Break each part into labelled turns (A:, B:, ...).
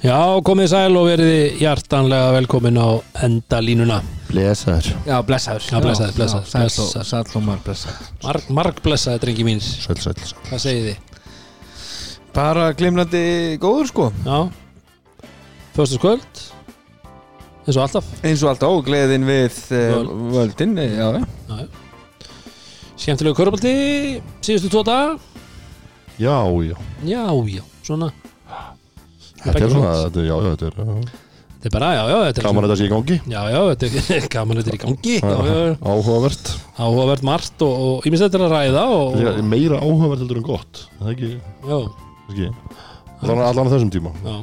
A: Já, komið sæl og verið hjartanlega velkomin á endalínuna
B: Blesaður
A: Já, blessaður Já, blessaður, blessaður, blessaður.
C: Sæll og marg blessaður
A: Marg, marg blessaður, drengi mín
B: Sæl, sæl, sæl
A: Hvað segið þið?
C: Bara glimlandi góður sko
A: Já Föstu skvöld eins og alltaf
C: Eins og alltaf og gleðin við uh,
A: Völd.
C: völdin eh, Já, já
A: Já, já Skemmtilegu körubaldi síðustu tvo daga
B: Já, já
A: Já, já, svona
B: Þetta er svona, þetta er, já, já, þetta er já.
A: Þetta er bara, já, já, þetta er
B: Gaman að þetta sé í gangi
A: Já, já, þetta er gaman að þetta er í gangi Já, já, já.
B: Áhugavert
A: áhugavert margt og, og ímest þetta er að ræða og,
B: Líka, Meira áhugavert heldur en gott Það er ekki,
A: já,
B: ekki Allan, allan að þessum tíma
A: já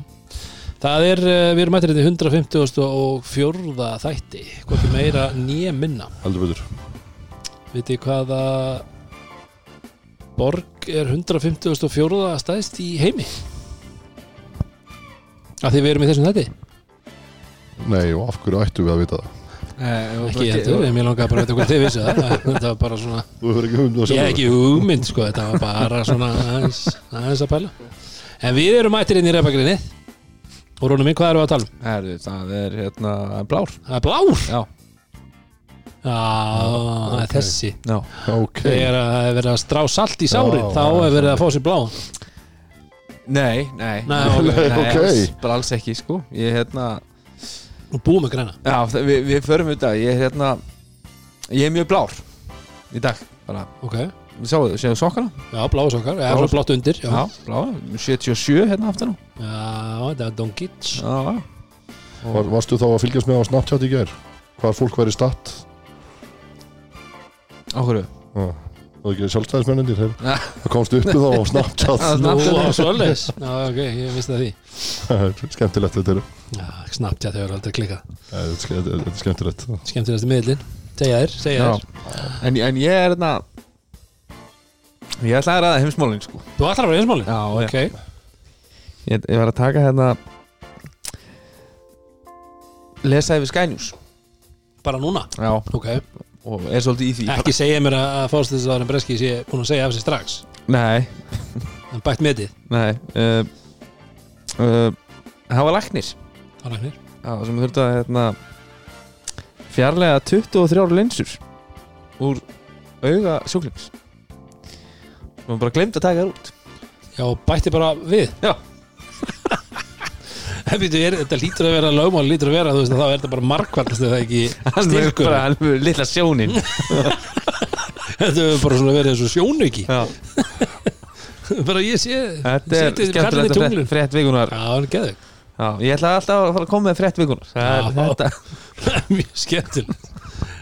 A: Það er, eh, við erum mættir þetta í 150 og fjórða þætti, hvorki meira nýja minna.
B: Heldur betur
A: Vitið þið hvaða borg er 150 og fjórða stæðst í heimi? Af því við erum í þessum þætti?
B: Nei, og af hverju ættum við að vita það?
C: Eh,
A: Ekki heldur, en mér langaði bara að veit okkur þið vissu það. Þetta var bara svona
B: Þú hefur ekki hugmynd um það
A: Ég hef ekki hugmynd sko, þetta var bara svona aðeins, aðeins að pæla En við erum mættir inn í reypagrinnið Og Rónu minn, hvað erum við að tala um?
C: Herðu, það er hérna blár
A: Það er blár
C: Já,
A: Já, það er
B: ok.
A: þessi
C: já
B: Ok
A: Þegar að það er verið að strá salt í sárin
B: Já,
A: Þá
B: já,
A: er verið að fá sér bláan
C: Nei, nei
A: Nei, ok.
B: Ok.
C: alls, Bara alls ekki sko Ég hérna
A: Og búum með græna
C: Já, það- við, við förum út að Ég hérna Ég er mjög blár Í dag Bara
A: Ok,
C: Sjáu þau, séu sokkana?
A: já, bláu sokkar Eða
C: Blár.
A: svona blátt undir Já, já
C: blár 77 hérna aftur nú
A: þetta er Donkic
C: Já, já
B: Var, Varstu þá að fylgjast með á Snapchat í gær? Hvar fólk væri statt?
C: Á hverju?
B: Já. Og ekki sjálfstæðismennir þeir
C: Já.
B: Það komst upp þá á Snapchat
C: Já,
A: Nú,
C: Snapchat.
A: á svoleiðis Já, ok, ég misti það því
B: Skemmtilegt þetta er
A: Já, Snapchat hefur aldrei klikkað
B: Nei, Þetta er ske- þetta er- þetta er skemmtilegt
A: Skemmtilegast miðlinn Segja þér, segja þér
C: en, en ég er hérna Ég ætlaði að ræða heimsmálin sko
A: Þú ætlar að vera einsmáli?
C: Já,
A: Ok,
C: ég, ég var að taka hérna Lesa yfir Sky News
A: bara núna
C: Já
A: Ok,
C: Og er svolítið í því
A: ekki segja mér að að fórstæðisvarðan Breski sé búin að segja af sér strax
C: Nei,
A: en bætt metið
C: nei uh, uh, Það var læknir
A: á læknir
C: Já, sem þurfti að hérna Fjarlæga 23 linsur Úr auga sjúklings Og bara glemt að taka þær út
A: Já, bætti bara við
C: Já.
A: En býtu, er, þetta lítur að vera lögmál, lítur að vera, þú veist að þá er þetta bara markvartast eða ekki
C: Hann er
A: styrkur
C: bara alveg lilla sjónin
A: Þetta er bara svona verið þessu sjónauki
C: Já
A: Bara ég sé
C: Þetta er
A: setið kallinn í
C: skemmtilegt að
A: tunglinu.
C: frétt, frétt vikunar
A: Já, hann geðu
C: Já, ég ætla alltaf að fara að koma með frétt vikunar Það er
A: Já.
C: þetta
A: Mjög skemmtilegt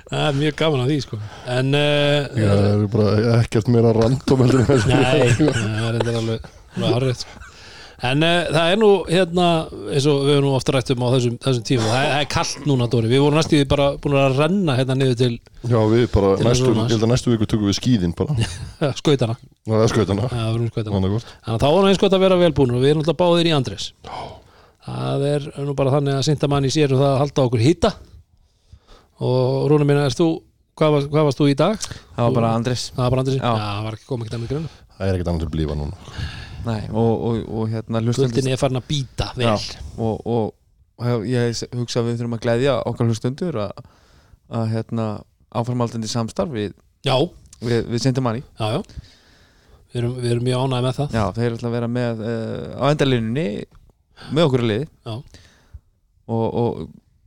A: Það er mjög gaman að því, sko En uh,
B: Já, það eru bara ekkert meira random heldur en þessu.
A: Nei, það er þetta alveg, alveg harrið sko. En uh, það er nú hérna, eins og við erum nú ofta rætt um á þessum, þessum tíma, það er, það er kallt núna Dóri, við vorum næstu því bara búin að renna hérna niður til
B: Já, við bara,
A: Til
B: næstu,
A: Rúnars.
B: ég held að næstu viku tökum við skýðin bara
A: uh, skautana,
B: Það er skautana,
A: það vorum skautana
B: annarkvort
A: Þannig að þá vorum eins gott að vera velbúin og við erum alltaf báðir í Andres Það er nú bara þannig að synda manni sér og það að halda okkur hýta og Rúna minna, erst þú hvað, var, hvað varst þú í dag?
C: Það var bara Andres
A: Það var bara Andresi?
C: Já.
A: Já, það var ekki komið ekki dæmi grunna
B: Það er ekkert annað til að blífa núna
C: Nei, og, og, og hérna hlustendur
A: Guldin er farin að býta vel
C: Já, og, og, og ég hugsa að við þurfum að gleðja okkar hlustendur að, að hérna áframaldandi samstarf við,
A: Já,
C: við, við sendum hann í
A: já, já Við erum, við erum mjög ánægð með það
C: Já, þeir ætla að vera með uh, á endalínunni með okkur í liði
A: Já.
C: og, og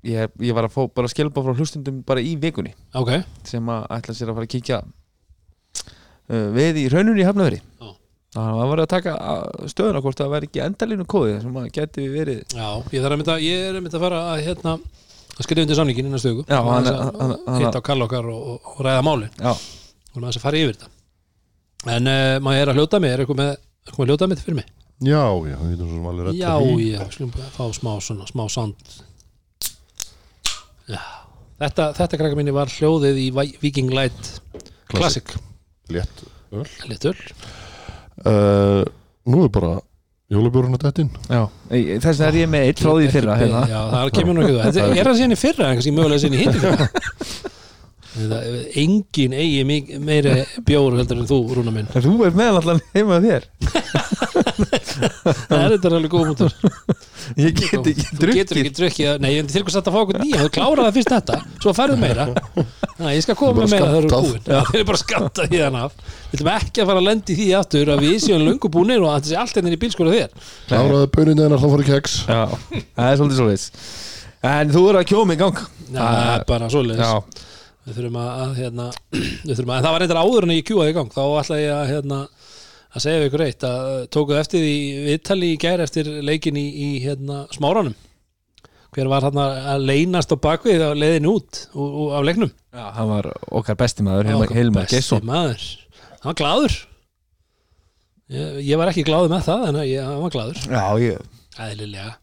C: ég, ég var að fá bara skilpa frá hlustendum bara í vikunni
A: Ok,
C: sem að ætla sér að fara að kíkja uh, við í raununni í Hafnaveri
A: Já.
C: það var að taka uh, stöðuna hvort það væri ekki endalínu kóði sem að geti við verið
A: já, ég þarf að mynda Ég er að mynda að fara að hérna að skrifa undir samlingin innan stöku
C: Já, hann- hann- hann-
A: hitt á kall okkar og, og, og ræða málin
C: já,
A: og maður þess að fara yfir þetta En uh, maður er að hljóta mig, er eitthvað með eitthvað með hljóta mig fyrir mig?
B: Já, já, við getum svo sem alveg rétt
A: já, já, slum bara fá smá svona, smá sand Já Þetta, þetta krakka minni var hljóðið í Vi- Viking Light
B: Classic.
A: Classic,
B: Létt öl
A: litur
B: uh, Nú er bara jólabjörn að dettin
C: já. Í- þess vegna er ég með eitt frá því í fyrra
A: Já,
C: hérna.
A: það kemur nú ekki þú Þetta er það síðan í fyrra, en kannski mögulega síðan í hindi fyrra Það- Engin eigi mi- meiri bjór heldur en þú, Rúna minn
C: En þú er meðal allan heima hjá þér
A: Það er þetta alveg góð mútur
C: Ég get
A: Þú
C: ekki
A: getur
C: drukkið
A: ekki drukkið, nei, ég er til hvers að þetta fá okkur nýja þú klárar það fyrst þetta, svo færðu meira Næ, ég skal koma
B: Bara
A: með meira þegar þú er
B: skammtað.
A: búin Þeir eru bara skattað í þann af Við ætlum ekki að fara að lendi því aftur að við séum löngu búinir og að þetta sé allt hérna í bílskóla þér
B: Láraði böninu hennar þá fór í keks
C: Já, það er svolítið svolítið En þú eru að kjóma í gang
A: Já, það er bara svoleiðis
C: Já,
A: Við þurfum að, að, hérna, við þurfum að en það var reyndar áður en ég kjúaði í gang þá ætla ég að, hérna, að segja við ykkur eitt að tókuð eftir því viðtali í gær eftir leikin í, í hérna, smáranum hver var hann að leynast á bakvið á leiðin út úr, úr, af leiknum
C: já hann var okkar besti maður Hilmar,
A: Okkar
C: Hilmar
A: besti
C: Gesson
A: maður. hann var gláður ég, ég var ekki gláður með það en ég, hann var gláður,
C: Já, ég
A: eðlilega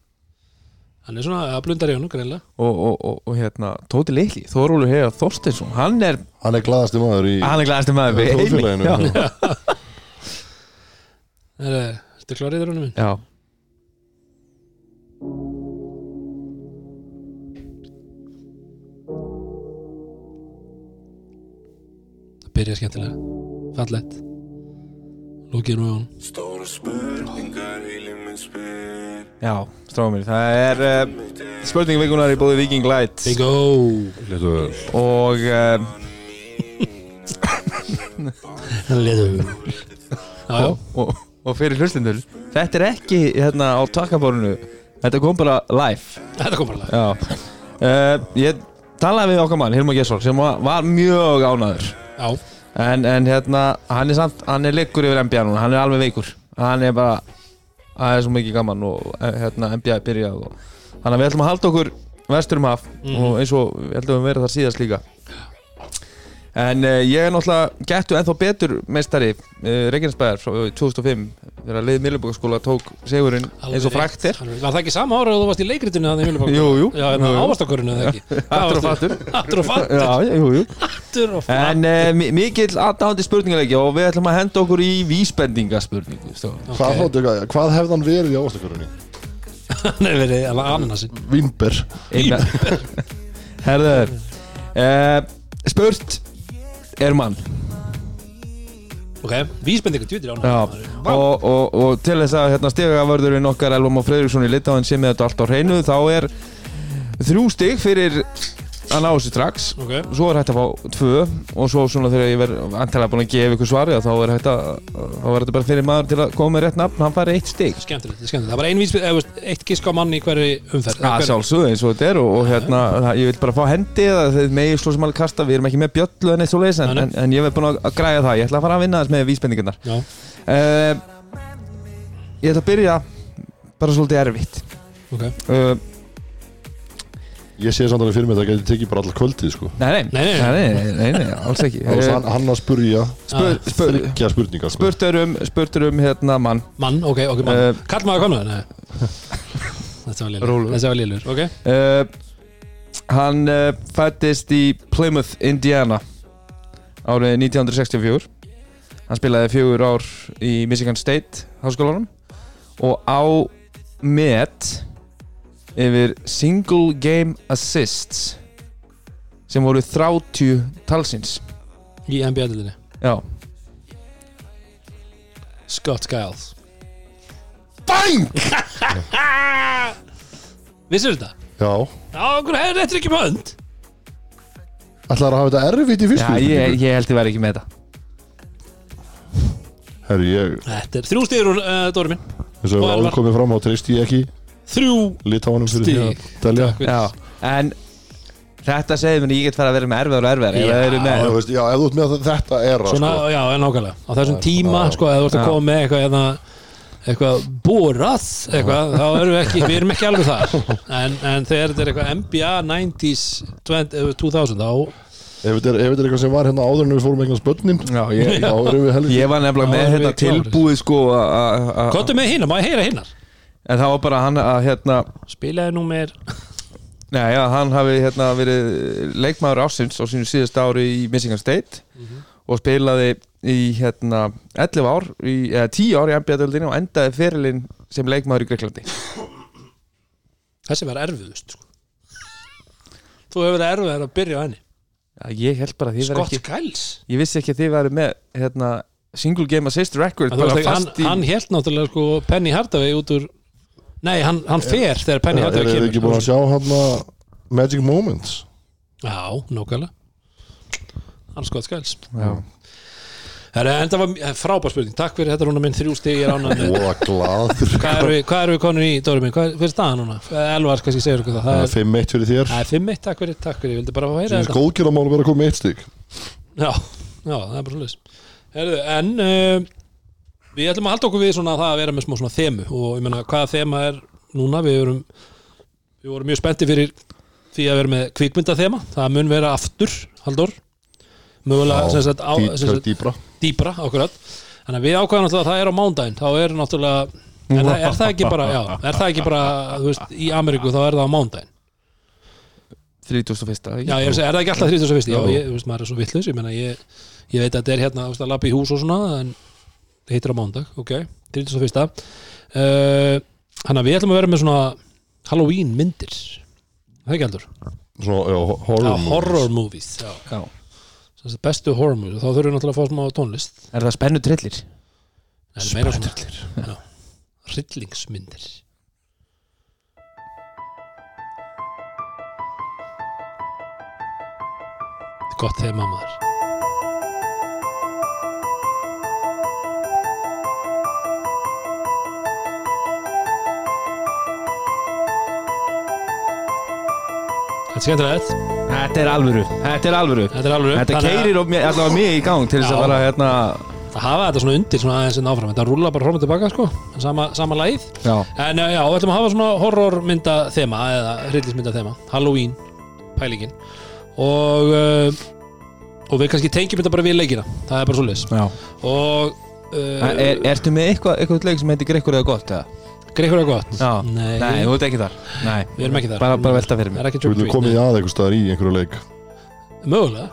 A: hann er svona að blundar í honum greinlega
C: Og, og, og, og hérna, Tóti Lilli, Þorúlu Hega Þorstinsson Hann er,
B: Hann er glaðasti maður í
C: hann er glæðasti maður við heimi.
B: þjóðfélaginu
C: Já,
A: er eh, þetta klárið honum minn?
C: já.
A: það byrja skemmtilega, fallett lókið nú á hann
D: Stóra spurningar, heilin minn spyr
C: já stráðum mér Það er uh, spurning vikunar í bóði Viking Light
A: Bingo
B: Létu-
C: Og uh,
A: Leðum Já, já,
C: og, og fyrir hlustindur Þetta er ekki hérna á takkabórunu Þetta kom bara live
A: þetta kom bara lag
C: Já uh, Ég talaði við okkar mann, Hilmar Gessol sem var, var mjög ánaður
A: Já,
C: en, en hérna, hann er samt hann er leikur yfir NBA núna, hann er alveg veikur hann er bara, það er svo mikið gaman og eh, hérna, NBA er byrjað og, þannig að við ætlum að halda okkur vesturum haf
A: Mhm.
C: og eins og við ætlum að vera það síðast líka En uh, ég er náttúrulega gettu ennþá betur meistari uh, Reykjanesbæðar frá eh, 2005 þegar liðið Miljubókaskóla tók segurinn
A: alveg
C: eins og
A: rétt.
C: frækt er
A: Alveg- Var það ekki sama ára og þú varst í leikritinu þannig í Mjölnubakku?
C: Jú, jú.
A: Já, en
C: Jú, jú.
A: ávastakörinu eða ekki
C: Aftur og fattur
A: Hattur og fattur
C: Já, jú, jú
A: Hattur og fattur
C: En uh, mikill aðdáðandi spurningarleiki og við ætlum að henda okkur í vísbendingaspurningu strákar.
B: Hvað, okay. hvað, hvað hefði hann verið í ávastakurunni?
A: Hann er verið alveg ananasinn
B: Vínber
C: Eina Herðu uh, Spurt er mann
A: Ok, vísbendingu djútir á
C: Já,
A: hann
C: og, og, og til þess að hérna, stigavörðurinn okkar Elvam og Fredriksson í Litáin sem er þetta allt á hreinu þá er þrjú stig fyrir að ná þessu strax
A: Ok,
C: svo er hægt að fá tvö og svo svona þegar ég verð antalega búin að gefa ykkur svari þá er hægt að þá er þetta bara fyrir maður til að koma með rétt nafn hann fær eitt stig
A: skemmtilegt, skemmtilegt Það var ein vísbendingu, eða veist, eitt gisk á mann í hverju umferð eða
C: að
A: hverju-
C: sjálfsögðu eins og þetta er og, og hérna, það- ég vil bara fá hendi eða þið megi sló sem alveg kasta, við erum ekki með bjöllu en eitt svo leiðis en,
A: Nei, nei.
C: en, en ég verð búin að, að græja það, ég ætla að fara að vinna þess með vísbendingarnar
A: Já,
C: uh, ég ætla að byrja bara svolítið erfitt
A: ok
C: uh,
B: Ég sé samt alveg fyrir mig að það geti tekið bara allar kvöldið sko
C: nei, nei,
A: Nei, nei.
C: nei, nei, nei, alls ekki
B: Það var
C: Eh,
B: hann, hann að spurja
C: spur, spur,
B: Þryggja spurningar sko
C: spurt er um, spurt er um hérna mann
A: Ah, Mann, ok, ok,
C: Eh,
A: mann Kall maður konuð, nei Þetta var lélur
C: Rólur.
A: Þetta var lélur, ok
C: uh, hann uh, fættist í Plymouth, Indiana árið 1964 hann spilaði fjögur ár í Michigan State háskólanum og á met yfir single game assists sem voru 30 talsins
A: Í NBA-dildinni
C: já,
A: Scott Giles
B: Bang!
A: Vissir þetta?
B: Já
A: Já, okkur hefur réttur ekki með hönd
B: Ætlaður að hafa þetta erfitt í fyrstu
C: já ég, ég held ég væri ekki með þetta
B: Herri, ég
A: Þetta er þrjú stíður úr uh, Dóri minn Og
B: Þess að við
A: Elvar.
B: áður komið fram á treyst ég ekki
A: Þrjú
B: Litáanum fyrir
A: Stig.
B: því að Delja
A: Takk fyrir.
C: já, en þetta segir mér að ég get fara að vera með erfiðar og erfiðar ef
A: Já.
C: það eru
B: Já,
C: með
B: þú veist, já, ef þú ert með þetta era
A: Svona,
B: sko
A: já, en nákvæmlega Á þessum
B: Já,
A: tíma,
B: já.
A: sko, eða þú ert að
C: Já.
A: koma með eitthvað hérna, eitthvað borað eitthvað, þá erum við ekki, við erum ekki alveg þar en, en þegar þetta er eitthvað NBA 90s 20, eh, 2000 þá
B: Ef þetta er ef þetta er eitthvað sem var hérna áður en við fórum eignast börnin
C: já, ég,
B: Þá erum við helviti
C: Ég var
A: Já,
C: nefnilega með
A: erum við
C: hérna
A: klárir?
C: tilbúið sko a- a- a-
A: Kottu með hinna, má ég heyra hinnar
C: En það var bara hann að hérna
A: Spilaði númer
C: Nei, já, hann hafi hérna verið leikmaður ásins á sínu síðasta ári í Michigan State og spilaði í hérna 11 ár, í, eða 10 ár í NBA-döldinni og endaði fyrirlinn sem leikmaður í Greiklandi
A: Þessi var erfiðust sko. Þú hefur verið erfið að byrja á henni
C: Já, ég held bara að þið verið
A: Scott
C: ekki
A: Giles
C: Ég vissi ekki að þið verið með hérna single game assist record
A: En þú veist
C: bara
A: ekki, hann,
C: fast í
A: hann hélt náttúrulega sko Penny Hardaway út úr Nei, hann, hann fer þegar
C: hérna
A: Penny
B: Er
A: Hardaway
B: þið ekki búin
A: kemur
B: að sjá hann Magic Moments?
A: Já, nákvæmlega Hann skoð skæls
C: Já.
A: Herra, En það var eh, frábær spurning, takk fyrir þetta rúna minn þrjú stig ég er ánægð með
B: Voða glaður
A: Hvað erum við, hvað erum við konur í, Dóri minn? Hvað er, hver er staðan núna? Eh, Elvar, kannski segir okkur það Það er-
B: 5-1 fyrir þér
A: það er 5-1, takk fyrir, takk fyrir, ég vildi bara fá að heyra
B: Sýnist
A: þetta
B: góðgerðamál að vera að koma með eitt stík
A: Já, já, það er bara svoleiðis Herðu, en uh, við ætlum að halda okkur við svona það að vera með smá svona þemu og ég meina hvaða þema er núna við erum við vorum mjög spennti fyrir því að vera með kvikmynda þema það mun vera aftur, Halldór mögulega sem sagt, á, sem sagt
B: dýbra
A: dýpra akkurat þannig að við ákvæðum náttúrulega að það er á mándaginn þá er náttúrulega er, það- er það ekki bara, já, er það ekki bara þú veist, í Ameríku þá er það á mándaginn
C: 31. ekki?
A: Já, ég er, að segja, er það ekki alltaf 31. Já, ég, þú veist, maður er svo vittlis, ég meina, ég, ég veit að þetta er hérna, þú veist, að lappa í hús og svona, en það heitir á mándag, ok, 31. Uh, Hanna, við ætlum að vera með svona Halloween myndir, það ekki heldur?
B: Svona, já, horror
A: Já,
B: movies.
A: horror movies, já,
C: Já.
A: sem sagt, bestu horror movies, og þá þurfum við náttúrulega að fá smá tónlist.
C: Er það spennu trillir?
A: Nei, það er meira svona- Já, hryllingsmyndir. Þetta er Gott þegar mamma þér. Þetta er skemmtilegt
C: Þetta er alvöru, þetta er alvöru
A: Þetta er alveg
C: Þetta keirir of mér- allavega mig í gang til þess
A: Já.
C: að fara hérna
A: að hafa þetta svona undir svona aðeins en áfram Þetta rúla bara hróma tilbaka sko en Sama, sama læð
C: Já,
A: En uh, já, við ætlum að hafa svona horrormynda þema eða hryllismynda þema, Halloween pælingin og, uh, og við kannski tengjum þetta bara við leikina, það er bara svoleiðis
C: já
A: og
C: Er,
A: uh,
C: ertu með eitthvað, eitthvað leik sem heitir Grekkur eða gott eða?
A: greikur er gott
C: Já,
A: Nei,
C: nei, þú ert ekki þar Nei,
A: við erum ekki þar
C: bara, bara velta fyrir
A: Það
C: mér
A: er ekki
B: Þú
A: trick or
B: veitum við
A: treat
B: komið í að einhver staðar í einhverju leik
A: nei. Mögulega,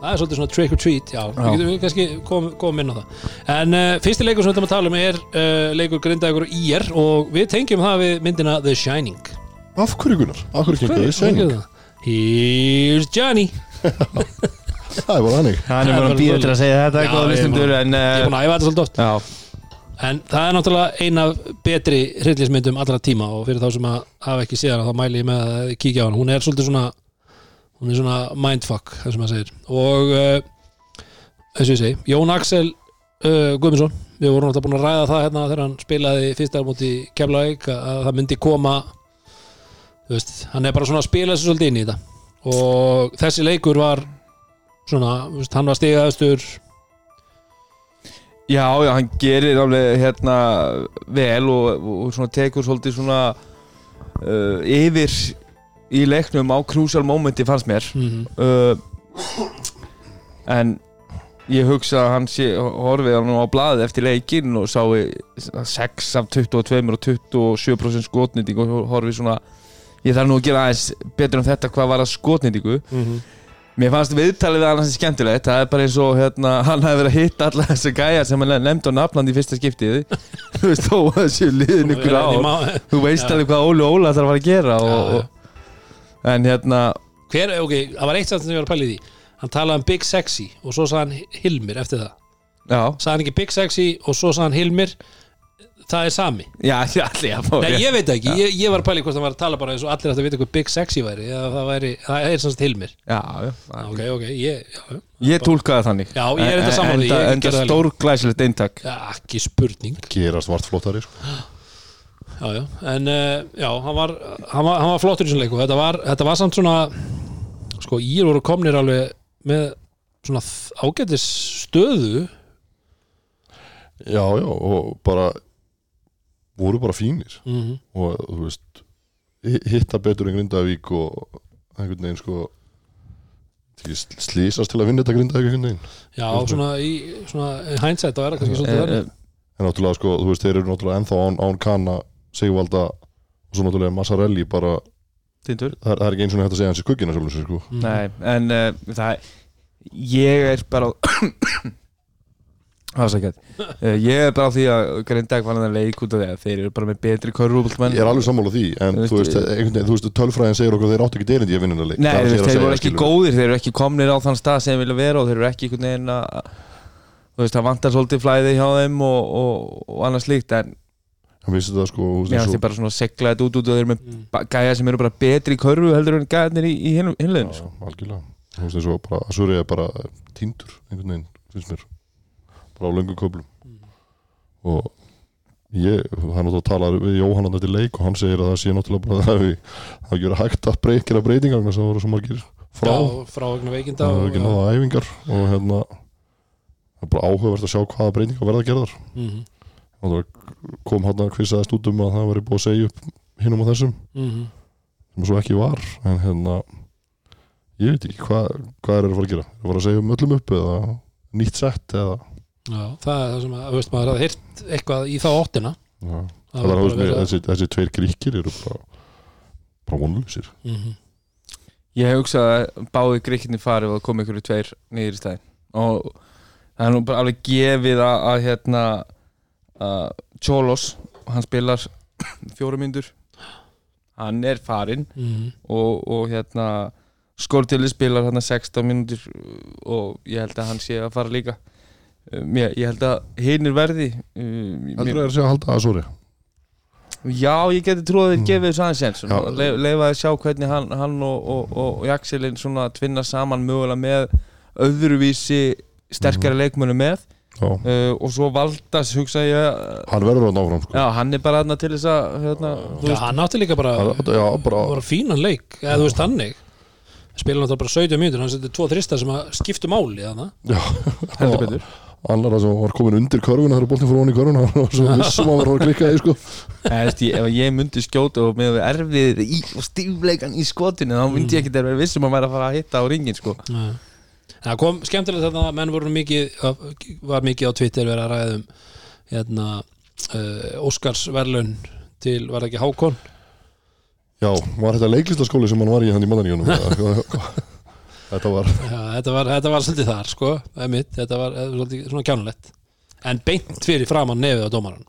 A: það er svolítið svona trick or treat Já, við getum við kannski komum kom inn á það En uh, fyrsti leikur sem við ætlum að tala um er uh, leikur Grindavíkur og IR og við tengjum það við myndina The Shining
B: Af hverju Gunnar? Af hverju gengur þið
A: Hvað
B: sæning?
A: er það? Here's Johnny
B: Það er bara hannig
C: Það
A: er
C: er
A: bara
C: bara býða
A: svoleiðis.
C: til að segja þetta
A: Já, ég
C: eitthvað
A: er
C: listendur
A: bara-
C: en
A: Ég er búin
C: uh,
A: að æfa þetta svolítið oft
C: Já,
A: En það er náttúrulega eina betri hryllismyndum allra tíma og fyrir þá sem að hafa ekki séð hana þá mæli ég með að kíkja á hana. Hún er svolítið svona hún er svona mindfuck það sem maður segir og uh, eins og ég segi, Jón Axel uh, Guðmundsson, við vorum alltaf búin að ræða það hérna þegar hann spilaði fyrsta múti Keflavík að að það myndi koma þú veist, hann er bara svona að spila sér svolítið inn í þetta og þessi leikur var svona, þú veist, hann var stigaðastur
C: já, já, hann gerir alveg hérna vel og, og svona tekur svolítið svona uh, yfir í leiknum á crucial momenti fannst mér
A: mm
C: uh, en ég hugsa að hann sé, horfið hann á blaðið eftir leikinn og sá 6 af 22 og 27% skotnýtingu og horfið svona ég þarf nú að gera aðeins betur um þetta hvað var að skotnýtingu Mér fannst viðtalið við hann sem skemmtilegt Það er bara eins og hérna, hann hafi verið að hitta alla þessi gæja sem hann nefndi á nafnandi í fyrsta skiptið Þú veist, þó að þessi liðin ykkur á Þú veist
A: Já.
C: alveg hvað Óli Óla þarf að fara að gera
A: Já,
C: og,
A: já.
C: Og, En hérna,
A: hver, ok, það var eitt samt sem ég var að pæla í því hann talaði um Big Sexy og svo sagði hann Hilmir eftir það,
C: já
A: sagði hann ekki Big Sexy og svo sagði hann Hilmir það er sami,
C: Já, já, já,
A: nei
C: já,
A: ég veit það ekki ég, ég var að pæla í hvort hann var að tala bara eins og allir ættu að vita hvað Big Sexy væri, eða það væri það er semst Hilmir,
C: já, já.
A: ok, ok ég, já,
C: Ég túlkaði það þannig
A: Já, ég er þetta sammála því,
C: Enda,
A: ég
C: enda
A: gerði það líka.
C: stórglæsilegt eintak
A: já, ekki spurning
B: Gerast vart flottari sko.
A: já, já, en uh, já, hann var hann var, hann var flottur í svona leiku, þetta var, þetta var samt svona sko, ír voru komnir alveg með svona ágætis stöðu
B: Já, já, og bara voru bara fínir
A: mm
C: Mhm.
B: og þú veist hi- hitta betur en Grindavík og einhvern veginn sko ekki sl- slísast til að vinna þetta Grindavík einhvern veginn
A: já,
B: Þú veist
A: svona í svona hindsight þá er það kannski
C: Eh,
A: svolítið verið
B: en náttúrulega sko, þú veist, þeir eru náttúrulega ennþá án, án kanna Sigvalda og svo náttúrulega Massarelli bara,
C: Tindur
B: það er, það er ekki eins og hægt að segja hans í kukkina sjálfum sér sko
A: Mm. Mhm.
C: Nei, en uh, það Ég er bara Afsakjætt uh, Ég er bara á því að Grindag var hann leik út af því að þeir eru bara með betri körrúbultmenn
B: Ég er alveg sammála því, en
C: Þú
B: þú veist,
C: veist,
B: einhvern veginn, þú veist, tölfræðin segir okkur að þeir áttu ekki derindi að vinna þetta leik
C: Nei,
B: Það er
C: þú
B: það ég er að
C: veist, þeir
B: segja,
C: voru ekki
B: skilurðu.
C: góðir, þeir eru ekki komnir á þann stað sem þeir vilja vera og þeir eru ekki einhvern veginn að þú veist, það vantar svolítið flæði hjá þeim og, og, og annað slíkt en
B: hann vissi það sko þú veist, eins
C: Mér fannst
B: og-
C: ég bara svona segla þetta út út og þeir eru með
A: Mm.
C: ba- gæja sem eru bara betri í körfu heldur en gæjarnir í, í hinum- sko. hinlegin
B: Já, algjörlega þú veist eins og bara að Suri er bara tíndur einhvern veginn, finnst mér bara á löngum köflum og ég, hann átt að tala við Jóhann hann þetta í leik og hann segir að það sé náttúrulega bara að það hafi- það hafi verið hægt að breykja breytingar sem það voru svo margir frá
A: Já, frá vegna veikinda
B: það hefur ekki náða æfingar og hérna það er bara áhugavert að sjá hvaða breytingar verða gerðar
A: Mhm,
B: og það kom hann að kvissaðast út um að það væri búið að segja upp hinum og þessum
A: mhm.
B: sem svo ekki var en hérna ég veit ekki hvað hva er að fara að gera er að fara að segja um öllum upp eða nýtt sett eða
A: Já, það er það sem að, þú veist, maður hafði heyrt eitthvað í þá óttina
B: ja. það var að mér þessi, þessi tveir gríkir eru bara bara vonlösir
A: Mhm.
C: Ég hugsa að báði greikinni farið og það kom einhverju tveir niður í stæðin og það er nú bara alveg gefið að, að hérna að Cholos, hann spilar fjóra myndur hann er farinn
A: Mhm.
C: og, og hérna Skortili spilar hann 16 mínútur og ég held að hann sé að fara líka Um, ég, ég held að hinnir verði um,
B: heldur það er að segja að halda að sori
C: Já, ég geti trúið að
A: Mm.
C: þeir gefið þessu aðeins eins
B: Já.
C: og leif, leifa að sjá hvernig hann, hann og, og, og, og Jaxelin svona tvinna saman mögulega með öðruvísi
A: Mhm.
C: sterkari leikmönu með
B: já
C: uh, og svo Valdas hugsa ég að-
B: hann verður að náfram sko
C: já, hann er bara þarna til þess að hérna, þú
A: Já,
C: veist,
A: hann átti líka bara
B: Hann- já bara
A: bara fínan leik, eða þú veist þannig spila náttúrulega bara 17 mínútur hann setur tvo þrista sem að skiptu máli þannig
C: heldur betur
B: annar að sem var komin undir körfuna þegar boltin fór ofan í körfuna og svo vissum að verður að klikka því sko
C: Nei, veist, ég, ef ég myndi skjóta og með erfið í, og stífleikan í skotinu þá
A: Mm.
C: myndi ég ekki að vera vissum að vera að fara að hitta á ringin sko.
A: Nei. Það kom skemmtilegt þarna menn voru mikið var mikið á Twitter verið að ræðum hérna uh, Óskars verðlun til, var það ekki Hákon
B: já var þetta leiklistaskóli sem hann var í hann í mannaníunum þetta var
A: Já, þetta var, þetta var svolítið þar sko emitt, þetta var eh, svolítið svona kjánulegt en beint fyrir framann nefið á dómaran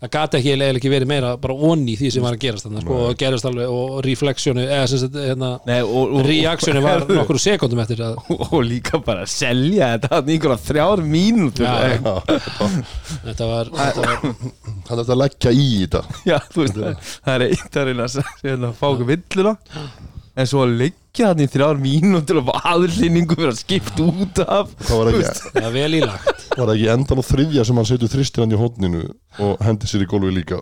A: það gati ekki eiginlega ekki verið meira bara onni því sem var að gerast þannig sko, og gerast alveg og reflexionu eða sem sagt hérna
C: Nei, og, og,
A: reactionu var nokkru sekundum eftir að
C: og, og líka bara að selja þetta þarna í einhverja þrjár mínútur
A: Já,
C: já,
A: þetta var, þetta var
B: hann er þetta að leggja í þetta
C: þú veist, það- það er eitt að reyna að s- hérna, fá okkur villuna en svo að leggja þarna í þrjár mínútur og aðlýningu fyrir að skipta út af
B: það var ekki
A: það var vel ílagt
B: var það ekki endan á þriðja sem hann setur þristir hann í hótninu og hendi sér í gólfi líka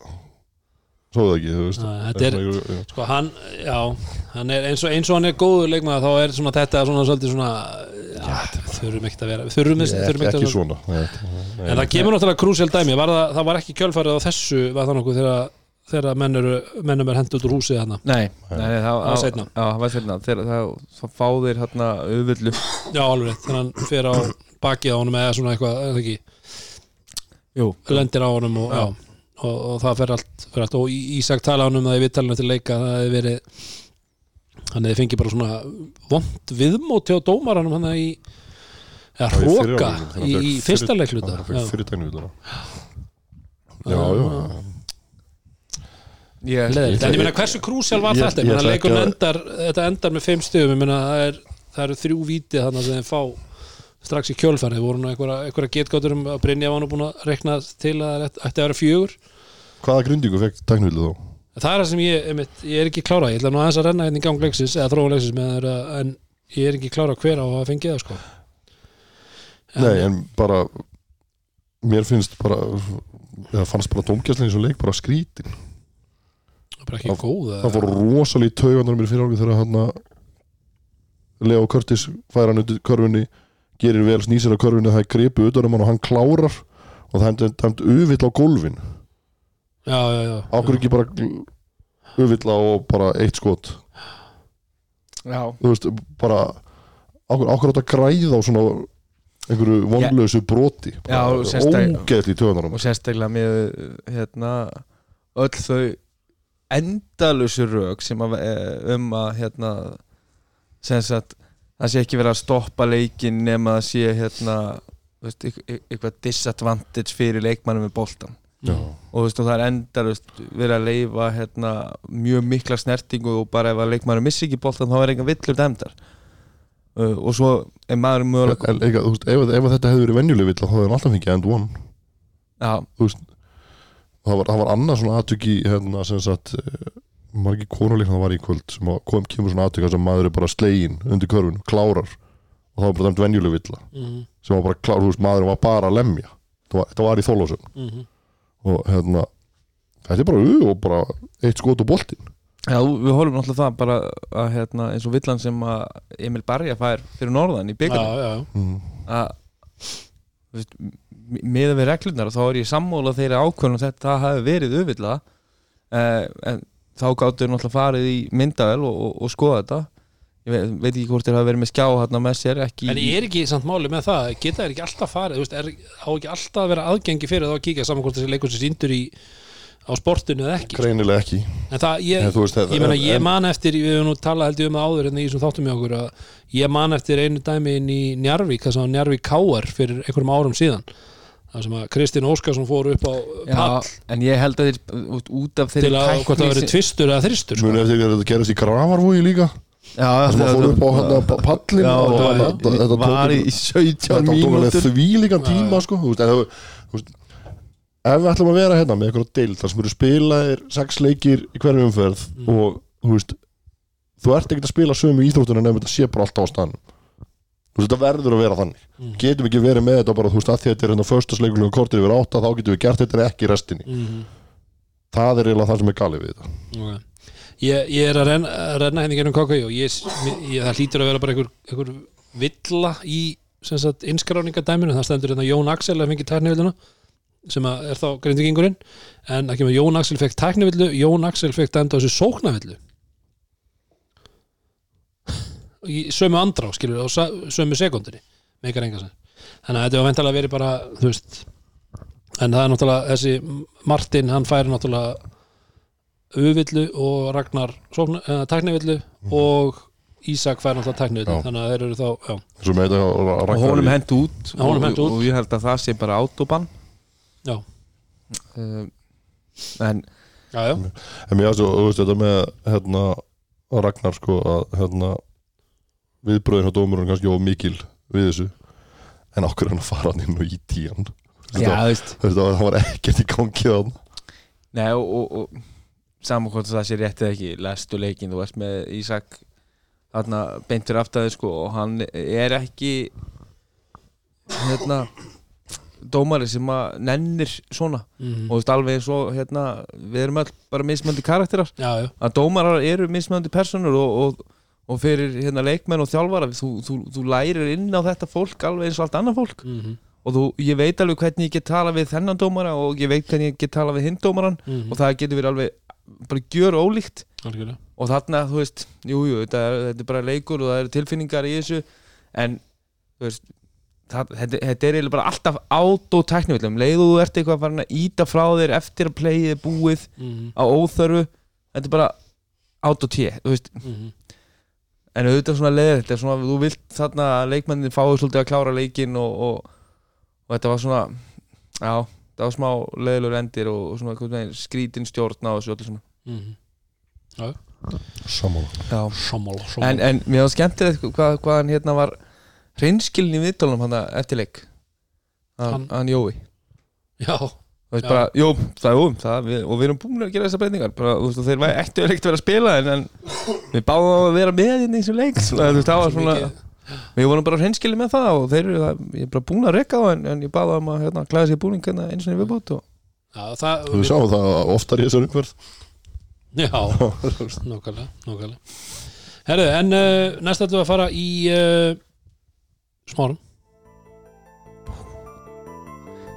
B: svo það ekki, þú veist
A: Nei, þetta er-
B: Eitthvað, já.
A: sko hann, já, hann er eins og, eins og hann er góður leikmaður þá er svona þetta svona svolítið svona já, þurfum ekkert að vera þurfum, þurfum
B: ekki,
A: ekkert
B: ekki
A: að vera
B: svona Nei, þetta- nei.
A: en það kemur náttúrulega krúsjál dæmi var það, það var ekki kjölfarið á þessu var það nokkuð þegar, þegar menn eru mennum er hendur út úr húsið þarna
C: Nei, nei, nei það
A: var seinna.
C: Já, það var seinna Þegar þá fá þeir hérna auðvöldu
A: já alveg rétt, þannig að hann fer á bakið á honum eða svona eitthvað eða ekki,
C: Jú,
A: lendir á honum og,
C: Já.
A: já. og, og það fer allt, fer allt og Í- Ísak tala honum um það í vittalina til leika það hefði verið hann hefði fengið bara svona vond viðmóti á dómaranum hann í eða
B: Það var í fyrri
A: hróka
B: áleiknum,
A: í,
B: þannig að
A: í
B: hann fékk
A: fyrsta
B: fyrir-
A: leikluta
B: hann
A: já.
B: fékk fyrir dæmi út já, já
C: ég
A: Leðilegt. En ég
B: ætla-
A: meina hversu krúsjál var
B: ég-
A: þetta? Ég
B: ég
A: meina
B: ætla
A: leikurinn
B: ekki að-
A: endar, þetta endar með fimm stöðum, ég meina það, er, það eru þrjú víti þannig að þeim fá strax í kjölfarið, voru nú einhverja, einhverja getgátur um að Brynja var nú búin að rekna til að það ætti ætti að vera fjögur.
B: hvaða grindingu fekk dæknuðu þá?
A: Það er það sem ég, einmitt, ég er ekki klárað, ég ætla nú aðeins að renna hérna í gang leiksins eða þróun leiksins með þeirra, en ég er ekki klárað hver á að fengi það sko. En-
B: nei, en bara mér finnst bara eða fannst bara domgæslinni svo leik bara skrítin
A: Það er bara ekki
B: Það-
A: góð.
B: það voru rosalí taugandur mér fyrir álgu þegar hann Leo Curtis færa hann undir körfunni gerir vel snýsir að körfunni það er gripu utan um hann og hann klárar og það hendur dæmt uvill á gólfin
A: Já, já, já.
B: ákveður ekki bara uvill á bara eitt skot
C: Já
B: þú veist bara ákveður ákveður átt að græða á svona einhverju vonlösu broti
C: Já, og sérstak-
B: ógeðli í töðunarum
C: Og sérstaklega með hérna öll þau endalösu rök sem að eh, um að hérna sem sagt það sé ekki verið að stoppa leikin nema að sé hérna þú veist, eit- eit- eitthvað disadvantage fyrir leikmannum með boltan
B: já,
C: og, þú veist, og það er endalust verið að leifa hérna, mjög mikla snertingu og bara ef að leikmaður missi ekki boltan þá er eitthvað villur dæmdar uh, og svo er maður mögulega
B: en líka, þú veist, ef, ef þetta hefði verið venjuleg vill þá hefði hann alltaf fengið end one
C: já,
B: þú veist það var, það var annað svona atvik í hérna, sem sagt eh, margi konuleik hann var í kvöld sem að kom, kemur svona atvik þar sem maður er bara slegin undir körfun, klárar og það var bara dæmt venjuleg villa
A: Mhm.
B: sem var bara klár, þú veist, maður var bara að lemja þetta var, þetta var í þólásum
A: Mhm.
B: og hérna þetta er bara, uh, og bara eitt skot og boltinn
C: Já, við horfum náttúrulega það bara að hérna, eins og villan sem að Emil Barja fær fyrir norðan í
A: já,
C: byggarnum
A: já, já.
B: mm.
C: að þú veist, m- miðað við reglurnar þá er ég sammála þeirra ákvörnum þetta það hafi verið auðvilla eh, en þá gáttu við náttúrulega farið í myndavel og, og, og skoða þetta ég veit, veit ekki hvort þeir hafi verið með skjá hérna með sér ekki
A: En er ekki samt máli með það, geta þær ekki alltaf farið, þú veist, er, á ekki alltaf að vera aðgengi fyrir þá að kíkja saman hvort þessi leikur sem síndur í á sportinu eða ekki.
B: greinilega ekki
A: En það, ég,
B: En þú veist, það-
A: ég meina, ég
B: en-
A: man eftir, við höfum nú talað held ég um það áður en í þessum þáttum í okkur að ég man eftir einu dæmi inn í Njarvík, þess að Njarvík Káar fyrir einhverjum árum síðan, þar sem að Kristinn Óskarsson fór upp á
C: já,
A: pall
C: en ég held að þeir út- út af
A: til
C: þeirri
A: að hvort það
C: tækni
A: verið
C: sem-
A: tvistur eða þristur, sko.
B: muni eftir að þetta gerist í gravarvói líka
C: Já,
B: það sem að fór upp á hérna pa- pallin
C: Já,
B: og
C: var,
B: þetta- þetta- þetta tók-
C: var í 17
B: þetta tók alveg
C: mínútur
B: þvílíkan tíma sko, þú veist, en það var- þú veist, ef við ætlum að vera hérna með einhverja deild þar sem eru spilaðir sex leikir í hverju umferð
C: Mm.
B: og þú veist þú ert ekkert að spila sömu íþróttuna nefnum þetta sé bara alltaf á stann þú veist, þetta verður að vera þannig
C: Mm.
B: getum ekki verið með þetta bara þú veist að því að þetta er hérna förstasleikulegu kortir yfir átta þá getum við gert þetta en ekki í restinni
C: Mm.
A: Mhm.
B: það er eiginlega það sem er galið við þetta
A: Ok. Ég, ég er að renna, að renna hérna henni gerum KKJ og ég, ég, það hlýtur að vera bara einhver, einhver villa í sem sagt, innskráningadæminu, það stendur hérna Jón Axel að fengi tæknivilluna sem að er þá grindvikingurinn en ekki með Jón Axel fekk tæknivillu Jón Axel fekk dæmda þessu sóknavillu í sömu andrá skilur á sa- sömu sekundinni meikar enga sem þannig að þetta var veintalega verið bara þú veist en það er náttúrulega þessi Martin hann færi náttúrulega Uvillu og Ragnar sókna- eh, tæknivillu
C: Mhm.
A: og Ísak fær náttúrulega tæknivillu
B: Já.
A: þannig að þeir eru þá já,
B: eins og með þetta og
C: og
B: Ragnar-
C: honum hent út,
A: Já, honum hent út.
C: Og, og ég held að það sé bara autobann
A: já,
C: uh, en
A: já, já.
B: En mér aðstu, þú veist, þetta með hérna, Ragnar sko að hérna, viðbröðin á dómurinn kannski of mikil við þessu en okkur er hann að fara hann inn og í tían
C: já,
B: þetta,
C: þú veist
B: þetta var, það var ekkert í gangi þann
C: Nei, og, og, og saman hvort það sé rétt eða ekki lestu leikinn, þú ert með Ísak þarna beintur aftaði sko og hann er ekki hérna dómari sem að nennir svona
A: Mhm.
C: og þú veist alveg svo hérna við erum all bara mismöndi karakterar
A: já, já.
C: að dómarar eru mismöndi personur og, og, og fyrir hérna leikmenn og þjálfara þú, þú, þú lærir inn á þetta fólk alveg eins og allt annað fólk
A: Mm -hmm.
C: og þú, ég veit alveg hvernig ég get tala við þennan dómara og ég veit hvernig ég get tala við hinn dómaran
A: Mhm.
C: og það getur verið alveg bara gjör ólíkt
A: algjörlega
C: og þarna, þú veist, jú, jú, þetta er, þetta er bara leikur og það eru tilfinningar í þessu en, þú veist það, þetta, þetta er eiginlega bara alltaf át og tæknivillum, leiðu þú ert eitthvað farin að íta frá þér eftir að playið er búið
A: mm
C: á óþörfu, þetta er bara át og tíð, þú veist
A: -hmm.
C: en auðvitað svona leiðir þetta svona, þú vilt þarna að leikmennin fái svolítið að klára leikinn og, og, og þetta var svona já, það var smá leiðilur endir og, og svona einhvern veginn skrítin stjórn á þessu öllu saman
A: Mm -hmm.
B: samanlega
C: já.
A: Sammála, sammála.
C: en, en mér var skemmtilegt hvað, hvað hann hérna var reynskilin í viðtólunum hann eftir leik hann,
A: Hann-
C: hann Jói
A: já,
C: Þú veist
A: Já.
C: bara, jú, það er um það, við, og við erum búin að gera þessar breytingar bara, þú veist, og þeir væri ekkert ekkert að vera að spila en, en við báðum á að vera með hérna í þessu leik svona, þú veist, það var
A: svo
C: svona
A: mikið.
C: við vorum bara hreinskilið með það og þeir eru það, ég er bara búin að rekka þá en, en ég baða um að hérna, klæða sér búning hérna eins og við bútt og
A: já, það,
B: Við sjáum það oftar í þessar umhverð
A: já, nákvæmlega, nákvæmlega. Herðu, en uh, næst ætlum við að fara í uh, smárum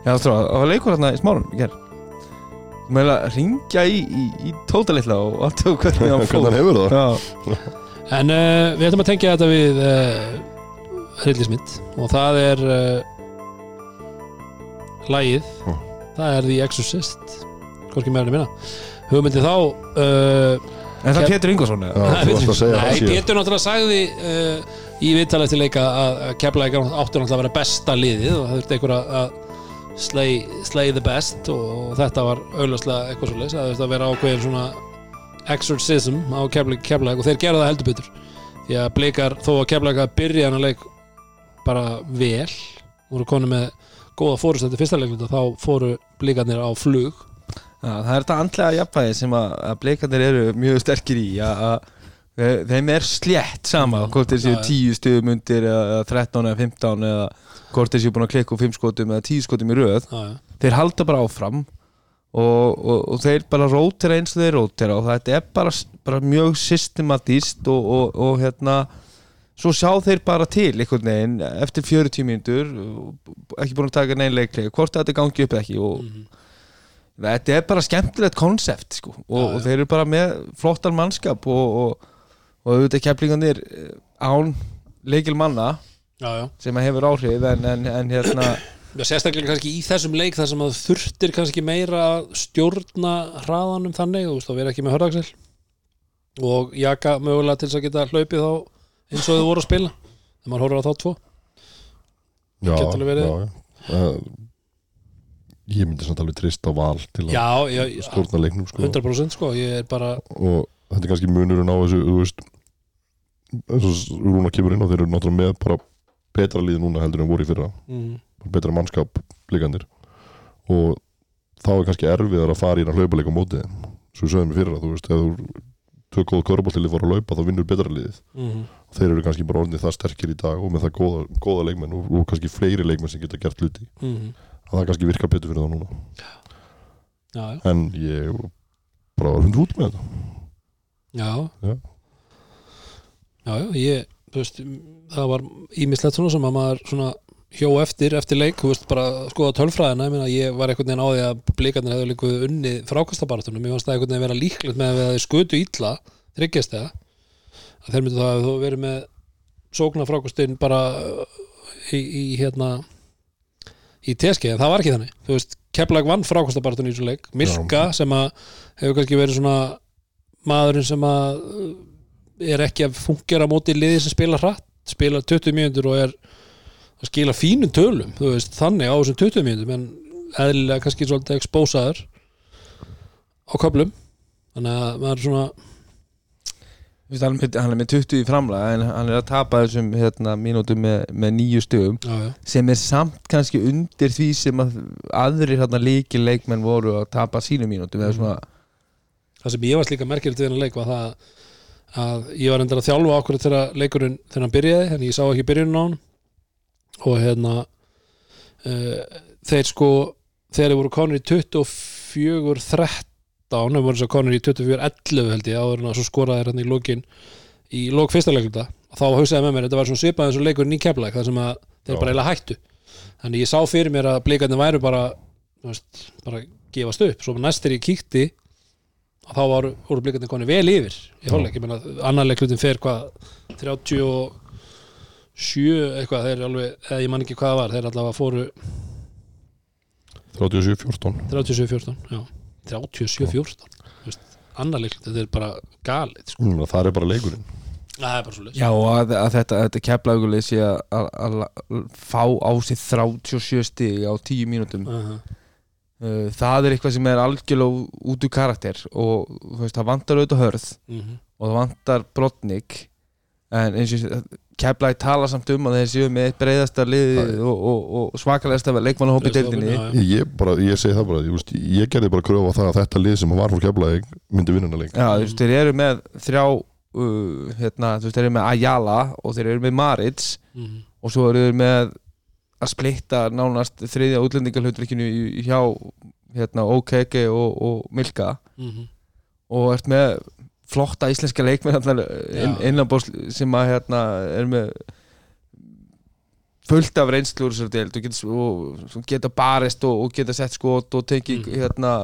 C: já það var leikur hérna í smárun ég er meðal að ringja í, í, í tóta litla og allt og hvernig hann
B: hvernig hann
C: fór
B: hefur það
C: Já,
A: en uh, við ætlum að tengja þetta við uh, hryllismitt og það er uh, lagið
B: Mm.
A: það er The Exorcist hvorki meðan minna hugmyndi þá uh,
C: en það er Pétur Ingvarsson eða?
B: Já, þú varst að segja
A: Nei,
B: það síðan
A: Pétur náttúrulega sagði uh, í viðtal eftir leika að að Keflavík áttu náttúrulega að vera besta liðið og það þurfti einhver að- að slay, slay the best og, og þetta var auðvitað eitthvað svo leys það þurfti að vera ákveðin svona exorcism á Keflavík, Keflavík og þeir gerðu það heldur betur því að blikar þó að Keflavík að byrja hann að leik bara vel voru konu með góða fórust eftir fyrsta leikluta þá fóru blikarnir á flug
C: Já, það er þetta andlega jafnvægi sem að, að bleikandir eru mjög sterkir í að, að þe- þeim er slétt sama hvort þeir séu
A: Mm. Já, já.
C: 10 stöðum undir eða eða 13 eða 15 eða hvort þeir séu búin að klikka úr 5 skotum eða 10 skotum í röð
A: já, já.
C: þeir halda bara áfram og, og, og þeir bara rótera eins og þeir rótera og þetta er bara, bara mjög systematíst og, og, og hérna svo sjá þeir bara til einhvern veginn eftir 40 mínútur og ekki búin að taka neinn leikli hvort þetta gangi upp eða ekki og þetta er bara skemmtilegt konsept sko. og, og þeir eru bara með flottan mannskap og, og, og auðvitað keflingandir án leikil manna
A: já, já.
C: sem að hefur áhrif en, en, en hérna
A: Já, sérstaklega kannski í þessum leik þar sem að þurftir kannski meira að stjórna hraðanum þannig, þú veist, þá vera ekki með hörðaksel og jaka mögulega til þess að geta hlaupið þá eins og þau voru að spila þegar maður horfir á þá tvo
B: já,
A: Gæti alveg verið.
B: já, já. Uh, ég myndi samt alveg trist á val til að
A: Já, já,
B: stjórna leiknum sko.
A: 100% sko, ég er bara
B: og þetta er kannski munurinn á þessu þú veist þess að Rúna kemur inn á þeir eru náttúrulega með bara betra lið núna heldur en voru í fyrra
A: mm,
B: bara betra mannskap blikandir og þá er kannski erfiðar að fara í að hlaupa á móti þeim. svo við sögðum í fyrra, þú veist, ef þú tvö góð körbóltilið fara að hlaupa þá vinnur betra liðið
A: mm,
B: þeir eru kannski bara orðinni það sterkir í dag og með það góða, góða leikmenn og, og kannski fleiri leikmenn sem geta gert hluti
A: mm,
B: að það kannski virka betur fyrir það núna
A: Já, já,
B: en ég bara var hundra út með þetta
A: já
B: Já.
A: Já, já, ég þú veist, það var ímislegt svona sem að maður svona hjó eftir, eftir leik, þú veist, bara að skoða tölfræðina, ég meina, ég var einhvern veginn á því að blikarnir hefðu líku unnið frákastabaratunum ég fannst það einhvern veginn vera líklegt með að þeir skutu illa, þryggjast það að þeir myndu það að þú verið með sókna frákastin bara uh, í, í hérna í teski, en það var ekki þannig þú veist, Keflag vann frákastabaratunum í þessum leik Milka sem að hefur kannski verið svona maðurinn sem að uh, er ekki að fungera á móti liði sem spila hratt spila 20 mínútur og er að skila fínum tölum, þú veist, þannig á þessum 20 mínútur, en eðlilega kannski svolítið expósaður á köflum þannig að maður er svona
C: Þú veist, hann, er með- hann er með 20 í framlega en hann er að tapa þessum hérna, mínútum með, með nýju stöðum
A: já, já,
C: sem er samt kannski undir því sem að aðrir hérna, líki leikmenn voru að tapa sínum mínútum eða svona
A: það sem ég varst líka merkilegt við hennar leik var það að ég var endur að þjálfa okkur þegar leikurinn þegar hann byrjaði, en ég sá ekki byrjunin á hann og hérna uh, þeir sko þegar þeir voru konur í 24 13, þeir voru svo konur í 24 11 held ég, áður en að svo skoraði þeir hann í lokin, í lok fyrsta leikluta og þá hugsaði með mér, þetta var svona svipað eins og leikurinn í keflæk, það sem að þeir
B: Já.
A: bara eiginlega hættu þannig ég sá fyrir mér að blikarnir væru bara, þú veist, bara gefast upp, svo næstir ég kíkti að þá voru, voru blikarnir konir vel yfir í hálfleik, ég meina annar leiklutin fer hvað 37 eitthvað, þeir alveg, eða ég man ekki hvað það var þeir allavega fóru
B: 37-14
A: 37-14 já, 37-14 þú veist, annar leiklut, þetta er bara galið sko.
B: Mm, það er bara leikurinn
A: það er bara svo leik
C: Já, og að, að þetta, þetta keflaugulið sé að- að að- að fá á sig 37 stig á 10 mínútum Uh, það er eitthvað sem er algjörlega út úr karakter og þú veist, það vantar auðvitað hörð
A: Mhm.
C: og það vantar brotnik en eins og keflaði tala samt um að þeir séu með eitt breiðasta liði og, og, og svakalegasta leikmannahóp í deildinni
B: ég, bara, ég segi það bara, ég, veist, ég gerði bara kröfa það að þetta lið sem var fór keflaði myndi vinna hana leik
C: Já, þú veist, þeir eru með þrjá uh, hérna, þú veist, þeir eru með Ayala og þeir eru með Marits og svo eru þeir með að splitta nánast þriðja útlendingalhutverkinu í- hjá hérna, OKG og, og Milka
A: Mhm.
C: og ert með flotta íslenska leikmenn hérna, inn,
A: Já.
C: innanbós sem að hérna, er með fullt af reynslu úr þessari deild og geta, og, og geta barist og, og geta sett skot og tekið
A: Mhm.
C: hérna,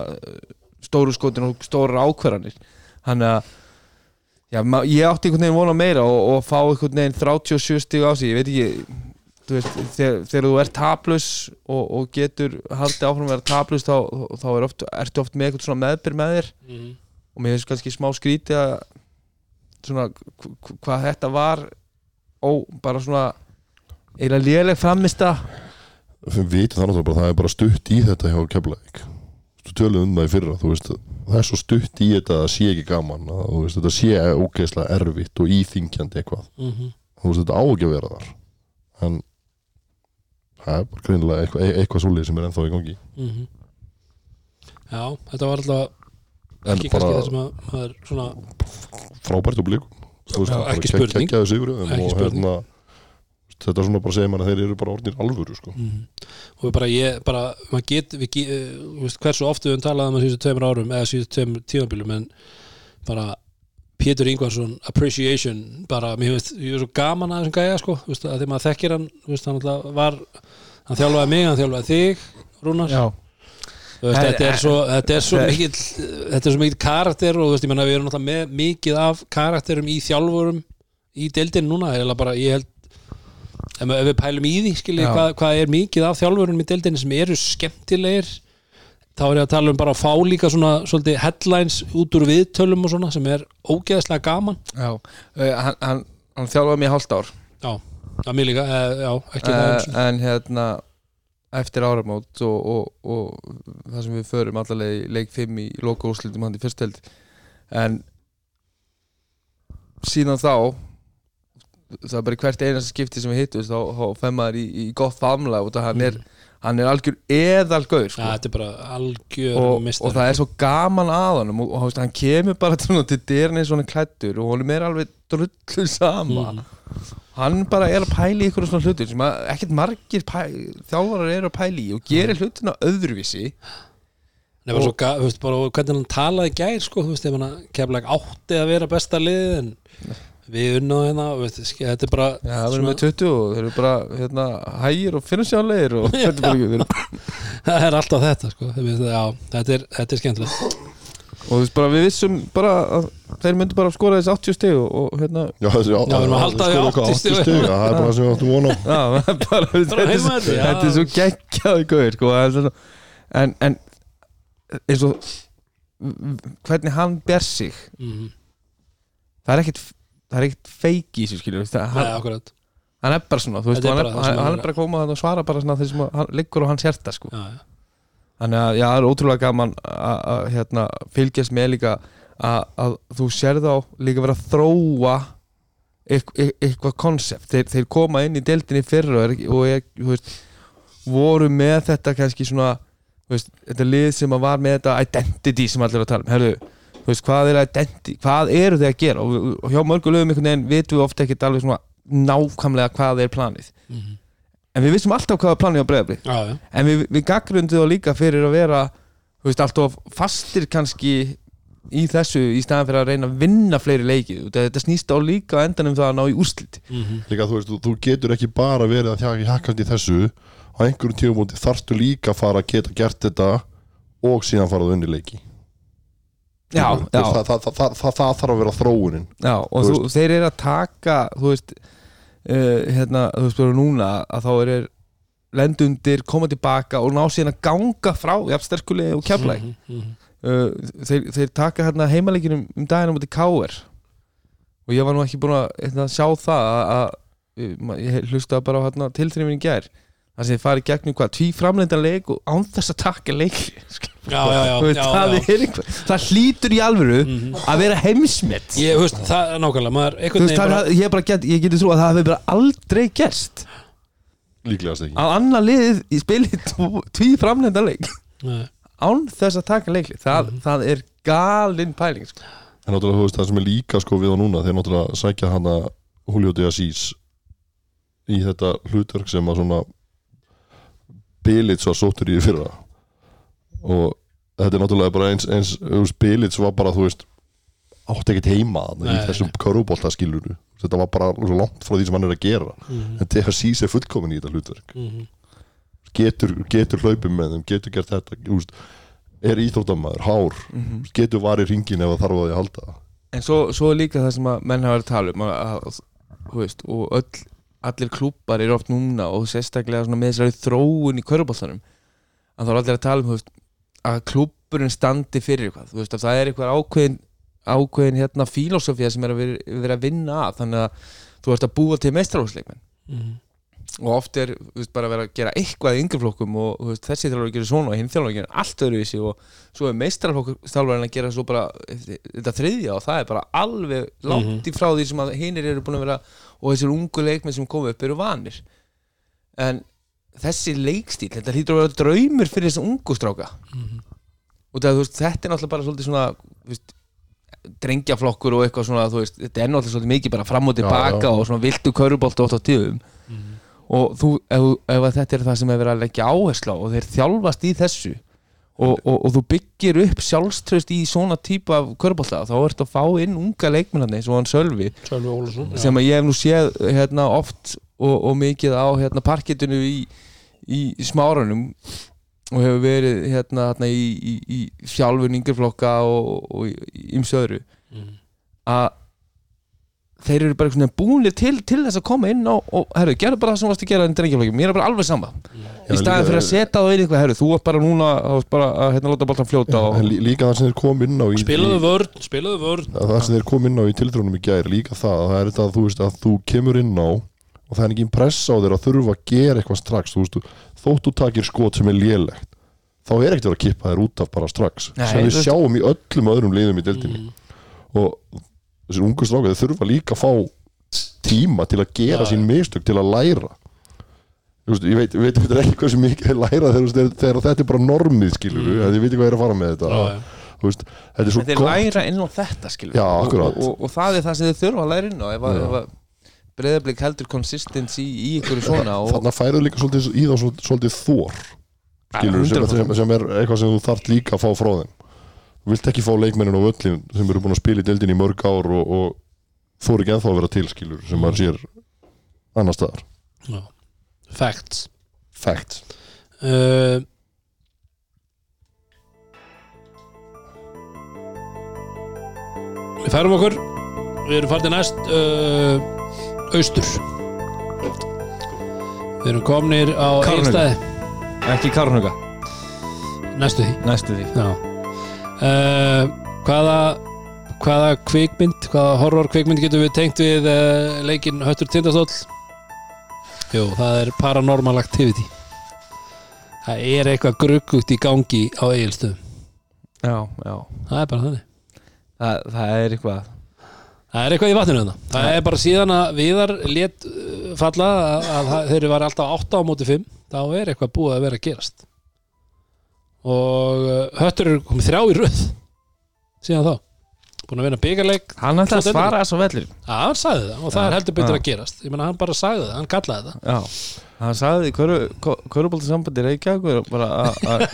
C: stóru skotin og stórar ákvarðanir þannig að já, ma, ég átti einhvern veginn vona meira og, og fá einhvern veginn 37 stig á sig ég veit ekki þú veist, þegar, þegar þú ert taplaus og, og getur haldið áfram að vera taplaus þá, þá er oft, ertu oft með eitthvað svona meðbyr með þér
A: Mhm.
C: og mér finnst kannski smá skrítið að svona hv- hv- hvað þetta var ó, bara svona eiginlega léleg framista
B: við vitum það náttúrulega bara, það er bara stutt í þetta hjá keflaði þú töluðum um það í fyrra þú veist, það er svo stutt í þetta að það sé ekki gaman að, þú veist, þetta sé ógeðslega erfitt og íþingjandi eitthvað
A: Mhm.
B: þú veist þetta á ekki að vera þar en e-, það er bara greinilega eitthvað, eitthvað svoleið sem er ennþá í gangi
A: Mhm. já, þetta var alltaf
B: en
A: ekki kannski
B: bara
A: það sem að maður svona
B: frábært og blík
A: Já, ekki spurning.
B: sigur,
A: Ekki
B: og,
A: spurning.
B: hérna, þetta er svona bara segir mann að þeir eru bara orðnir alvöru sko.
A: og bara ég, bara, maður get við, ge- eh, þú veist, hversu ofta við höfum talað um að síðustu tveimur árum eða síðustu tveimur tímabilum en bara Pétur Ingvarsson appreciation, bara, mér finnst ég er svo gaman að þessum gæja, sko, þú veist, að því maður þekkir hann, þú veist, hann alltaf var hann þjálfaði mig, hann þjálfaði þig, Rúnar
C: Já,
A: Þú veist,
C: Herri,
A: þetta er svo, þetta er svo
C: þetta er-
A: mikill þetta er svo mikill karakter og þú veist, ég menna við erum náttúrulega með mikið af karakterum í þjálfurum í deildin núna, er bara, ég held ef, ef við pælum í því, skilji,
C: Já.
A: hvað, hvað er mikið af þjálfurum í deildin sem eru skemmtilegir þá er ég að tala um bara að fá líka svona svolítið headlines út úr viðtölum og svona sem er ógeðslega gaman
C: já Eh, Hann, hann, hann þjálfaði mig í hálft ár
A: já, að mér líka, eh, já, ekki það um
C: uh, En hérna eftir áramót og, og, og það sem við förum allavega í leik 5 í loka úrslutum hann í fyrstöld en síðan þá það er bara í hvert einasta skipti sem við hittum þá, þá fæm maður í, í gott famlega og hann er, hann er algjör eðalgaur
A: Mm. Já,
C: sko.
A: þetta er bara algjör
C: og,
A: og,
C: og það er svo gaman að honum og, og þú veist, hann kemur bara til, til dyrni svona klættur og honum er alveg drullu
A: Mm.
C: sama hann bara er að pæla í ykkur svona hlutur sem að, ekkert margir pæ, þjálfarar eru að pæla í og gerir hlutina öðruvísi
A: Nei, bara svo, ga- þú veist, bara hvernig hann talaði í gær, sko, þú veist, ef hann kemla átti að vera besta liðið, en við unnaðu hérna, og veist, ske- þetta er bara
C: Já, það verður með 20 og þeir eru bara hérna, hægir og finnsjáleir og þetta er bara ekki þeir eru-
A: það er alltaf þetta, sko, þú veist, já, þetta er, þetta er skemmtilegt.
C: og þú veist bara við vissum bara að þeir myndu bara skora þessi 80 stig og, og hérna
B: já, þessi, já,
A: Já, við erum að halda því 80 stig.
B: stig já, það er bara það sem við áttum vona
C: Já, það er bara, þetta, er,
A: heima
C: svo-
A: þetta, já.
C: þetta er svo geggjaði gauðir sko, það er svo- en, en eins og hvernig hann ber sig
A: Mhm.
C: það er ekkit það er ekkit feik í þessu skilur veist, það,
A: Nei,
C: hann,
A: akkurat.
C: hann er bara svona þú veist,
A: Þetta er
C: hann, er,
A: bara það sem
C: hann,
A: hann
C: hann
A: er.
C: er bara að koma þarna og svara bara svona þeir sem að- hann liggur á hans hjarta sko.
A: Já, já.
C: þannig að já, það er ótrúlega gaman að að, hérna, fylgjast með líka að, að þú sér þá líka vera að þróa eitth- e- eitthvað konsept þeir, þeir koma inn í deildinni fyrra og, er, ekki- og er, þú veist, voru með þetta kannski svona þú veist, þetta lið sem að var með þetta identity sem allir eru að tala um Herðu, þú veist, hvað, er identity, hvað eru þeir að gera og, og hjá mörgu lögum einhvern veginn vitum við ofta ekkert alveg svona nákvæmlega hvað er planið
A: Mhm.
C: en við vissum alltaf hvað er planið á breyðablið
A: Já, já.
C: en við, við gaggrundum þá líka fyrir að vera þú veist, allt of fastir kannski í þessu í staðan fyrir að reyna að vinna fleiri leiki Þú veist, þetta snýst á líka á endanum um það að ná í úrslit
A: Mhm.
B: líka, þú, veist, þú, þú getur ekki bara verið að þjaka hjakkast í þessu á einhverjum tímumóti þarftu líka að fara að geta gert þetta og síðan fara það unni leiki
C: já,
B: Þú veist,
C: já,
B: það, það, það, það, það þarf að vera þróunin
C: já, og
B: þú
C: þú, þeir eru að taka þú veist uh, hérna, þú veist, bara núna að þá er lendundir, koma tilbaka og ná síðan að ganga frá jafnsterkulegi og keflæk
A: Mhm, mhm.
C: uh, þeir, þeir taka hérna heimaleikinu um daginn á móti K.R. og ég var nú ekki búin að hérna, sjá það að, að um, ég hlustaði bara á hérna, tilþrýminn í gær það sem þeir farið gegnum hvað, tví framleindan leik og án þess að taka leik sko.
A: Já, já, já, já,
C: það,
A: já. Mhm.
C: er einhver, það hlýtur í alvöru að vera heimsmet
A: Ég, þú veist, það er nákvæmlega, maður, einhvern
C: veist,
A: veginn
C: það,
A: bara,
C: bara... ég, bara get, ég geti trú að það hefur bara aldrei gerst
B: líklegast ekki
C: að annar liðið í spili tví framleindan leik
A: Nei.
C: án þess að taka leikli það,
A: Mhm.
C: það er galinn pæling sko.
B: en náttúrulega þú veist það sem er líka sko við á núna þeir náttúrulega sækja hana Julio de Assis í þetta hlutverk sem að svona Bilits var sóttur í fyrra og þetta er náttúrulega bara eins, eins þú veist, Bilits var bara þú veist átt ekkert heima þarna í
A: Nei.
B: þessum körfubolta skiluru þetta var bara svo langt frá því sem hann er að gera en de Assis er fullkomin í þetta hlutverk
A: Mhm.
B: getur, getur hlaupið með þeim, getur gert þetta þú veist, er íþróttamæður, hár getur varið ringin ef það þarf að því að halda
C: en svo, svo er líka það sem að menn hafa verið að tala um að, að, þú veist, og öll, allir klúpar eru oft núna og sérstaklega svona með þessari þróun í köruboltanum að þá er allir að tala um þú veist, að klúpurinn standi fyrir eitthvað þú veist, að það er eitthvað ákveðin ákveðin hérna filosofía sem er að vera, vera að vinna að þannig að þú ert að búa til meistarhúsleikmenn
A: Mhm.
C: og oft er þú veist, bara að vera að gera eitthvað í yngreflokkum og þú veist, þessi þjálfur gerir svona og hinn þjálfur gerir allt öðruvísi og svo er meistrarflokkurþjálfarinn að gera svo bara þetta þriðja og það er bara alveg langt
B: Mhm.
C: í frá því sem að hinnir eru búin að vera og þessir ungu leikmenn sem komu upp eru vanir
B: Mhm.
C: en þessi leikstíl, þetta hlýtur að vera draumur fyrir þessi ungu stráka út af, þú veist, þetta er náttúrulega bara svolítið svona þú veist, drengjaflokkur og eitthvað svona þú veist, þetta er náttúrulega svolítið mikið bara fram og tilbaka
B: já.
C: og svona viltu körubolt oft á tíðum
A: mhm.
C: og þú, ef, þú- ef að þetta er það sem er verið að leggja áherslu á og þeir þjálfast í þessu og, og, og þú byggir upp sjálfströst í svona típu af körubolta þá ertu að fá inn unga leikmennarni eins og hann Sölvi
A: Sölvi Ólafsson já.
C: sem að ég hef nú séð hérna oft og, og mikið á hérna parkettinu í, í smáranum og hefur verið hérna, hérna í, í, í sjálfun yngirflokka og, og, og ímsu öðru
A: Mhm.
C: að þeir eru bara einhvern veginn búinir til, til þess að koma inn og, og herru, gerðu bara það sem þú varst að gera í drengjaflokki, mér er bara alveg sama í
B: Já,
C: staðin
B: líka-
C: fyrir að setja það inn í eitthvað, herru, þú ert bara núna þú varst bara að hérna, láta boltan fljóta og,
B: En lí- líka það sem þeir kom inn á í,
A: Spilaðu vörn, spilaðu vörn
B: að það sem þeir kom inn á í tiltrónum í gær líka það, að það er þetta að þú veist að þú kemur inn á og það er ekki pressa á þér að þurfa að gera eitthvað strax þú veist, þú- þótt þú takir skot sem er lélegt þá er ekkert að vera að kippa þér út af bara strax
C: Nei,
B: sem við
C: þú veist-
B: sjáum í öllum öðrum liðum í deildinni
A: Mhm.
B: og þessir ungu stráka þeir þurfa líka að fá tíma til að gera
A: Já,
B: sín mistök til að læra Þú veist, ég veit, ég veit, ég veit ekki hversu mikið þeir læra þegar, þegar, þegar þetta er bara normið skilur mm. ég veit ekki hvað ég er að fara með þetta
A: Já, já.
B: Þú veist, þetta er svo
C: En þeir
B: gott
C: læra inn á þetta skilur
B: Já,
C: og,
B: akkurat.
C: og, og, og það er það sem þeir þurfa að læra inn á ef að, ef að breyðablík heldur konsistens í, í ykkur svona og
B: þarna færðu líka svolítið í þá svol- svolítið þór skilur, sem,
C: 100%.
B: sem, sem er eitthvað sem þú þart líka að fá frá þeim þú vilt ekki fá leikmennin á völlin sem eru búin að spila í deildin í mörg ár og, og þór ekki ennþá að vera til skilur sem maður sér annar staðar
A: já. Facts
B: Fact
A: uh, Við færum okkur Við erum farið næst uh, Austur Við erum komnir á
C: Kárahnjúka.
A: Egilstaði
C: ekki Karnhuga,
A: Næstu því
C: næstu því
A: Já uh, Hvaða hvaða kvikmynd, hvaða horror kvikmynd getum við tengt við uh, leikinn Höttur Tindastóll Jú, það er Paranormal Activity Það er eitthvað gruggugt í gangi á eigilstöðum
C: já, já.
A: Það er bara þannig
C: Það, það er eitthvað
A: Það er eitthvað í vatninu þarna Það er bara síðan að viðar lét uh, falla að, að það- þeir eru var alltaf 8 á móti 5 þá er eitthvað búið að vera að gerast og uh, höttur eru komið þrjá í röð síðan þá búin að vinna byggarleik
C: hann ætlaði
A: Svo
C: að svara þessu vellir
A: Já, hann sagði það og það
C: Já,
A: er heldur betur
C: já.
A: að gerast Ég meina, hann bara sagði það, hann kallaði það
C: já. hann sagði körubóltasambandi Reykjavík bara að- að-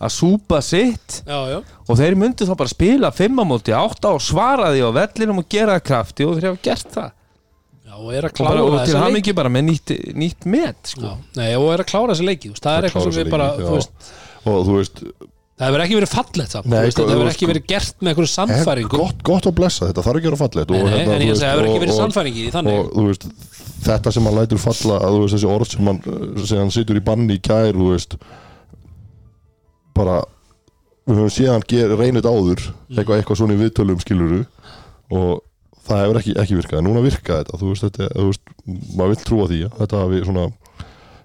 C: að súpa sitt
A: Já, já,
C: og þeir myndu þá bara spila 5 á móti 8 og svara því á vellinum og gera það krafti og þeir hafa gert það
A: já og er að
C: og, bara,
A: klára
C: og til
A: þessa
C: hann
A: leiki
C: ekki bara með nýtt, nýtt met sko.
A: Já, nei, og er að klára þessa leiki þú veist, Það er
B: Að
A: eitthvað
B: klára
A: sem
B: þessa
A: við bara,
B: leiki,
A: þú
B: já.
A: veist
B: og þú veist
A: Það hefur ekki verið fallegt samt,
B: Nei,
A: þú veist,
B: sko,
A: þetta
B: þú
A: hefur
B: veist,
A: ekki verið gert með einhverju
B: er
A: sannfæringu
B: gott, gott að blessa þetta þarf ekki að vera fallegt
A: Nei,
B: og,
A: nei,
B: hérna,
A: en
B: þú
A: ég
B: veist,
A: segi að það hefur ekki verið
B: og- og-
A: sannfæringi í þannig
B: og þú veist þetta sem hann lætur falla að þú veist þessi orð sem hann, sem hann situr í banni í kær þú veist bara við höfum séð hann ger, reynið áður
A: Mm.
B: eitthvað, eitthvað svona í viðtölum skiluru og það hefur ekki, ekki virkað en núna virkaði þetta þú veist, þetta, þú veist maður vill trúa því að þetta hafi svona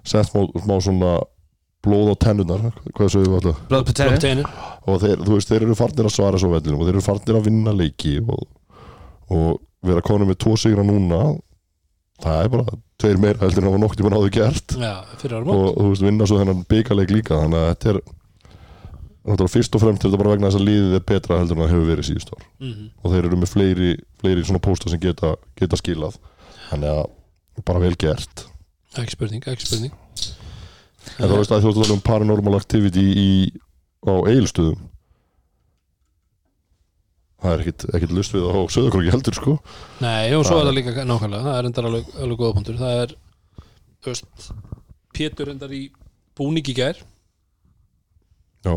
B: sett smá, smá svona blóð á tennunar hvað sögum við alltaf
C: Blóð
A: Blóð
C: Peteri.
A: á teinu.
B: og þeir, þú veist, þeir eru farnir að svara svo vellinum og þeir eru farnir að vinna leiki og, og vera konum með tvo sigra núna það er bara tveir meira heldur en það var nokt í mann áður gert
A: Já, fyrir árum
B: og þú veist, vinna svo þennan byggarleik líka þannig að þetta er náttúrulega fyrst og fremst er þetta bara vegna þess að liðið er betra heldur en það hefur verið síðust ár
A: Mhm.
B: og þeir eru með fleiri, fleiri svona pósta sem geta, geta skilað þannig að bara vel gert
A: Ekki spurning, ekki spurning Eh,
B: En þú veist að þú ert að tala um paranormal activity í, á eigilstöðum Það er ekkit, ekkit lust við á söðakróki heldur sko
A: Nei, og svo
B: Það-
A: er það líka nákvæmlega Það er endar alveg, alveg góða punktur Það er, þú veist Pétur endar í búning í gær
B: Já,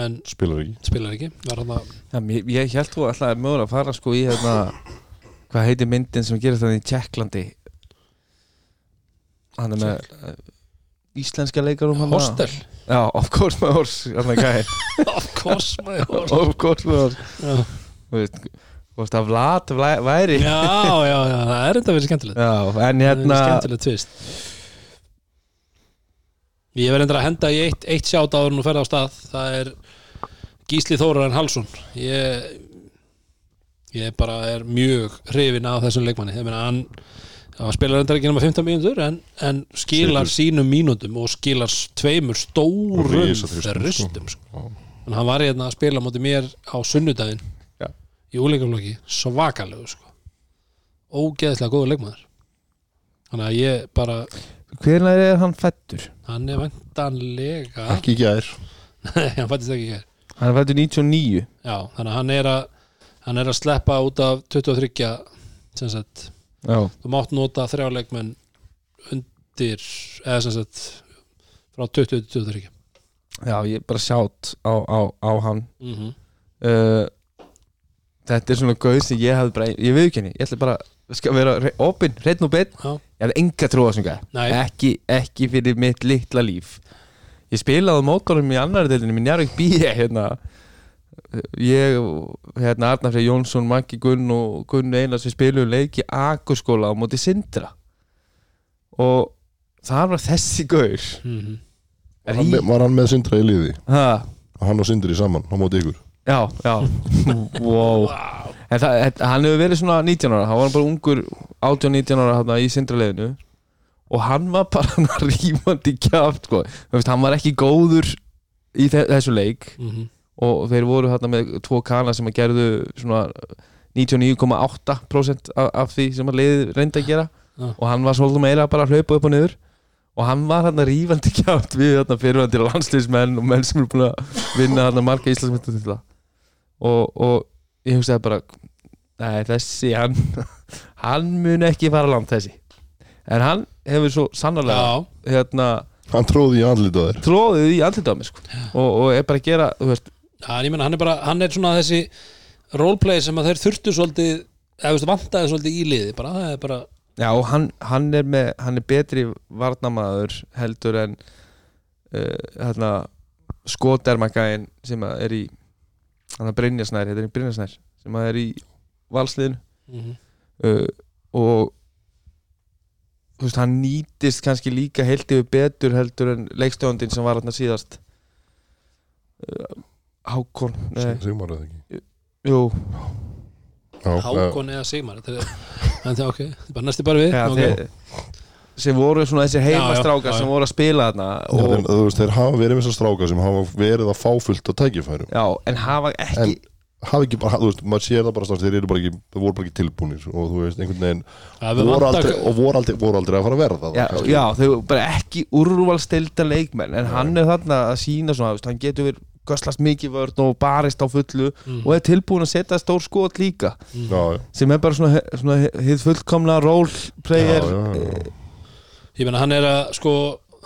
A: en
B: spilar ekki
A: spilar ekki var hann að,
C: Já, ég, ég held þú alltaf mögulega að fara sko í hérna hvað heitir myndin sem gerir þannig í Tjekklandi hann er með uh, íslenska leikarum hann
A: Hostel
C: Já, of course my horse hann er gæði
A: Of course my horse
C: of course my horse
A: Já,
C: þú veist þú veist að Vlad vla- væri
A: já, já, já, það er enda verið skemmtilegt
C: Já, en
A: Það er
C: hérna
A: skemmtilegt tvist Ég verð endur að henda í eitt, eitt sjátt áður en þú ferð á stað Það er Gísli Þórarinn Halsson Ég ég bara er mjög hrifin af þessum leikmanni ég meina hann hann spilar endar ekki nema 15 mínútur en, en skilar sínum mínútum og skilar s- tveimur
B: Og
A: stórum
B: risaþristum, sko.
A: ristum sko.
B: Já.
A: Þannig en hann var hérna að spila á móti mér á sunnudaginn
C: Já.
A: í úleikaflokki, svakalegu sko. ógeðslega góður leikmaður þannig að ég bara
C: Hvernig er hann fættur?
A: hann er vantanlega
B: ekki í gær
A: Nei, hann fættist ekki hér
C: Hann er fættur 99
A: já, þannig að hann er að hann er að sleppa út af 23 sem sagt,
C: Já,
A: þú mátt nota þrjáleikmenn undir eða sem sagt frá 20 til 23
C: já ég er bara sjátt á, á, á hann
A: mm -hmm.
C: uh, Þetta er svona gauð sem ég hafði bara Ég veið ekki henni, ég ætla bara ég skal vera re- opinn, hreinn og beinn
A: Já.
C: Ég hafði enga trúa sem gæði
A: Nei.
C: ekki, ekki fyrir mitt litla líf Ég spilaði á mótorum í annari deildinni minn Jarvík Bíja hérna ég, hérna Arnar Freyr Jónsson Maggi Gunn og Gunn Einars við spilum leiki Akurskóla á móti Sindra og þar var þessi gaur
A: Mm -hmm.
B: var hann, með, var hann með Sindra í liði
C: ha,
B: hann og Sindri saman á móti ykkur
C: Já, já wow. En það, þetta- hann hefur verið svona 19 ára Hann var bara ungur 18-19 ára hann, í sindraleginu Og hann var bara hann rífandi kjátt sko. Þú veist, Hann var ekki góður í þe þessu leik
A: Mhm.
C: Og þeir voru hann, með tvo kana sem að gerðu svona 99,8% af, af því sem að leiði reyndi að gera
A: Já.
C: Og hann var svolítið meira bara að hlaupa upp og niður Og hann var hann rífandi kjátt við hann fyrirvændi landsliðsmenn og menn sem eru búin að vinna hann marga Íslandsmyndutitla og, og ég hugsaði bara nei, þessi, hann hann mun ekki fara langt þessi en hann hefur svo sannarlega
A: já,
C: hérna,
B: hann tróði í andlita þér
C: tróðið í andlitið á mér sko. og, og er bara að gera þú veist,
A: Já, en ég meina, hann er bara, hann er svona þessi roleplay sem að þeir þurftu svolítið eða veist, vantaði svolítið í liði bara, það er bara,
C: já, og hann, hann, er með, hann er betri varnamaður heldur en uh, hérna, skotermakaðin sem að er í hann er Brynjarsnær, heitir hann Brynjarsnær sem að er í valsliðinu
B: Mhm.
C: uh, og þú veist, hann nýtist kannski líka heilt yfir betur heldur en leikstjóndin sem var hann síðast uh, Hákon nei,
B: Sigmar eða ekki
C: jú,
B: Já, eh,
A: Hákon eða Sigmar þetta er- en það, ok, bara næsti bara við
C: ja,
A: ok.
C: þeir, sem voru svona þessir
A: Já, já,
C: heimastrákar
A: já,
C: sem voru að spila þarna
B: Já,
C: og,
B: en, þú veist, þeir hafa verið með þessar stráka sem hafa verið að fá fullt af tækifærum
C: já, en hafa ekki
B: en hafa ekki bara, þú veist, maður sér það bara strax þeir eru bara ekki, þeir voru bara ekki tilbúnir og þú veist, einhvern veginn
A: Það hefur
B: voru
A: vantað-
B: aldrei, og voru aldrei, voru aldrei að fara að verða það
C: Já,
B: kannski.
C: já, þau eru bara ekki úrvalstelda leikmenn en hann er þarna að sína svona, þú veist, hann getur verið göslast mikið vörn og barist á fullu
B: Mm.
A: Mm.
C: og er tilbúin að setja stór skot líka
B: já, já,
C: sem er bara svona, svona hið fullkomna role player
B: já, já, já.
A: ég meina, hann er að, sko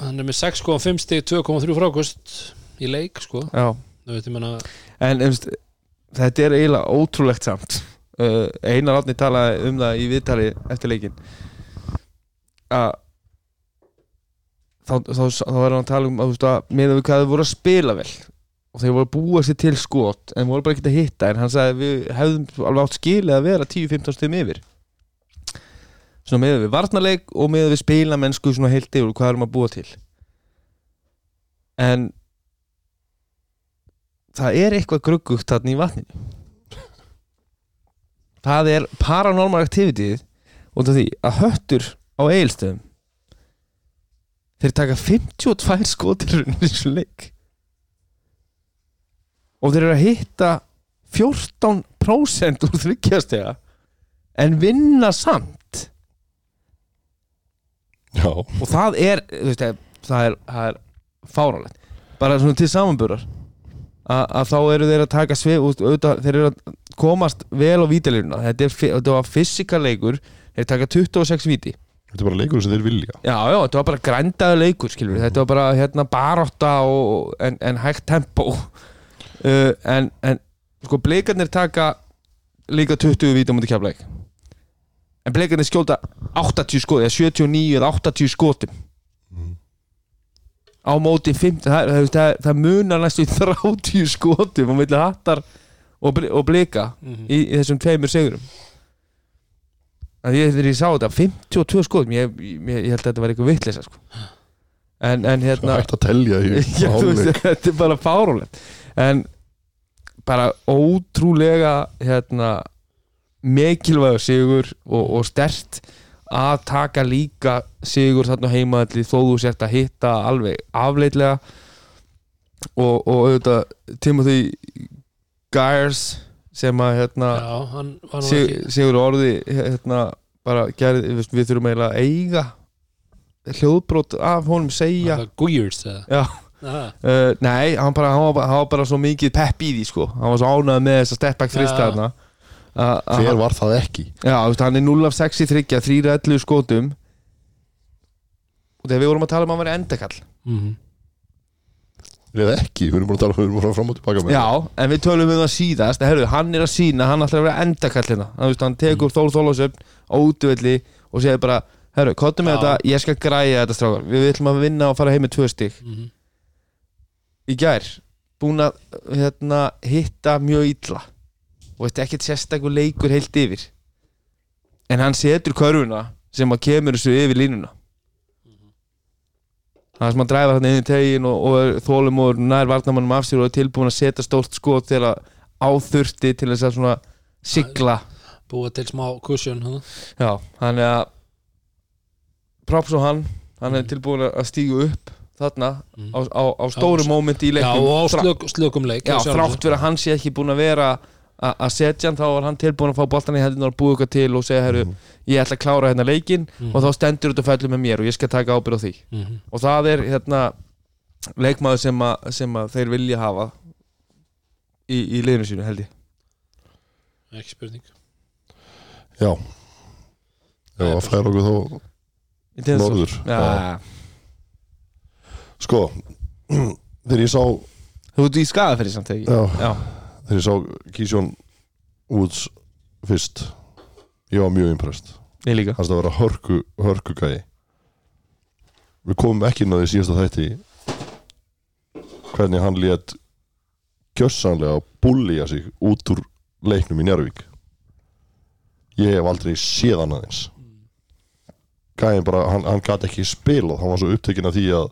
A: hann er með 6,5 stig, 2,3 frákust í leik, sko
C: Já.
A: Þú veit, ég meina,
C: en um, þetta er eiginlega ótrúlegt samt uh, Einar Átni talaði um það í viðtali eftir leikin að þá, þá, þá, þá er hann að tala um að, þú veist, að meðan við hvað þau voru að spila vel og þeir voru að búa sér til skot en voru bara ekki að hitta en hann sagði að við hefðum alveg átt skilið að vera 10-15 stum yfir svona meðan við varnarleik og meðan við spila mennsku svona heilt yfir og hvað erum að búa til en það er eitthvað gruggugt þarna í vatninu það er paranormal activity út af því að höttur á eigilstöðum þeir taka 52 skotir í þessu leik og þeir eru að hitta 14% úr þryggjastega en vinna samt
B: já,
C: og það er, þú veist, það er, það er fáránlegt, bara svona til samanburðar að, að þá eru þeir að taka svið út, auðvitað, þeir eru að komast vel á vítalínuna, þetta, er, fi- þetta var fysikaleikur, þeir taka 26 víti,
B: þetta er bara leikur sem þeir vilja
C: já, já, þetta var bara grændaðu leikur, skilur, þetta var bara hérna barotta og, og- en, en hægt tempo uh, en, en sko, bleikarnir taka líka 20 víti á múti kjafleik en bleikarnir skjóta 80 skot, eða 79 eða 80 skotum Mm. á móti 50 það, það, það, það munar næstu í 30 skotum og milli hattar og, bli- og blika
A: Mhm.
C: í, í þessum tveimur sigurum að ég, þegar ég sá þetta 52 skotum, ég, ég, ég held að þetta var eitthvað vitleisa sko. en, en
B: það
C: hérna
B: er hægt að telja í
C: Já, þú veist,
B: hálfleik.
C: þetta er bara fárúlegt en bara ótrúlega hérna mikilvægur sigur og, og stert að taka líka sigur þarna heimaðalli þó þú sért að hitta alveg afleitlega og, og auðvitað Timothy Gires sem að hérna,
A: Já, hann var nú
C: sig,
A: ekki
C: Sigur Orði hérna, bara gerði, við, við þurfum eiginlega að eiga hljóðbrot af honum segja
A: Var það Guiers eða
C: Já,
A: Aha,
C: uh, nei, hann, bara, hann, var, bara- hann var bara svo mikið pepp í því sko, hann var svo ánægð með þess að step back
A: Já.
C: þrista þarna Að- að
B: Hver
C: hann-
B: var það ekki?
C: Já, þú veist, hann er 0 af 6 í 3 3 11 skotum og þegar við vorum að tala um að hann væri endakall
A: mhm.
B: Eða ekki, við erum búin að tala við erum búin að fara fram og tilbaka með
C: Já, en við tölum um það síðast en herru, hann er að sína, hann ætlar að vera endakallina hann, veist, hann tekur Þór Þólasöfn á útvöldi og segir bara herru, kottum með
A: Já.
C: þetta, ég skal græja þetta strákar við ætlum að vinna og fara heim með tvö stík
A: Mhm.
C: í gær, búin að hérna, hitta mjög illa og þetta er ekkert sérstakur leikur heilt yfir en hann setur körfuna sem að kemur þessu yfir línuna það er sem að dræfa þarna inn í tegin og, og þólum og nær varnamannum af sér og er tilbúin að setja stórt skot til að áþurfti til þess að svona sigla
A: Búa til smá cushion hana.
C: Já, hann er að props og hann, hann er tilbúin að stígu upp þarna á, á, á stóru
A: Já,
C: mómenti í
A: Já,
C: leiknum
A: og á
C: Þrá-
A: slök, slökum leik
C: Já,
A: að sjálfsögðu.
C: þrátt fyrir að hann sé ekki búin að vera a- að setja hann, þá var hann tilbúin að fá boltan í hendina og búið eitthvað til og segja,
B: Mm.
C: herru, ég ætla að klára hérna leikin og þá stendur þetta fellur með mér og ég skal taka ábyrð á því
A: Mhm.
C: og það er hérna leikmaður sem, a, sem að þeir vilja hafa í, í liðinu sínu held ég
A: Ekki spurning
B: Já Já, að færa okkur þá
C: Í tennis-
B: Norður,
C: Já,
B: já. Sko, þegar ég sá
C: Þú ert í skaða fyrir samt þegar
B: já,
C: Já,
B: þegar ég sá Kísjón Woods fyrst ég var mjög impressed
C: ég líka
B: hans það vera hörku, hörku gæi við komum ekki náðu í síðasta þætti hvernig hann lét gjössanlega búlja sig út úr leiknum í Njárvík ég hef aldrei séð hann aðeins gæin bara, hann, hann gat ekki spilað hann var svo upptekinn af því að,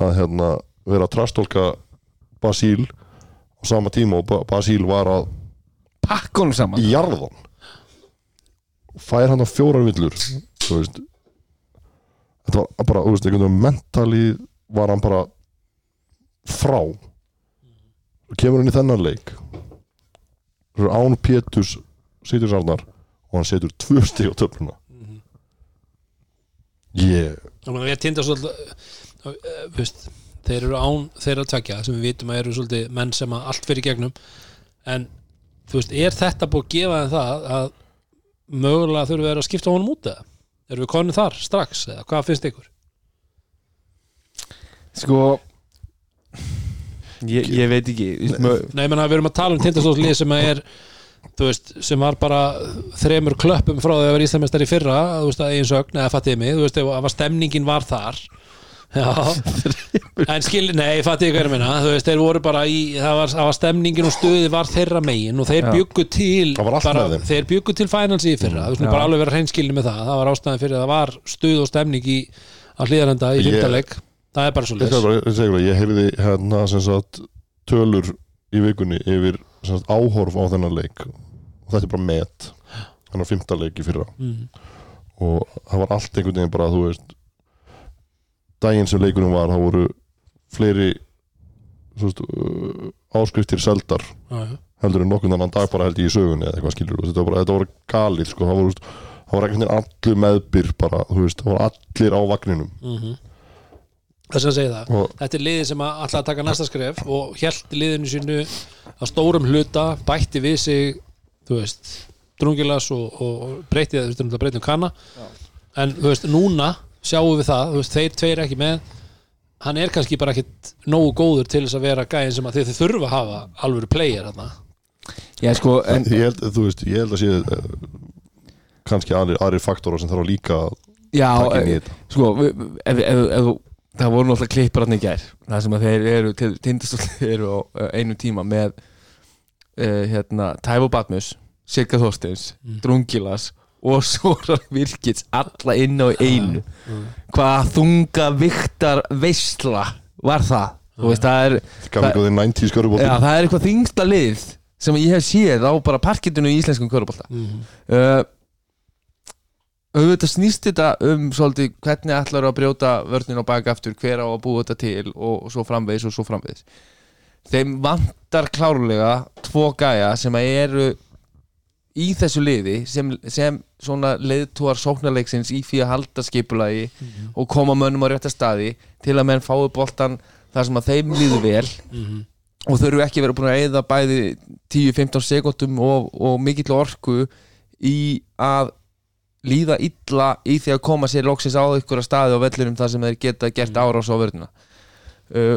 B: að hérna, vera að trastólka Basíl á sama tíma og ba Basíl var að
C: Pakkunum saman
B: í jarðan fær hann á fjórar villur þú veist þetta var bara, þú veist, einhvern veginn mentali var hann bara frá og kemur hann í þennan leik Þú veist, án Péturs situr sarnar og hann setur tvö stig á töfluna ég
A: Ég meina, Ég tinda svolítið eh, veist, Þeir eru án þeirra tvekja sem við vitum að eru svolítið menn sem að allt fyrir gegnum en þú veist, er þetta búið að gefa þeim það að mögulega þurfum við að skipta honum út eða? Erum við konið þar strax eða hvað finnst ykkur?
C: Sko Ég, ég veit ekki þú veist, mö-
A: Nei, menna, við erum að tala um tindastólslið sem að er þú veist, sem var bara þremur klöppum frá því að vera íslamistar í fyrra þú veist, að eigin sögn, eða fattiði mig þú veist, ef að stemningin var þar Já, en skil, nei, fattiði hverju minna, þú veist, þeir voru bara í, það var, það var stemningin og stuði var þeirra megin og þeir
C: Já.
A: bjuggu til
B: Það var allt
A: bara,
B: með þeim.
A: þeir bjuggu til finals í fyrra, þú veist, nú
C: Já.
A: bara alveg vera hreinskilni með það, það var ástæðan fyrir að það var stuð og stemning í að hlýðarenda í
B: Ég-
A: fyrtaleg, það er bara svo
B: Ég, skal bara, ég, segi bara, ég heyrði hérna sem sagt tölur í vikunni yfir sem sagt, áhorf á þennan leik og þetta er bara met hann er fymta leik í fyrra
A: Mhm.
B: og það var allt einhvern veginn bara þú veist daginn sem leikunum var það voru fleiri svo veist, uh, áskriftir seldar heldur en nokkurn annan dag bara held ég í sögunni eða eitthvað skilur þetta, var bara, þetta voru galið sko, það voru, þú veist, það voru einhvern veginn allir meðbyr bara, þú veist, það voru allir á vagninum
C: Mm.
A: þess að segja það
B: Og-
A: þetta er liðið sem að alltaf að taka næsta skref og hjælt liðinu sínu að stórum hluta bætti við sig þú veist, drungilas og, og breytti það, þú veist, náttúrulega breytti um kanna en þú veist, núna sjáum við það þú veist, þeir tveir ekki með hann er kannski bara ekkit nógu góður til þess að vera gæðin sem að þið, þið þurfa að hafa alvöru player hann
C: Já, sko, en
B: ég held, þú veist, ég held að sé eh, kannski aðri, aðri faktóra sem þarf að líka að
C: Já,
B: taka inn í
C: eh,
B: þetta
C: sko við- ef, ef, ef, það voru náttúrulega klippar hann í gær það sem að þeir eru tindastólið eru á eh, einum tíma með uh, hérna, Tævo Batmus Sigga Þorsteins, Drungilas og Sóran Virkits alla inn á einu hvað þunga viktar veistla var það þú veist það er
B: gaf ekki á því 90 skörubóttir
C: Já, það er eitthvað þingsta lið sem ég hef séð á bara parkitinu í íslenskum körubólta mm auðvitað snýst þetta um svolítið hvernig ætlar að brjóta vörnin á baka aftur, hver á að búa þetta til og svo framvegis og svo framvegis þeim vantar klárlega tvo gæja sem að eru í þessu liði sem, sem svona leiðtúar sóknarleiksins í fyrir að halda skipulagi og koma mönnum á rétta staði til að menn fái boltan þar sem að þeim líður vel
A: Mhm.
C: og þau eru ekki verið búin að eyða bæði 10-15 sekundum og, og mikill orku í að líða illa í því að koma sér loksins á ykkur að staði á vellurum þar sem þeir geta gert árás á vörðina uh,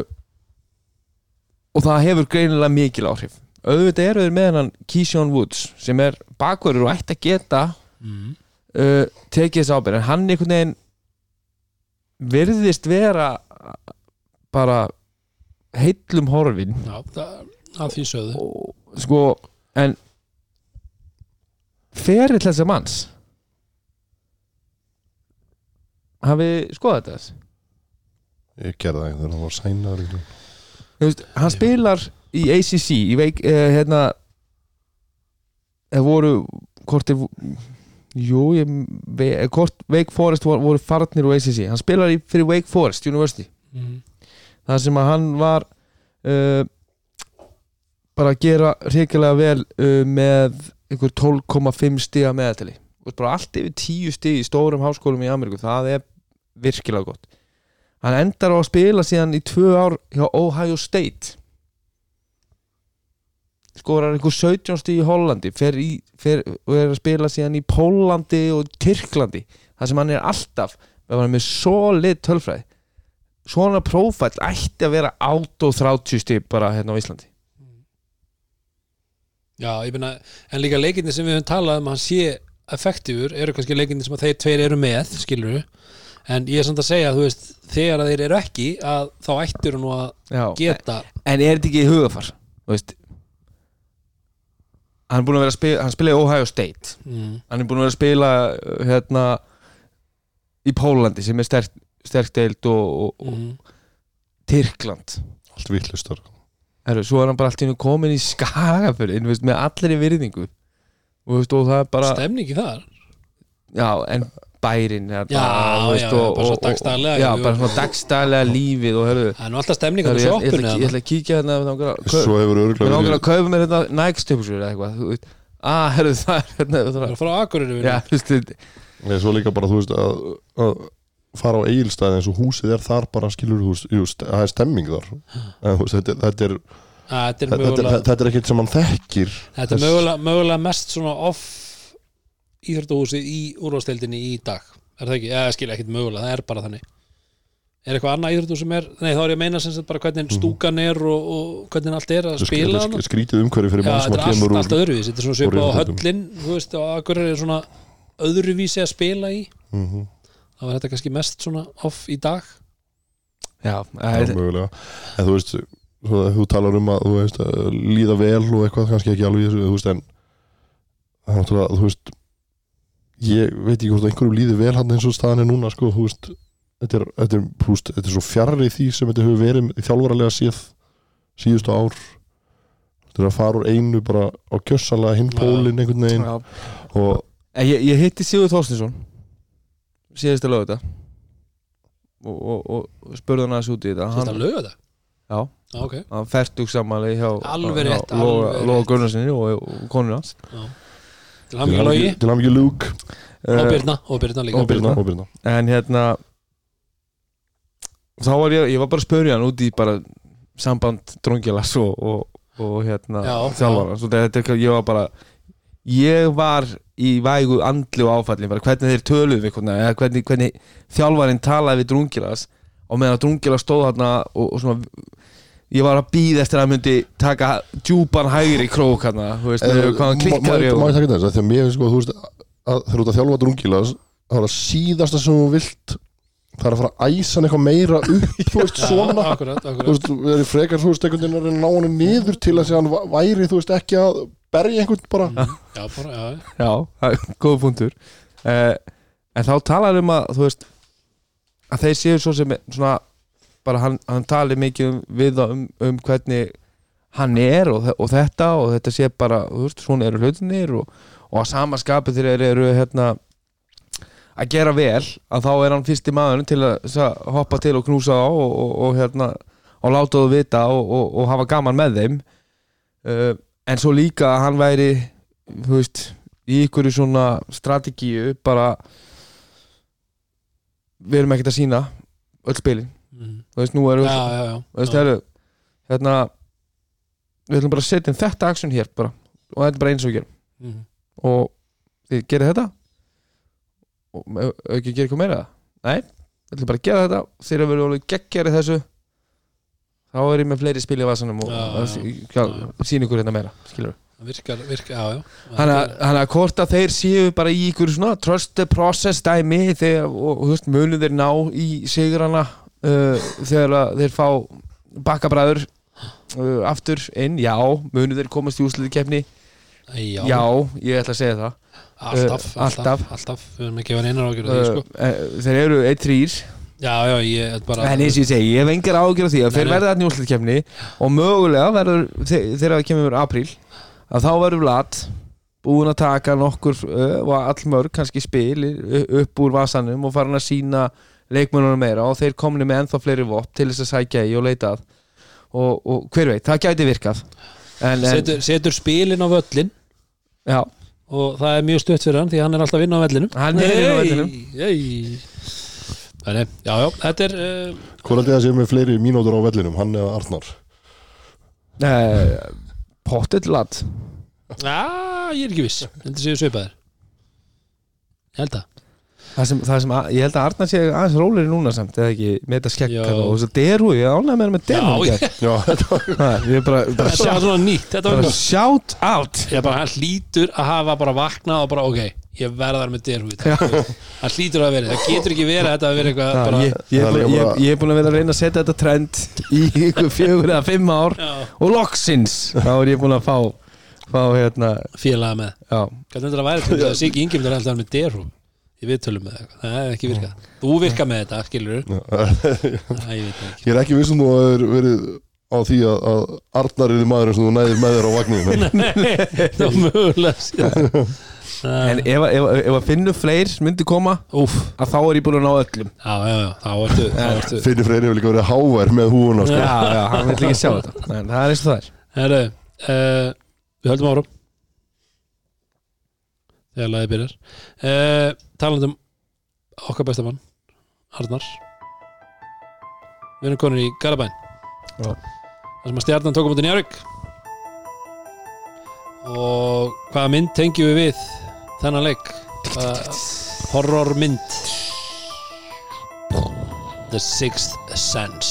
C: og það hefur greinilega mikil áhrif auðvitað eru þeir með hennan Keyshawn Woods sem er bakverður og ætti að geta
A: Mhm.
C: uh, tekið þessi ábyrgð en hann einhvern veginn virðist vera bara heillum horfin
A: Já, það, að því sögðu
C: og, sko, en ferill þessa manns hafið þið skoðað þetta þess
B: Ég gerði það einhvern veginn, hann var sænaður einhvern veginn.
C: Þú veist, hann
A: Já.
C: spilar í ACC í veik, uh, hérna það voru hvort er jú, ég, ve, eh, hvort Wake Forest voru, voru farnir úr ACC hann spilar í, fyrir Wake Forest University
A: mm.
C: þar sem að hann var uh, bara að gera hrikalega vel uh, með einhver 12,5 stiga meðatali og bara allt yfir 10 stig í stórum háskólum í Ameríku, það er virkilega gott hann endar á að spila síðan í tvö ár hjá Ohio State skorar einhver 17 stig í Hollandi fer í, fer, og er að spila síðan í Pólandi og Tyrklandi þar sem hann er alltaf ef hann er með solid tölfræði svona prófæll ætti að vera 8 og 30 stig bara hérna á Íslandi
A: Já, ég meina, en líka leikinni sem við höfum talað um að hann sé effektífur eru kannski leikinni sem að þeir tveir eru með skilur en ég er samt að segja, þú veist þegar að þeir eru ekki, að þá ættir nú að
C: en
A: geta
C: er þetta ekki í hugafar þú veist hann er búin að vera að spila hann spilaði í Ohio State
A: mm.
C: hann er búin að vera að spila uh, hérna í Pólandi sem er sterkt sterk deild og, og, og
A: Mm.
C: Tyrkland
B: Allt vittlistar.
C: Heru, svo er hann bara allt í hennu komin í skagafyrðin með allir í virðingu og, þú veist, og það er bara
A: stemningi þar
C: já, en bærin er bara,
A: Já,
C: þú
A: já, já, bara svona dagsdaglega,
C: já,
A: jú.
C: bara svona dagstælega lífið og hörðu
A: það er nú alltaf stemning á
C: Herru,
A: þessu
C: ég, ég, ætla,
A: oppunni
C: ég ætla að kíkja hérna við langar að kaup-
B: Svo hefur
C: mig
B: örgulega
C: langar
B: verið,
C: að kaupa mér hérna Nike stöpusur eða eitthvað þú veit. ah, herru, það er hérna þú
A: það er
C: þarf
A: að fara á akkurinu
C: að- já, þú veist, þetta-
B: Nei, svo líka bara, þú veist, að, að fara á eigilstæði eins og húsið er þar bara skilur, þú veist, jú, st- það er stemming þar. En, þú veist, þetta, er- þetta, er,
A: þetta er
B: þetta,
A: mögulega
B: er- þetta er ekkert sem hann þekkir.
A: Þetta er
B: Þess-
A: mögulega, mögulega mest svona off íþjóttuhúsi í úrvasteldinni í dag er það ekki, eða skilja ekkit mögulega, það er bara þannig Er eitthvað annað íþjóttuhús sem er nei þá er ég að meina sem sagt bara hvernig
B: Mhm.
A: stúkan er og, og hvernig allt er að
B: Þetta er
A: spila
B: sk-
A: hana.
B: sk- skrítið umhverfi fyrir
A: Já,
B: mann sem
A: þetta
B: að
A: er
B: kemur
A: allt,
B: úr
A: allt öðruvísi þetta er svona svipa á
B: réttindum.
A: höllin þú veist, og akkur er svona öðruvísi að spila í
B: Mhm.
A: þá var þetta kannski mest svona off í dag
C: já,
B: Já,
C: eh,
B: mögulega en þú veist, svo að þú talar um að þú veist, að líða vel og eitthvað kannski ekki alveg í þessu, þú veist, en það er náttúrulega, þú veist ég veit ekki hvort einhverjum líði vel hann eins og staðan er núna, sko, þú veist þetta er, þetta er, þú veist, þetta er svo fjarrri því sem þetta hefur verið í þjálfaralega séð síðustu ár þetta er að fara úr einu bara á kjössalega hinn
A: Já.
B: pólinn einhvern veginn
C: já.
B: og
C: En ég, ég hitti Sigur Þorstinsson síðasta lög þetta og, og, og, og spurði hann aðeins út í þetta
A: þetta
C: hann,
A: lög þetta
C: já,
A: Já, ok.
C: hann færtug samanlega hjá
A: Alveg rétt,
C: hjá Lóa-
A: alveg
C: Lóa
A: rétt.
C: Gunnarsinni og, og konur hans
A: til hann mikið logi
B: til hann ekki lúk
A: og
C: Eh,
A: Birna og Birna líka
C: og Birna.
B: og byrna
C: en hérna þá var ég, ég var bara að spyrja hann út í bara samband drongjalas og, og, og hérna
A: Já,
C: þjálfara, svo þetta er hvað ég var bara ég var í vægu andlu áfallin, bara hvernig þeir töluðu við hvernig, eða hvernig, hvernig þjálfarinn talaði við drungjalas og meðan drungjalas stóð þarna og, og svona ég var að býða eftir að hann myndi taka djúpan hægri krók hann þú veist,
B: Eh,
C: hvað hann
B: má- má-
C: klikkar í
B: Má ég
C: augun.
B: taka þetta þess að mér finnst sko þú veist að þegar þú ert að þjálfa drungilas það er að síðasta sem þú vilt það er að fara að æsa hann eitthvað meira upp þú veist svona
A: akkurat,
B: þú
A: akkurat
B: veist við erum frekar þú veist einhvern veginn að reyna að ná hann niður til að sé hann va- væri þú veist ekki að berja einhvern bara
A: Mm. já, bara, já,
C: Já, það er góð punktur uh, En þá talar um að þú veist að þeir séu svo sem svona, bara hann, hann tali mikið um, við þá um, um hvernig hann er og, þe- og þetta og þetta sé bara, þú veist, svona eru hlutinir og, og að sama skapi þegar þeir eru hérna að gera vel að þá er hann fyrsti maðurinn til að, að hoppa til og knúsa á og, og, og hérna og láta þú vita og, og, og hafa gaman með þeim uh, en svo líka að hann væri þú veist, í ykkur svona strategíu bara við erum ekkert að sína öll spilin
A: Mhm.
C: þú veist, nú erum
A: Já,
C: við
A: já, já
C: þú veist,
A: Já.
C: herru, hérna við ætlum bara að setja inn þetta aksjón hér bara, og þetta er bara eins og við gerum
A: Mhm.
C: og þið gerir þetta og ef- ef ekki gerir eitthvað meira nei, við ætlum bara að gera þetta þegar við erum alveg geggjari þessu þá er ég með fleiri spil í vasanum og
A: Já,
C: ja,
A: já,
C: ja,
A: já,
C: sín ykkur hérna meira skilur
A: Það virkar, virkar, já, já
C: hann að hann að hvort að þeir séu bara í ykkur svona trust the process dæmi þegar, og þú veist, munum þeir ná í sigrana uh, þegar að þeir fá bakkabræður uh, aftur inn, já, munum þeir komast í úslið keppni,
A: Já,
C: já, ég ætla að segja það
A: alltaf,
C: eh,
A: alltaf,
C: alltaf.
A: alltaf Við erum ekki að vera einar ágjur því,
C: Uh,
A: sko
C: eh, þeir eru 1-3
A: Já, já, ég er bara
C: en eins og ég segi, ég hef engar ágjör á því að
A: Nei,
C: þeir
A: nei.
C: verða þarna í úrslitkefni og mögulega verður þe- þegar það kemur apríl að þá verður Vlad búin að taka nokkur uh, og allmörg kannski spil uh, upp úr vasanum og farin að sína leikmönunum meira og þeir komni með ennþá fleiri vopp til þess að sækja í og leita að og, og hver veit, það gæti virkað en, en
A: setur, setur spilin á völlin
C: já,
A: og það er mjög stutt fyrir hann því hann er alltaf inn á vellinum
C: Hann er inn á vellinum.
A: vellinum Þannig, já, já, þetta er uh,
B: Hvor held ég að sé með fleiri mínútur á vellinum, hann eða Arnar
C: uh, pottet Vlad
A: Já, ég er ekki viss Þetta séu svipaðir Ég held að
C: Það sem, það sem að, ég held að Arnar sé aðeins róleri núna samt eða ekki með þetta skekk
A: Já.
C: þarna og svo deru, ég ánægði með hann með deru
A: Já,
C: ég,
B: Já, þetta var
C: ég er bara, bara,
A: Þetta var svona nýtt, þetta var
C: bara
A: nýtt
C: shout out
A: Ég bara, hann hlýtur að hafa bara vaknað og bara, ok, ég verðar með derhúið Hann hlýtur að vera, það getur ekki verið að þetta að vera eitthvað
C: Já,
A: bara,
C: ég, ég,
B: Það
C: er
B: er
C: búin,
B: líka
C: ég,
B: bara-
C: ég er búin að vera að reyna að setja þetta trend í ykkur fjögur eða fimm ár
A: Já.
C: og loksins þá er ég búin að fá, fá hérna,
A: félaga með
C: já,
A: Hvernig heldur að væri til þess að Siggi Ingimdur er alltaf með derhúm í viðtölum með eitthvað, það er ekki virkað Þú virkað með þetta, skilur
B: Já, eh,
A: Æ, ég veit það ekki
B: Ég er ekki vissum þú að það verið á því að, að Arnar er maðurinn sem þú næðir með þér á vagninu
A: Nei, það var mögulega síðan
C: en ef, að- ef, að- ef að finnur fleir myndi koma
A: Úf,
C: að þá er ég búin að ná öllum
A: já, já, já, þá ertu, þá ertu
B: Finnir Freyri hefur líka verið hávær með húuna
C: já,
B: sko.
C: já, hann vil ekki sjá þetta en það er eins og það er
A: Herru, uh, við höldum áfram Þegar lagið byrjar uh, Talandi um okkar besta mann Arnar Við erum konur í Garabæn
C: Já.
A: Það sem að stjarnan tókum út í Njárik Og hvaða mynd tengjum við við þennan leik Hvaða horrormynd The Sixth Sense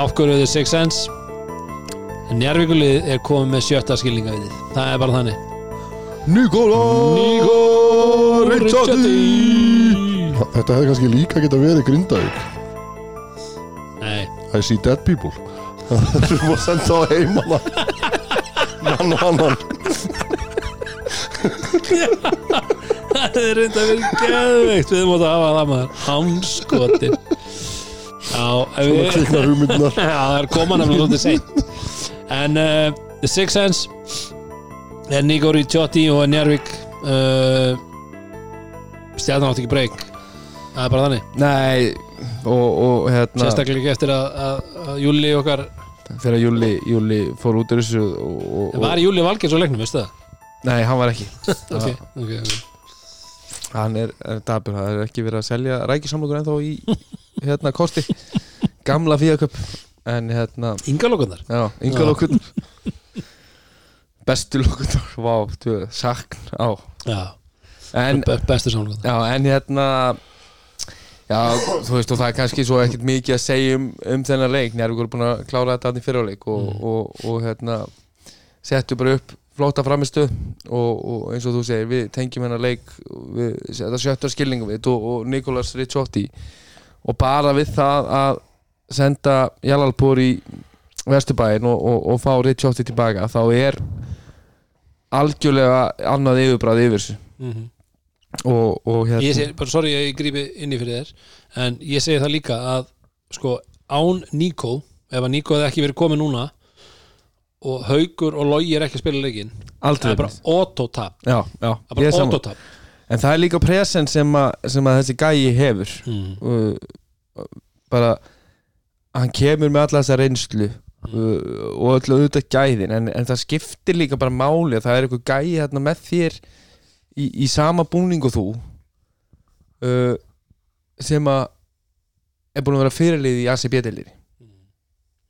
A: Af hverju The Sixth Sense Njárvíkulið er komið með sjötta skilningavitið Það er bara þannig
B: Nikola
A: Nikola Ritchotti
B: Þetta hefði kannski líka geta verið grindavík
A: Nei,
B: I see dead people Það er bara að senda á heimana Mann og annan
A: það er reynda að vera geðveikt Við mótum að hafa það maður Hanskotin Já, ef
B: Svona
A: við
B: kviknar hugmyndunar
A: Já, það er koma nefnilega svolítið seint En uh, The Sixth Sense er Nico Ricciotti og Njárvík uh, Stjarnan átt ekki breyk Það er bara þannig
C: nei, og, og hérna
A: Sérstaklega ekki eftir að, að, að Júli okkar
C: þegar Júli, Júli fór út úr þessu og, og, og,
A: Var Júli Valgeir svo leiknum, veistu það?
C: nei, hann var ekki
A: Ok, ok, ok
C: hann er, er dabur, það er ekki verið að selja rækisamlokur ennþá í hérna kosti, gamla fíaköp en hérna,
A: Yngalókunar
C: já,
A: Já.
C: ynga lókun bestu lókun vá, tjú, sakn á
A: Já,
C: en,
A: be- bestu samlokunar
C: já, en hérna já, þú veist, og það er kannski svo ekkert mikið að segja um, um þennan leik, njárvíkur er búin að klára þetta aðeins fyrirleik og,
A: Mm.
C: og, og, hérna settu bara upp flotta framistu og, og eins og þú segir, við tengjum hennar leik við, þetta sjöttar skilningum við og, og Nikolas Ricciotti og bara við það að senda Jalalpur í Vesturbæin og, og, og fá Ricciotti tilbaka þá er algjörlega annað yfirbræð yfir þessu og, og hérna
A: Mhm. Ég segi, bara sorry að ég grípi inn í fyrir þér En ég segi það líka að Sko, án Nikó Ef að Nikó hefði ekki verið komið núna Og haugur og logi er ekki að spila leikinn Það
C: aldrei
A: er bara autotap
C: já, já,
A: Það
C: ég
A: er
C: er
A: bara
C: saman
A: autotap
C: en það er líka
A: Mhm.
C: present sem, a, sem að þessi gæi hefur
A: mm.
C: uh, bara hann kemur með alla þessa reynslu uh, og öll auðvitað gæðin en, en það skiptir líka bara máli að það er eitthvað gæði hérna með þér í, í sama búningu þú uh, sem að er búin að vera fyrirlið í ACB-delir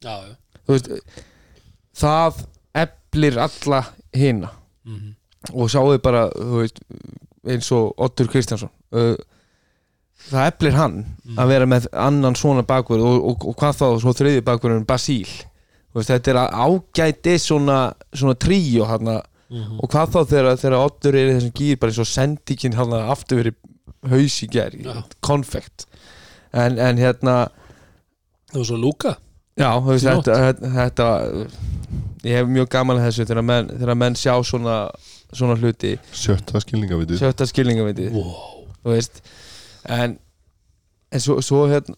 A: já, já.
C: þú veist það eflir alla hina
A: Mhm.
C: og sjáðu bara þú veist, eins og Ottur Kristjánsson uh, það eflir hann að vera með annan svona bakvörð og, og, og hvað þá svo þriði bakvörðun Basíl Þú veist, þetta er ágæti svona, svona tríó hana,
A: Mhm.
C: og hvað þá þegar, þegar Ottur er í þessum gýr bara eins og sendikinn hann aftur verið haus í ger
A: Já.
C: konfekt en, en hérna
A: það var svo Lúka
C: Já, þú veist,
A: Í
C: þetta, þetta, þetta ég hef mjög gaman að þessu þegar menn, þegar menn sjá svona, svona hluti
B: sjötta skilningavitið
C: sjötta skilningaviti
A: wow.
C: þú veist en, en svo, svo hérna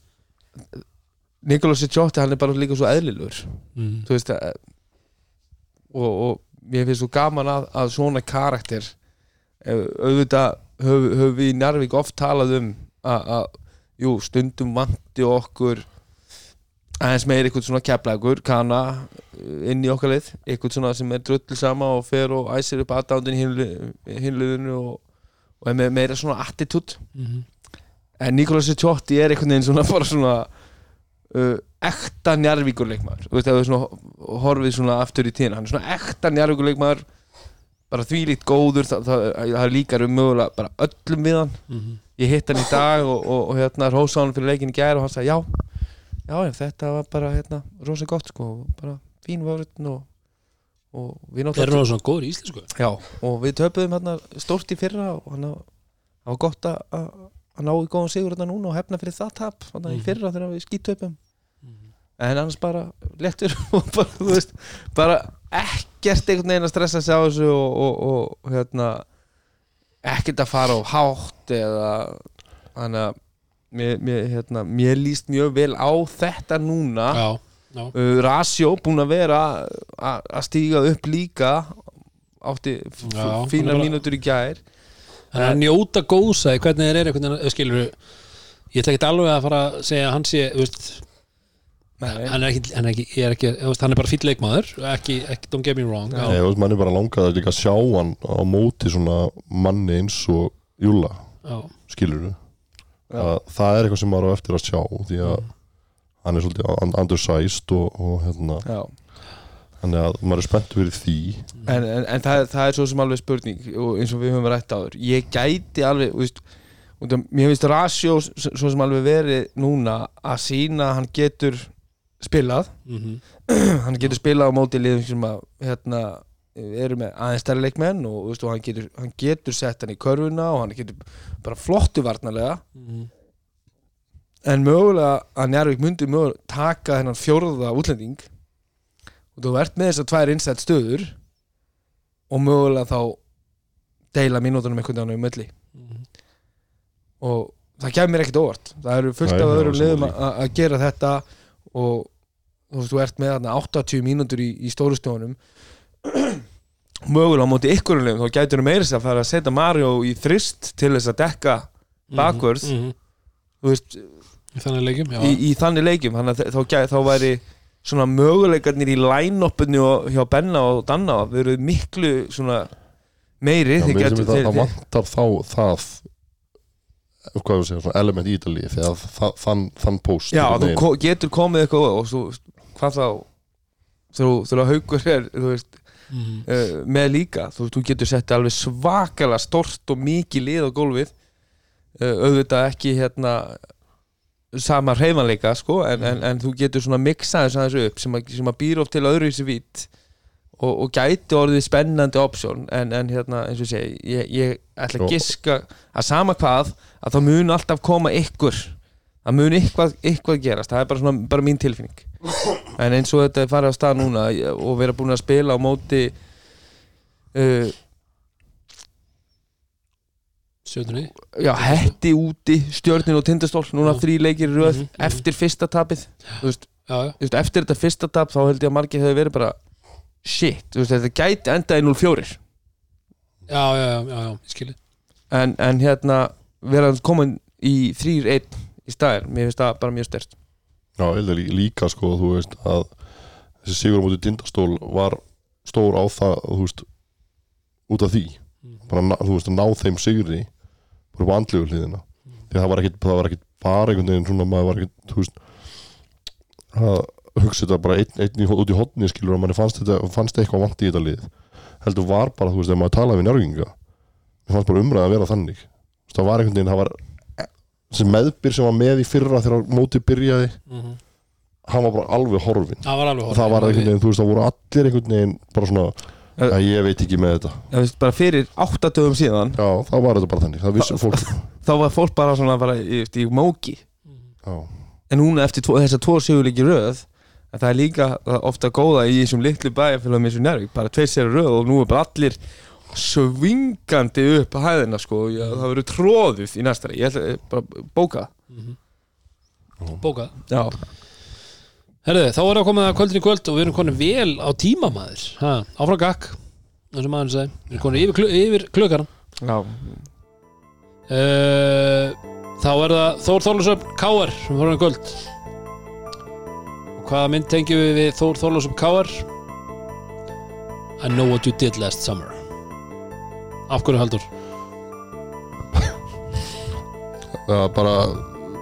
C: Nikolas Sjótti hann er bara líka svo eðlilur
A: mm.
C: þú veist að, og, og ég finnst svo gaman að, að svona karakter eh, auðvitað höfum höf við í Njarvík oft talað um að, að jú, stundum vanti okkur aðeins meir eitthvað svona keflagur kana eh, inn í okkar leið eitthvað svona sem er drullu sama og fer og æsir upp aðdándin hinliðinu og, og er með meira svona attitút
A: Mhm.
C: en Nikolas Tjótti er einhvern veginn svona bara svona uh, ekta njarvíkurleikmaður þú veist að við svona horfið svona aftur í tíðin hann er svona ekta njarvíkurleikmaður bara þvílíkt góður það, það, það líkar um mögulega bara öllum við hann
A: Mhm.
C: ég hitt hann í dag og, og, og hérna rósa hann fyrir leikin í gær og hann sagði já já, já þetta var bara hérna rosa gott sko bara fín vörðn og, og við
A: Það er nú svona góður í íslensku
C: Já, og við töpuðum hérna stórt í fyrra og hann það var gott að- að að ná í góðan sigur hérna núna og hefna fyrir það tap hann í
A: Mhm.
C: fyrra þegar við skítöpum en annars bara lettur og bara, þú veist, bara ekkert einhvern veginn að stressa sig á þessu og, og, og hérna ekkert að fara á hátt eða hann að mér, mér, hérna, mér líst mjög vel á þetta núna
A: já, já,
C: uh, Rasjó búin að vera a- að stíga upp líka átti f- f-
A: Já,
C: fína
A: hann er bara-
C: mínútur í gær
A: hann er að njóta góðsæði hvernig þeir eru, hvernig þeir skilur ég ætla ekki alveg að fara að segja að hann sé þú veist,
C: Nei,
A: hann er ekki, hann er, ekki, ég er, ekki þú veist, hann er bara fýll leikmaður ekki, ekki, don't get me wrong
B: Nei,
A: já,
B: þú veist, mann er bara langað að líka sjá hann á móti svona manni eins og Júla,
A: já,
B: skilur du það er eitthvað sem maður á eftir að sjá því að hann er svolítið undersized og, og hérna
C: já.
B: þannig að maður er spennt fyrir því
C: en, en, en það, það er svo sem alveg spurning og eins og við höfum rætt áður ég gæti alveg þú veist, út af, mér finnst Rasjó s- svo sem alveg verið núna að sína hann getur spilað
A: mhm,
C: hann getur spilað á móti liðum sem að hérna, eru með aðeins stærri leikmenn og, þú veist, og hann, getur, hann getur sett hann í körfuna og hann getur bara flottu varnarlega
A: mhm,
C: en mögulega að Njárvík myndi mögulega taka þennan fjórða útlending og þú ert með þess að tvær innstætt stöður og mögulega þá deila mínútunum einhvern veginn á milli
A: mhm.
C: og það kemur mér ekkert óvart það eru
B: Nei,
C: fullt af
B: það er
C: öðrum
B: ósammála
C: liðum
B: því.
C: að að gera þetta og þú, veist, þú ert með þarna 80 mínútur í, í stóru stöðunum mögulega á móti ykkurum liðum þá gætur þú meira þess að fara að setja Mario í þrist til þess að dekka Backwards.
A: Mhm.
C: þú veist,
A: Í þannig leikum, já
C: í, í þannig leikjum þannig að þe- þá, gæ- þá væri svona möguleikarnir í line-upinu og- hjá Benna og Danna verið miklu svona meiri
B: Já,
C: þeir
B: mér
C: gætu-
B: sem það,
C: þeir-
B: það
C: þeir-
B: vantar þá það hvað við segja, svona element í Ítalíu þegar það, þann, þann post
C: Já,
B: einhvern
C: þú
B: veginn.
C: ko- getur komið eitthvað og svo, hvað þá þú, þú haugur er þú veist,
A: Mhm.
C: uh, með líka þú, þú getur sett alveg svakalega stort og mikið lið á gólfið uh, auðvitað ekki hérna sama reyfanleika sko, en,
A: Mhm.
C: en, en þú getur svona mixa þess aðeins upp sem, að, sem að býr oft til öðru í þessi vít og, og gæti orðið spennandi option en, en hérna eins og ég segi ég, ég ætla
B: Og-
C: að giska að sama hvað að það mun alltaf koma ykkur það mun eitthvað, eitthvað gerast það er bara, svona, bara mín tilfinning en eins og þetta er farið á stað núna ég- og vera búin að spila á móti uh,
A: Stjörnunni.
C: já, hetti úti stjörnin og tindastól, núna
A: Já.
C: þrý leikir í röð
A: Mhm, mhm.
C: eftir fyrsta tapið þú veist,
A: já, já,
C: þú veist, eftir þetta fyrsta tap þá held ég að margir hefur verið bara shit, þú veist, þetta gæti endað í 0-4
A: já, já, já, já, já, ég skilji
C: en, en hérna vera hann komin í 3-1 í staðir, mér finnst það bara mjög stert
B: Já, ég held að lí- líka sko þú veist að þessi sigur á móti tindastól var stór á það þú veist, út af því
A: Mhm,
B: bara, ná- þú veist, að ná þeim sigri bara upp á andlegu hliðina því að það var ekkit, það var ekkit bara einhvern veginn svona, maður var ekkit, þú veist að hugsa þetta bara einn, einn í, hó- út í hotni skilur og manni fannst, þetta, fannst eitthvað vant í þetta lið heldur var bara, þú veist, ef maður talaði við njörginga mér fannst bara umræða að vera þannig Þú veist, það var einhvern veginn, það var sem meðbyr sem var með í fyrra þegar mótið byrjaði hann var bara alveg horfin
A: mhm. það var alveg
B: og það var einhvern veginn, þú veist, það voru allir einhvern veginn bara svona,
C: Eh.
B: að ég veit ekki með þetta
C: Ég veist, bara fyrir áttatöfum síðan
B: já, þá var þetta bara þannig, það vissi fólk
C: þá var fólk bara svona bara í, í móki
B: já,
C: en núna eftir tvo, þessar tvo sigurleiki í röð að það er líka ofta góða í þessum litlu bæjarfélagum eins og Njárvík bara tveir sér í röð og nú er bara allir svingandi upp að hæðina sko, Já, það verður tróðuð í næstari ég ætla eh, bara bóka
A: Mhm, bókað
C: Já.
A: mhm. Herðu, þá er að komið að kvöldin í kvöld og við erum konum vel á tíma maður ha, áfram gakk, eins og maður segi við erum konum yfir, klu- yfir klukkan
C: Já.
A: uh, þá er það Þór Þorlásöfn Káar sem vorum í kvöld og hvaða mynd tengjum við við Þór Þorlásöfn Káar I know what you did last summer af hverju heldur
B: það var bara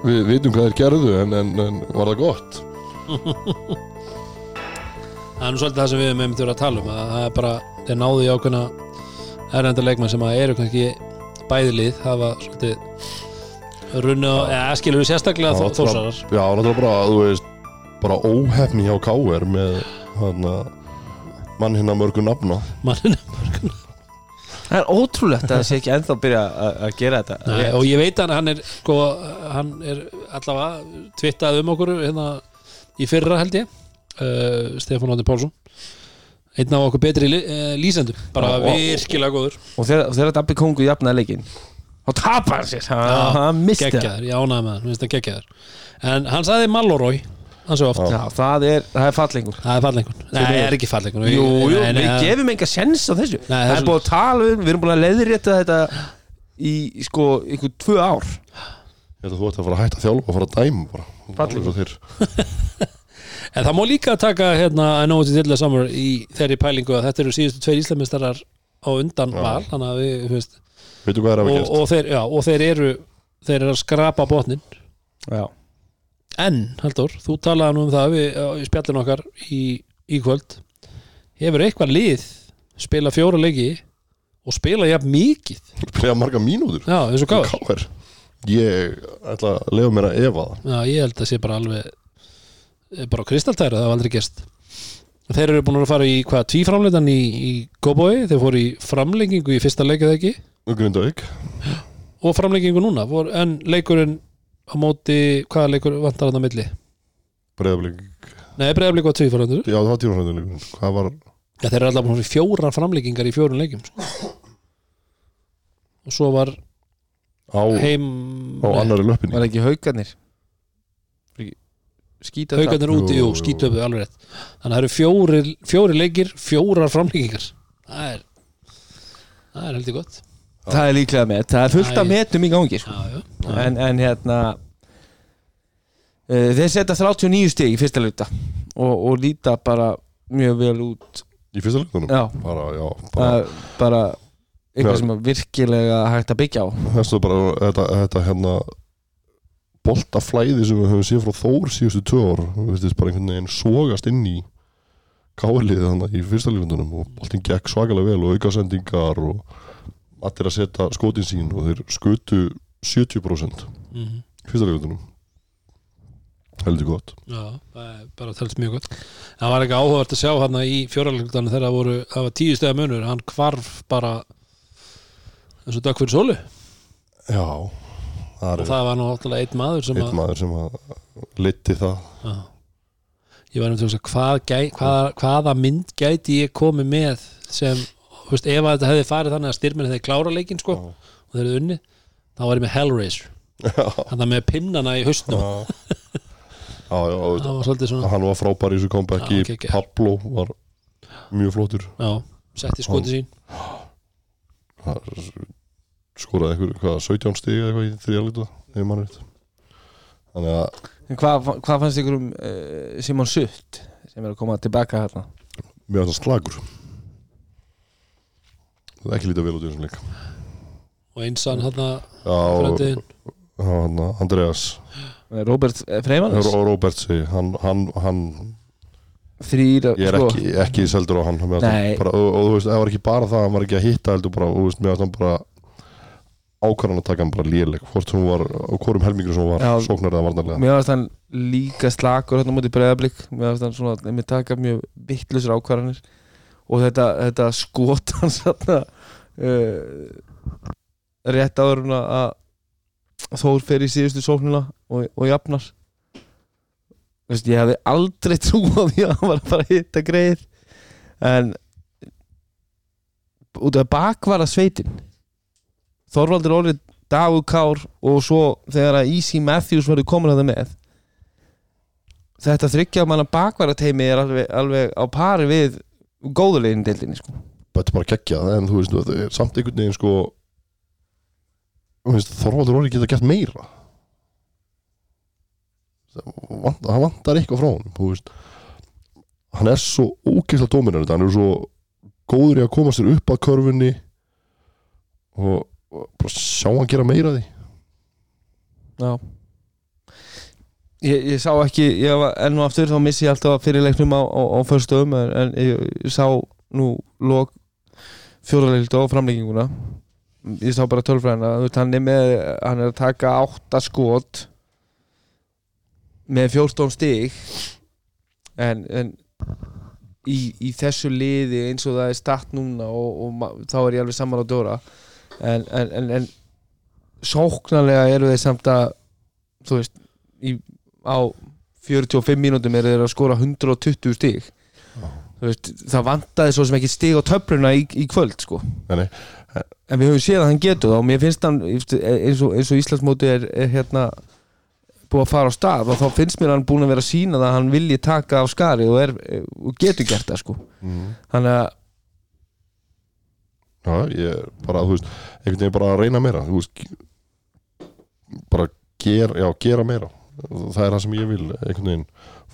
B: við vitum hvað þeir gerðu en, en, en var það gott
A: það er nú svolítið það sem við meðum þurfa að tala um að það er bara, þeir náðu í ákveðna erlenda leikmann sem að eru kannski bæði lið, hafa svolítið runna, eða skilur við sérstaklega
B: Já,
A: þó, þósarar
B: já, náttúrulega bara, þú veist bara óhefni hjá K.R. með hann mann hérna mörgu nafna
A: mann,
C: það er ótrúlegt að það sé ekki ennþá byrja að að gera þetta
A: Nei, og ég veit hann, hann er sko, hann er allavega tvittað um okkur hérna í fyrra held ég uh, Stefán Átni Pálsson einn af okkur betri li, uh, lýsendum bara
C: Já, og-
A: virkilega góður
C: og þegar, og þegar Dabbi Kongu jafnaði leikin þá tapar hann sér hann, hann misti það
A: geggjaður, ég ánæði með hann, minnst það geggjaður en hann sagði Mallorói, hann svo oft
C: Já, það er, það er fallingur
A: Það er fallengun Nei, það er ekki fallengun
C: Jú,
A: nei,
C: jú,
A: nei,
C: við
A: það-
C: gefum enga sens á þessu
A: það er
C: Það er búið að tala um, við erum búin að leiðrétta þetta í, í, sko, ykkur tvö ár
B: ég held að þú ætti að fara að hætta að þjálfa og fara að dæma bara
C: Fallegur.
B: Alveg svo þeir.
A: En það má líka taka hérna I know what you did last summer í þeirri pælingu að þetta eru síðustu tveir íslamistarar á undan
B: Já.
A: val þannig að við, þú veist
B: veitum hvað þeir hafa
A: og,
B: gert
A: og, þeir, já, og þeir eru þeir eru að skrapa botnin
C: Já,
A: En, Halldór, þú talaði nú um það við, á- í spjallin okkar í, í kvöld Hefur eitthvað lið spila fjóra leiki og spila jafn mikið
B: spila marga mínútur
A: Já, eins og gáður
B: K.R. ég ætla að lefa mér að efa það
A: Já, ég held að sé bara alveg eh, bara kristaltæra, það hafa aldrei gerst Þeir eru búin að fara í hvað, tvíframleitan í, í Kobói, þeir fóru í framlengingu í fyrsta leikið ekki
B: Grindavík
A: og framlengingu núna, fór, en leikurinn á móti, hvaða leikur vantar hann á milli?
B: Breiðablík
A: Nei, breyðaflik var tvíframleitur
B: Já það var tímanhættuleikur Hvað var
A: Já, þeir eru alltaf búin að fara í fjóra framlengingar í fjórun leikum sko. og svo var
B: á,
A: heim
B: á annari löppinni
C: var ekki haugarnir Skýta
A: haugarnir úti, jú,
B: Jú, jú.
A: skítöfuðu alveg rétt þannig að það eru fjóri, fjóri leikir fjórar framlengingar það er, það er heldur gott
C: það Það er líklega með, það er fullt af
A: Æ.
C: metum í gangi sko.
A: já, já.
C: en, en hérna uh, Þeir setja 39 stig í fyrsta luta og, og líta bara mjög vel út
B: Í fyrsta leikunum
C: Já,
B: Bara já bara,
C: bara, bara
B: Já.
C: eitthvað sem er virkilega hægt að byggja á
B: Þessu bara þetta, þetta hérna Boltaflæði sem við höfum séð frá Þór síðustu tvö ár Við veist bara einhvern veginn sogast inn í Káliðið þannig í fyrsta leikundunum Og boltin gekk svakalega vel og aukasendingar Og allir að setja skotin sín Og þeir skutu 70%
A: Mhm.
B: í Fyrsta leikundunum Heldur gott
A: já, það er bara telst mjög gott það var ekki áhugavert að sjá hann í fjóralengdana þegar það voru, það var tíu stegja munur hann hvarf bara eins og dökk fyrir sólu
B: Já
A: og það var nú áttalega einn maður sem
B: einn
A: að
B: maður sem að liti það
A: já. ég var um til að hugsa, hvað, gæ, hvað, hvaða mynd gæti ég komið með sem, þú veist, ef að þetta hefði farið þannig að styrminn hefði klára leikinn sko, og þeir eru unni, þá var ég með Hellraiser hann það með pinnana í haustnum
B: já, já, já,
A: það var svolítið svona
B: hann var frábær í þessu comebacki
A: Já, geggjaður.
B: Pablo var mjög flottur
A: já, setti skotið sín
B: Hann skoraði eitthvað, hvað, 17 stig eða eitthvað í þrjáleita ef maður veit þannig að
C: Hvað hva fannst ykkur um uh, Simon Sutt sem er að koma tilbaka hérna
B: Mér fannst það slagur Það er ekki lítið vel út í þessum leik
A: og einsan hann
B: Já,
A: frendiðin
B: hann Andreas
C: Eh, Robert Freymans
B: og Robert segi hann, hann, hann,
C: Þrýr
B: ég er
C: sko,
B: ekki, ekki seldur á hann mér fannst
C: Nei.
B: hann bara, og, og þú veist, það var ekki bara það hann var ekki að hitta heldur bara, og þú veist, mér fannst hann bara ákvarðan að taka hann bara léleg hvort hún var, á hvorum helmingur sem hún var
C: Já.
B: sóknar eða varnarlega
C: Mér varst hann líka slakur hérna mútið breyðablík Mér varst hann svona Mér taka mjög vittlusur ákvarðanir Og þetta, þetta skot hans hérna uh, Rétt áður en að að Þór fer í síðustu sóknuna og, og jafnar Þú veist, Ég hefði aldrei trú á því að hann var að fara að hitta greið En Út af bakvara sveitin Þorvaldur Óli Davíð Kár og svo þegar að Easy Matthews verður komin að það með þetta þryggja manna bakvara teimi er alveg, alveg á pari við góðulegin deildinni sko.
B: þetta er bara geggjað en þú veist, það er samt einhvern veginn sko þú veist, Þorvaldur Orri geta gert meira það vant- það vantar eitthvað frá honum þú veist hann er svo ógeðslega dominant hann er svo góður í að koma sér upp að körfunni og, og bara sjá hann gera meira af því
C: Já Ég, ég sá ekki, ég var enn og aftur þá missi ég alltaf fyrirleiknum á, á, á förstum en, en ég, ég sá nú lók fjóraleikt og framleikinguna ég sá bara tölfræðina þú veist hann er með, hann er að taka átta skot með 14 stig en, en í, í þessu liði eins og það er statt núna og, og ma- þá er ég alveg saman á dóra en, en, en, en sóknarlega eru þeir samt að þú veist í, á 45 mínútum eru þeir að skora 120 stig þú veist, það vantaði svo sem ekki stig á töfluna í, í kvöld sko
B: Nei, nei.
C: en við höfum séð að hann getur það og mér finnst hann eins og, eins og Íslandsmóti er, er hérna búið að fara á stað og þá finnst mér hann búin að vera að sína það að hann vilji taka af skari og, er, og getur gert það sko þannig að
B: Já, ég er bara, þú veist, einhvern veginn bara að reyna meira, þú veist, ge- bara ger, já, gera meira, það er það sem ég vil, einhvern veginn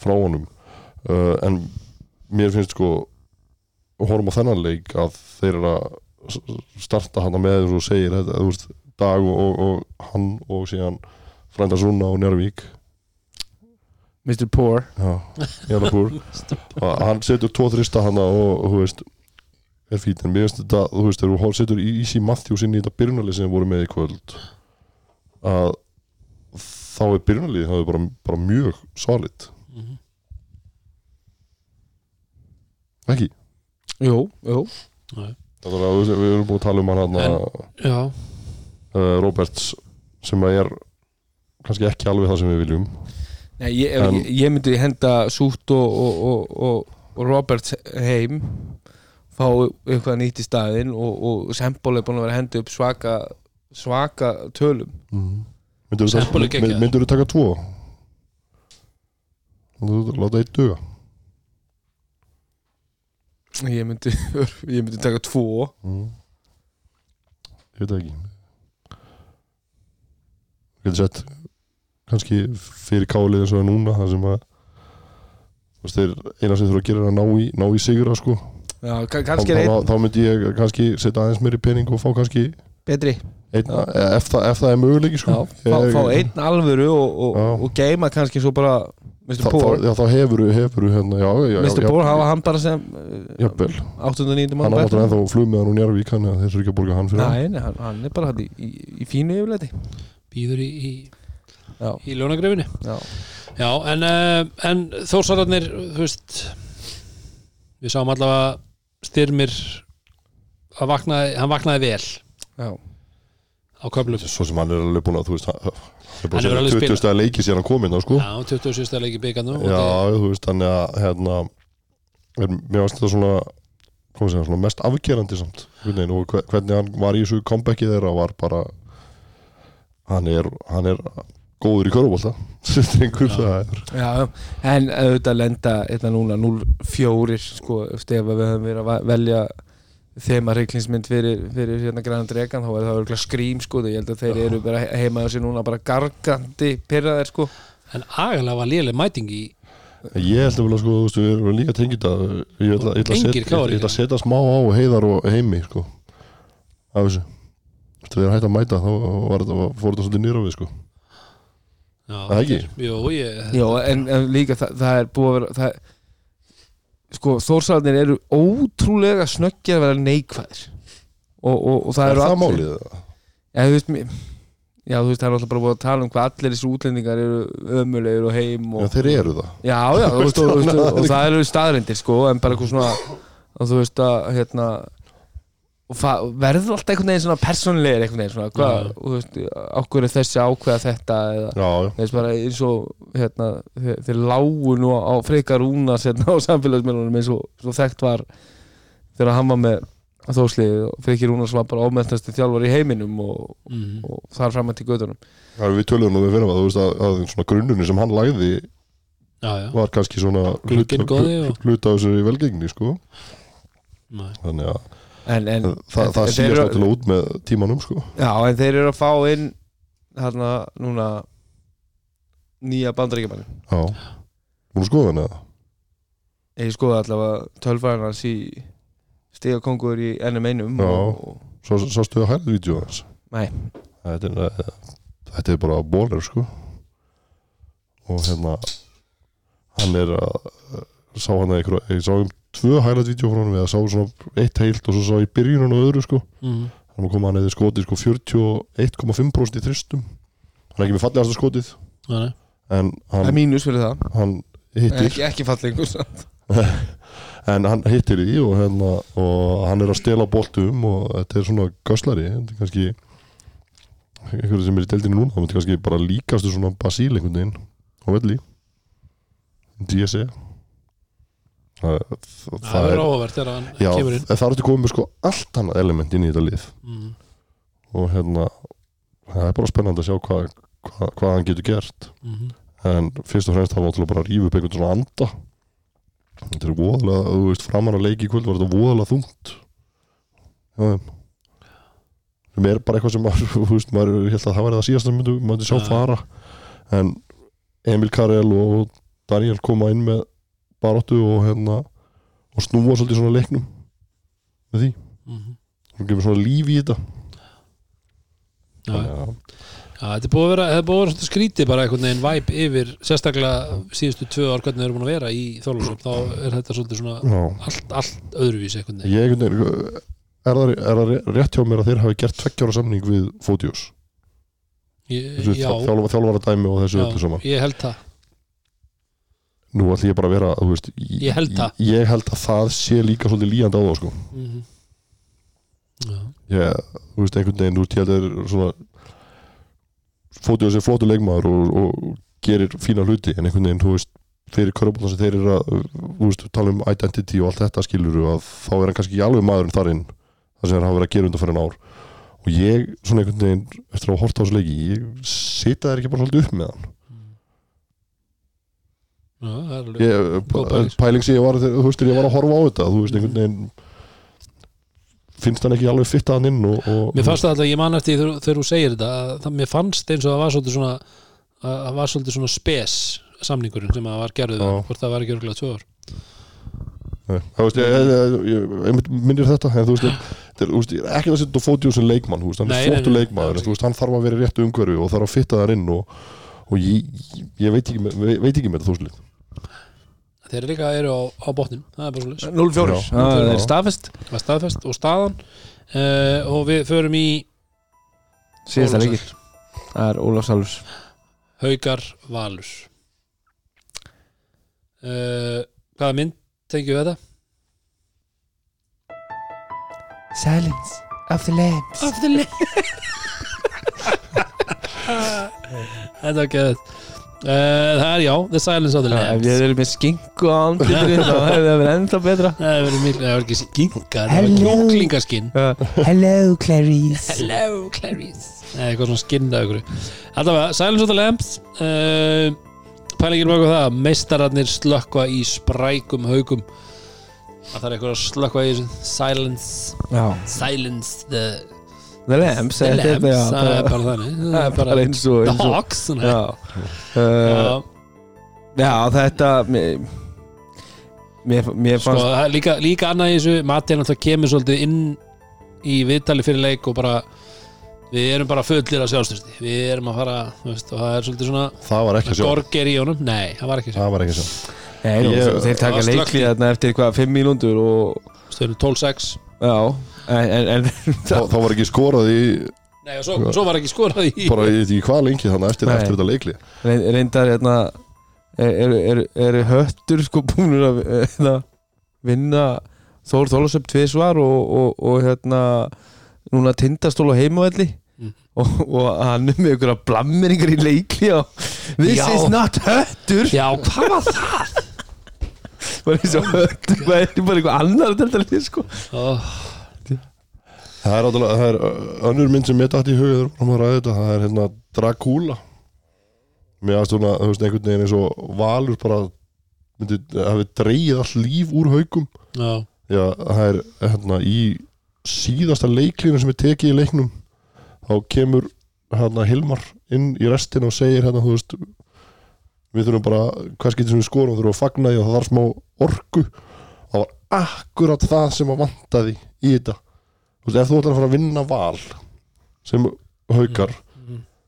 B: frá honum, uh, en mér finnst sko, horfum á þennan leik að þeir eru að s- starta hana með eins og þú segir, þetta, þú veist, Dag og, og, og hann og síðan frænda Súna og Njárvík,
C: Mr. Poor
B: já, Njárvík, að hann setur tvo þrista hana og, og þú veist er fínt, en mér finnst þetta, þú veist, þegar þú hor- setur Easy Matthews inn í þetta byrjunalið sem þeir voru með í kvöld að þá er byrjunalið það er bara, bara mjög solid ekki
C: Jú, jú
B: það er að þú veist, við erum búin að tala um hann hann
A: já,
B: uh, Roberts sem að er kannski ekki alveg það sem við viljum
C: Nei, ég, ef,
B: En-
C: ég, ég myndi henda Sútt og, og, og, og, og Roberts heim fá eitthvað nýtt í staðinn og, og Sembol er búin að vera að henda upp svaka svaka tölum
B: myndur
A: Sample er geggjaður.
B: þú taka tvo Myndirðu láta eitt duga
C: ég myndi, ég myndi taka tvo
B: mm. ég veit það ekki ég geti sett kannski fyrir kálið eins og það er núna það sem að þú veist, þeir eina sem þurfa að gera er að ná í, ná í sigra sko.
C: Já, ka-
B: þá,
C: kannski
B: þá,
C: er einn
B: þá myndi ég kannski setja aðeins meiri pening og fá kannski
C: betri
B: einna, ef, það, ef það er möguleiki sko.
C: Já, fá,
B: Ég-
C: fá einn alvöru og, og,
B: Já.
C: og geima kannski svo bara Mr.
B: þá, þá,
C: Poor
B: já, þá hefur hefur hérna, já, já, já,
C: Mr.
B: já,
C: Poor hafa hann bara sem eh,
B: já, vel,
C: 890
B: hann
C: mann
B: áttur ennþá flug með hann og njárvík hann þeir eru ekki að borga hann fyrir hann
C: Nei, nei, hann, hann er bara hann í, í, í fínu yfirleiti
A: býður í, í,
C: Já,
A: í ljónagrefinni
C: já
A: já, en, uh, en þórsararnir þú veist við sáum allavega styrmir að vaknaði, hann vaknaði vel
C: Já,
A: á köflum
B: svo sem hann er alveg búin að þú veist hann hann er
A: Hann hefur
B: búin að
A: alveg
B: segja
A: spilað.
B: 20 stæða leiki síðan hann kominn þá, sko
A: já, 27. leiki byggarnu
B: Já, þú veist, þannig að hérna, er, mér varst þetta svona, hvað segja, svona mest afgerandi samt hvernig, og hve- hvernig hann var í þessu comebacki þeirra var bara hann er, hann er góður í körubólta strengur það er
C: Já, en auðvitað lenda hérna núna 0-4 sko, ef við höfum verið að va- velja þeim að reiklingsmynd fyrir, fyrir hérna græna dregan þá er það örgulega skrím sko, ég held að þeir eru bara he- heima á sér núna bara gargandi pyrraðir sko
A: en agalega var léleg mæting í
B: Ég held að vilja sko, þú veist, við erum líka tengið að ég ætla, ég ætla, að
A: Engir
B: setja- ég
A: KR í
B: ætla, ég ætla að
A: dag.
B: setja smá á heiðar og heimi sko, af þessu Þetta við erum hægt að mæta, þá var þetta fór þetta svolítið nýra við sko
A: já,
B: Það ekki?
A: Jó, ég,
C: Já, en, en líka það, það er búið að vera það, sko, þórsalarnir eru ótrúlega snöggir að vera neikvæðir og, og, og það
B: Er
C: eru
B: það
C: allir-
B: málið? eða?
C: Já, þú veist, mér- já, þú veist, það er alltaf bara búið að tala um hvað allir þessi útlendingar eru ömulegir og heim
B: Já,
C: og,
B: þeir eru það
C: Já, já, þú veist, og, þú veist, og, og það eru staðrindir sko, en bara eitthvað svona og þú veist að, hérna og fa- verður alltaf einhvern veginn svona persónulegir einhvern veginn svona, hvað,
A: Já.
C: og þú veist ákveður þessi ákveða þetta eða,
B: Já, já,
C: þú veist bara eins og hérna, þeir, þeir lágu nú á frekar rúnas hérna á samfélagsmiðlunum eins og svo þekkt var þegar hann var með þóslið og frekir rúnas var bara ofmennstasti þjálfar í heiminum og,
A: mm,
C: og þar framönd í gödunum
B: já við töluðum að við fyrir að þú veist að, að svona grunnunni sem hann lagði
A: já, já,
B: var kannski svona
A: Glugginn
B: hluta-
A: góði og-
B: hluta af þessu í velgengni sko
A: næ
B: Þannig að
C: en, en,
B: það, það
C: en þeir
B: síðast
C: eru-
B: náttúrulega út með tímanum sko
C: Já, en þeir eru að fá inn hérna núna nýja bandaríkjumann
B: Já, hún skoða hann eða?
C: ég skoði allavega tölfæðan hans í stiga kongur í NM1
B: Já.
C: og,
B: Sá- Sástu að hægt vídeo hans?
C: Nei.
B: Þetta er, eh, þetta er bara bólir sko og hérna hann er að sá hann að einhver, ég sá um tvö highlight vídeo frá hann við að sá svona eitt heilt og svo sá ég byrjunum og öðru sko
A: mm,
B: hann kom hann eða skotið sko 41,5% í þristum hann er ekki með fallegasta skotið
A: næ,
B: en
C: það er
B: hann,
C: mínus fyrir það
B: hann
C: en
B: hittir
C: ekki, ekki fallingur samt.
B: en hann hittir í og, hérna, og hann er að stela boltum og þetta er svona göslari þetta er kannski einhverju sem er í deildinu núna, það er kannski bara líkastu svona basíl einhvern veginn á velli DSE það, það,
A: það
B: er
A: er áhugavert þegar hann
B: já,
A: kemur inn
B: en það er þetta komið með sko allt annað element inn í þetta lið
A: mm,
B: og hérna það er bara spennandi að sjá hvað hva, hva hann getur gert
A: mm,
B: en fyrst og fremst hann var til að bara rífa upp einhvern svona anda þetta er voðalega, þú veist, framan að leiki í kvöld var þetta voðalega þungt já, þeim. sem er bara eitthvað sem maður, þú veist, maður ég held að það væri það síðast að myndu, maður sjá
A: Já.
B: fara en Emil Karel og Daniel koma inn með baróttu og hérna og snúa svolítið svona leiknum með því,
A: mm,
B: og gefur svona líf í þetta
A: já, já.
B: Þannig að-
A: Já, þetta er búið að vera, þetta er búið að vera svona skrítið bara einhvern veginn væp yfir sérstaklega síðustu tvö ár hvernig þeir eru búin að vera í Þorlúsum þá er þetta svolítið svona
B: já.
A: allt, allt öðruvísi einhvern veginn
B: Ég einhvern veginn, er það, er það rétt hjá mér að þeir hafi gert tveggjára samning við Fótiós?
A: ég, Já,
B: Þjálfara, þjálfara dæmi og þessu öllu
A: já
B: saman.
A: ég held það
B: Nú ætlum ég bara að vera, þú veist,
A: Ég held það.
B: Ég, ég held að það sé líka svolítið líjandi á þá, sko.
A: mm Já,
B: Ég, þú veist, einhvern veginn, þú veist, ég held er svona, Fótiós er flótu leikmaður og, og gerir fína hluti, en einhvern veginn, þú veist, fyrir körfbólna sem þeir eru að, þú veist, tala um identity og allt þetta skilur að þá er hann kannski ekki alveg maðurinn þar inn það sem hann hafa verið að gera undanfærin ár og ég, svona einhvern veginn, eftir að horta á þessu leiki ég sita þær ekki bara svolítið upp með hann
A: já það er alveg
B: ég,
A: Góð pæling.
B: pæling sem ég var, þú veist, þegar ég var að horfa á þetta þú veist, einhvern veginn finnst hann ekki alveg fitta hann inn og, og
A: Mér fannst það alltaf, ég man eftir þegar, þegar þú segir þetta að það, mér fannst eins og það var svolítið svona að það var svolítið svona spes samningurinn sem að var gerðið
B: Já.
A: við, hann, hvort það var ekki örgulega tvö ár
B: Nei, það veist, ég, ég, ég, ég, einmitt minnir þetta en þú veist, ég, þeir, þú veist ég er ekki að setja Fótius sem leikmann, þú veist, hann
A: Nei,
B: er
A: nei,
B: flottu
A: nei,
B: leikmaður,
A: nei,
B: en þú veist, hann þarf að vera í réttu umhverfi og þarf að fitta þar inn og, og ég, ég- ég veit ekki með, ve- veit ekki með þetta þúslið
A: Þeir líka eru á, á botnum, það er bara svolítið
C: 0-4,
B: Já,
C: það
B: já.
C: er staðfest
A: Það er staðfest og staðan uh, og við förum í
C: síðasta
A: Ólafsar.
C: leikir, það er Ólaf Salurs
A: Haukar Valur uh, Hvaða mynd tengjum við þetta?
C: Silence of the Lambs
A: Of the Lamb Þetta var geðið uh, Það er já, The Silence of the
C: Ef
A: Lambs
C: ég verið með skinku á andlutinu þá hefði það verið ennþá betra
A: Það verður miklu, það var ekki skinka Það var
C: Hello.
A: kjúklingaskinn
C: Hello Clarice
A: Hello Clarice Nei, eitthvað svona skinnað ykkur Allavega, Silence of the Lambs uh, Pælingir baka það Meistararnir slökkva í sprækum haugum Það þarf eitthvað að slökkva í þessu Silence
C: Já,
A: Silence the
C: The Lambs
A: The
C: þetta er-
A: Lambs,
C: já,
A: það er
C: bara-
A: bara þannig
C: það er bara eins og
A: The
C: eins og-
A: Hawks þannig.
C: Já Uh,
A: Já,
C: Já, þetta mér, mér, mér
A: sko,
C: fannst
A: það er líka, líka annað í þessu Matti er náttúrulega kemur svolítið inn í viðtali fyrir leik og bara við erum bara fullir af sjálfstyrsti við erum að fara, þú veist, og það er svolítið svona
B: það var ekki að sjá
A: gorger í honum, nei, það var ekki
B: það var ekki að sjá
C: Nei,
B: ég-
C: ég, þeir taka
A: það var slökkt í-
C: leiklið þarna eftir hvað, fimm mínúndur og
A: stöðunum 12-6
C: já, en, en, en
B: Þa, það var ekki skorað í
A: nei, og svo,
C: Sko.
A: svo var ekki skorað í
B: bara ég veit ekki hvað lengi þannig eftir,
C: Nei.
B: eftir þetta leikli
C: reyn- reyndar hérna eru er, er, er höttur sko búinur að hérna, vinna Þór Þólasöp tvisvar og, og, og hérna núna tindastól á heimavelli
A: Mm.
C: og, og hann er með ykkur að blammeringar í leikli og this
A: Já.
C: is not höttur
A: já, hvað var það?
C: bara eins og höttur bara bara eitthvað annar þetta sko
A: Oh,
B: það er, áttúrulega- það er ö, önnur mynd sem ég dætt í hugið þegar maður ræði þetta það er hérna Dracula mér aðst svona, þú veist, einhvern veginn eins og Valur bara myndi, hafi dreigið all líf úr haukum
A: já,
B: Já, það er hérna í síðasta leiklinu sem er tekið í leiknum þá kemur hérna Hilmar inn í restina og segir hérna, þú veist við þurfum bara, hvað skiptir sem við skorum þurfum að fagna því og það þarf smá orku það var akkurat það sem að vantaði í þetta þú veist, ef þú ætlar að fara að vinna val sem haukar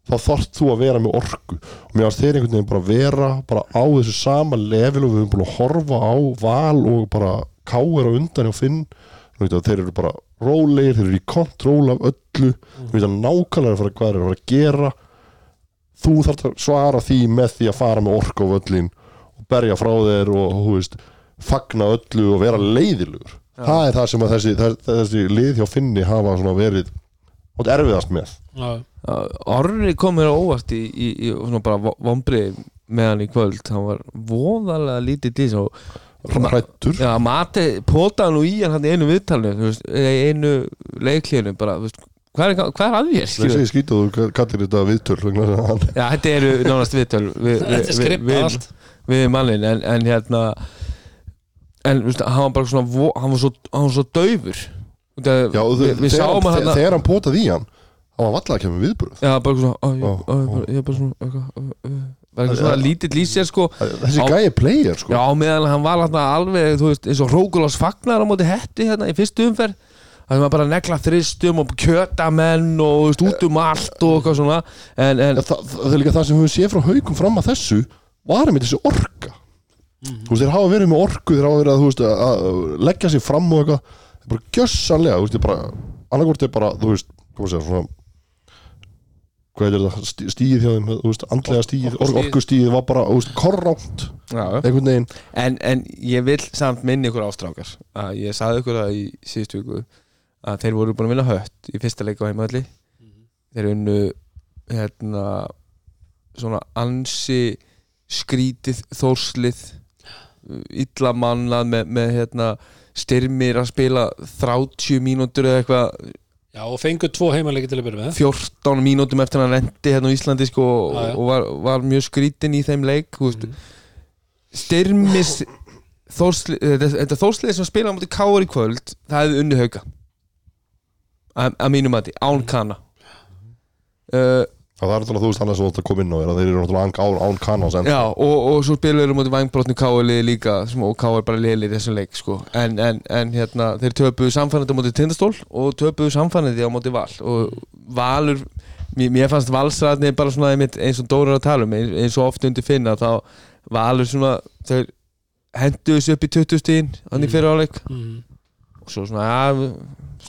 B: þá þarft þú að vera með orku og mér varst þeir einhvern veginn bara að vera bara á þessu sama level og við höfum búin að horfa á val og bara káir á undan og finn Þú veit að þeir eru bara rólegir, þeir eru í kontról af öllu þú veit að nákvæmlega fyrir hvað þeir eru að fara að gera þú þarft að svara því með því að fara með orku á völlin og berja frá þeir og þú veist, fagna öllu og vera leiðilugur það er það sem að þessi, þessi, þessi lið hjá Finni hafa svona verið átt erfiðast með
A: já,
C: Orri kom mér á óvart í, í, í svona bara vombrið með hann í kvöld, hann var voðalega lítið lýs og
B: hrættur
C: Já, Mati potaði nú í hann hann í einu viðtalinu, þú veist, eða í einu leiklíðinu, bara, þú veist, hvað er, hvað er að þér,
B: Það
C: skilur?
B: segir skítið og þú kallir þetta viðtöl vegna þess að hann-
C: Já, þetta eru nánast viðtal við,
A: þetta er skripp
C: við,
A: allt
C: við mannin, en, en hérna, en, þú veist, hann var bara svona, vo- hann var svo, hann var svo daufur.
B: Já, og
C: við,
B: þe-
C: við
B: þegar,
C: sáum
B: hann,
C: hann
B: þegar,
C: hann,
B: þegar hann potaði í hann þá var vallað að kemur viðbröð
C: já, bara svona, ó,
B: Ó,
C: ég, ó, ég,
B: ó.
C: bara- ég bara svona, eitthvað, ó, ó, bara eitthvað svona lítill í sér, sko,
B: Þessi
C: Á-
B: gæi er player sko
C: Já, á meðan hann var hann alveg, þú veist, eins og Rókulás Fagnar á móti hetti hérna í fyrstu umferð Það var bara að negla þristum og kjötamenn og þú veist, út um allt og eitthvað svona En,
B: En
C: en
B: það, það er líka það sem við séð frá haukum fram að þessu var með þessi orka
A: Mhm.
B: þú veist, þeir hafa verið með orku þeir hafa verið að, þú veist, að, að leggja sér fram og eitthvað þeir bara gjössanlega, þú veist, þeir bara annarkvort er bara, þú veist, hvað segja, svona hvað heitir þetta, stí- stíð hjá þeim, þú veist, andlega stíð
A: Orkustigið.
B: orkustíð var bara, þú veist, korránt
C: já,
B: einhvern veginn,
C: en, en ég vil samt minni ykkur ástrákar að Ég sagði ykkur það í síðustu ykkur að þeir voru búin að vinna hött í fyrsta leik á heimaðli Þeir unnu, hérna, svona ansi skrítið þórslið illa mannað með, með hérna, styrmir að spila 30 mínútur eða eitthvað
A: já, og fengur tvo heimaleiki til að byrja með
C: 14 mínútum eftir að hann endi hérna á Íslandi sko,
A: Já, já. Mhm.
C: og var, var mjög skrítin í þeim leik þú veist. styrmis þórsli, þetta, þetta þórslið sem spila á móti Káar í kvöld það hefði unni hauka að að mínu mati, án
A: Mhm.
C: kanna uh,
B: það er náttúrulega, þú veist, annars sem þú átt að koma inn á er að þeir eru náttúrulega án- án, án kannans en
C: Já, og, og svo spilur þeir á móti vangbrotni Káli E líka sem, og Káli bara lélir í þessum leik sko. en, en, en hérna, þeir töpuðu samfænandi á móti tindastól og töpuðu samfænandi á móti val og valur mér, mér fannst valsræðni bara svona einmitt, eins og Dóra er að tala um, eins, eins og oft undir finna þá valur svona þeir henduðu þessu upp í 20 stíðin hann í
A: Mm.
C: fyrir áleik
A: mm.
C: og svo svona, já, við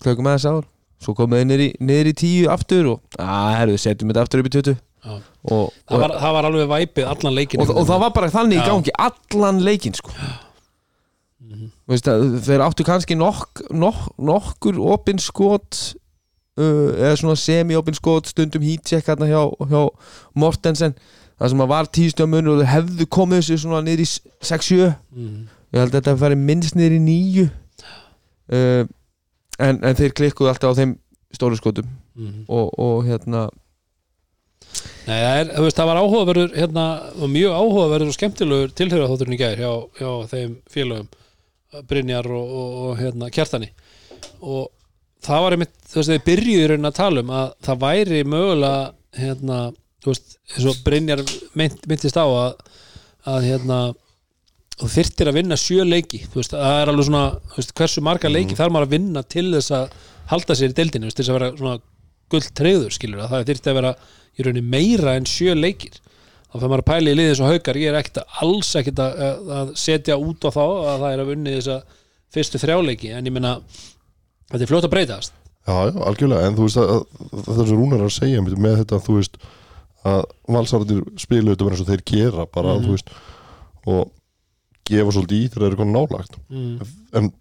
C: slökum aðeins á svo komuðu niður í, niður í 10 aftur og, já, herru, setjum þetta aftur upp í 20
A: Já.
C: og,
A: það, var, það var alveg væpið allan leikin
C: og, og það var bara þannig í
A: Já.
C: gangi allan leikinn sko
A: Mhm.
C: Þú veist að, þeir áttu kannski nokk, nokk, nokkur opin skot uh, eða svona semi-opin skot stundum hítjekk hérna hjá, hjá Mortensen það sem að var tíðstjóð munur og þeir hefðu komið þessu svona niður í 6-7
A: mm.
C: ég held að þetta færi minnst niður í 9 uh, en, en þeir klikkuðu alltaf á þeim stóru skotum
A: Mm.
C: og, og hérna
A: Nei, það, er, þú veist, það var áhugaverður hérna, og mjög áhugaverður og skemmtilegur tilhörðaþótturinn í gær hjá, hjá þeim félögum Brynjar og, og, og hérna, Kjartani og það var einmitt, þú veist, þau byrjuðu í raunin að tala um að það væri mögulega hérna, þú veist, eins og Brynjar mynd, myndist á að, að hérna þú þyrtir að vinna sjö leiki þú veist, það er alveg svona, þú veist, hversu marga leiki þarf maður að vinna til þess að halda sér í deildinu, þú veist, til þess að vera svona gull treyður, skilur það, það þyrfti að vera í raunin meira en sjö leikir þá fyrir maður að pæla í liðið eins og haukar ég er ekkit að alls ekkit að, að- að setja út á þá að það er að vunni þess að fyrstu þrjáleiki, en ég meina þetta er fljótt að breytast
B: Já, já, algjörlega, en þú veist að, að þetta sem Rúnar er að segja með, með þetta, þú veist að valsarðir spilu þetta verður eins og þeir gera bara, þú veist og gefa svolítið í þegar þeir eru konar nálagt
A: mm.
B: en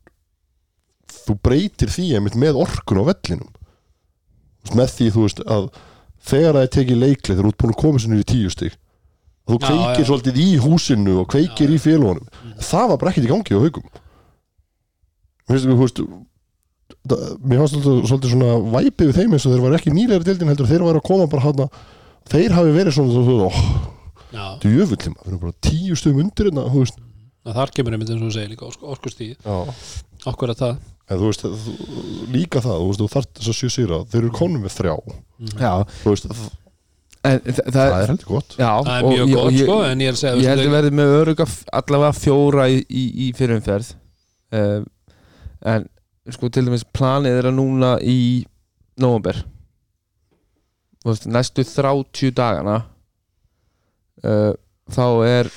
B: þú breytir því einmitt með orkun á vellinum Þú veist, með því, þú veist, að þegar það er tekið leikli, þegar þú ert búin að koma sinni í tíu stig, að þú
A: Já,
B: kveikir
A: já.
B: svolítið í húsinu og kveikir í félagunum það var bara ekkert í gangi á haugum Mér finnst, þú veist það- mér fannst svolítið, svolítið svona væpið við þeim eins og þeir var ekki nýlega dildin heldur þeir var að koma bara hana þeir hafi verið svona, þú veist, óh,
A: Já,
B: djöfullum við erum bara tíu stöðum undir hérna, þú veist
A: og þar kemur einmitt eins og þú segir líka orkustíð,
B: Já.
A: okkur að það
B: En þú veist, þú, líka það, þú veist, þú þarft þess að sjö sýra, þeir eru konum með þrjá,
A: Mm.
C: já,
B: þú veist, það,
C: en þa- það
B: er heldur gott.
C: já,
A: það er
C: og
A: mjög
C: ég- og
A: gott
C: ég-
A: sko, en ég er að segja
C: Ég
A: þú
C: held
A: veist,
C: að verði með öruga f- allavega fjóra í, í, í fyrirumferð uh, en sko til dæmis planið er að núna í nóvember Þú veist, næstu 30 dagana uh, þá er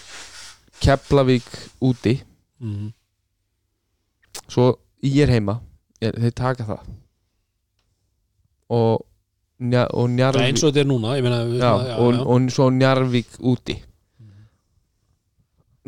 C: Keflavík úti
A: mm.
C: svo ég er heima ég, þeir taka það og, nja, og
A: það
C: Njarvík
A: er eins og þetta er núna ég meina, við-
C: Hérna, já, og, og svo Njarvík úti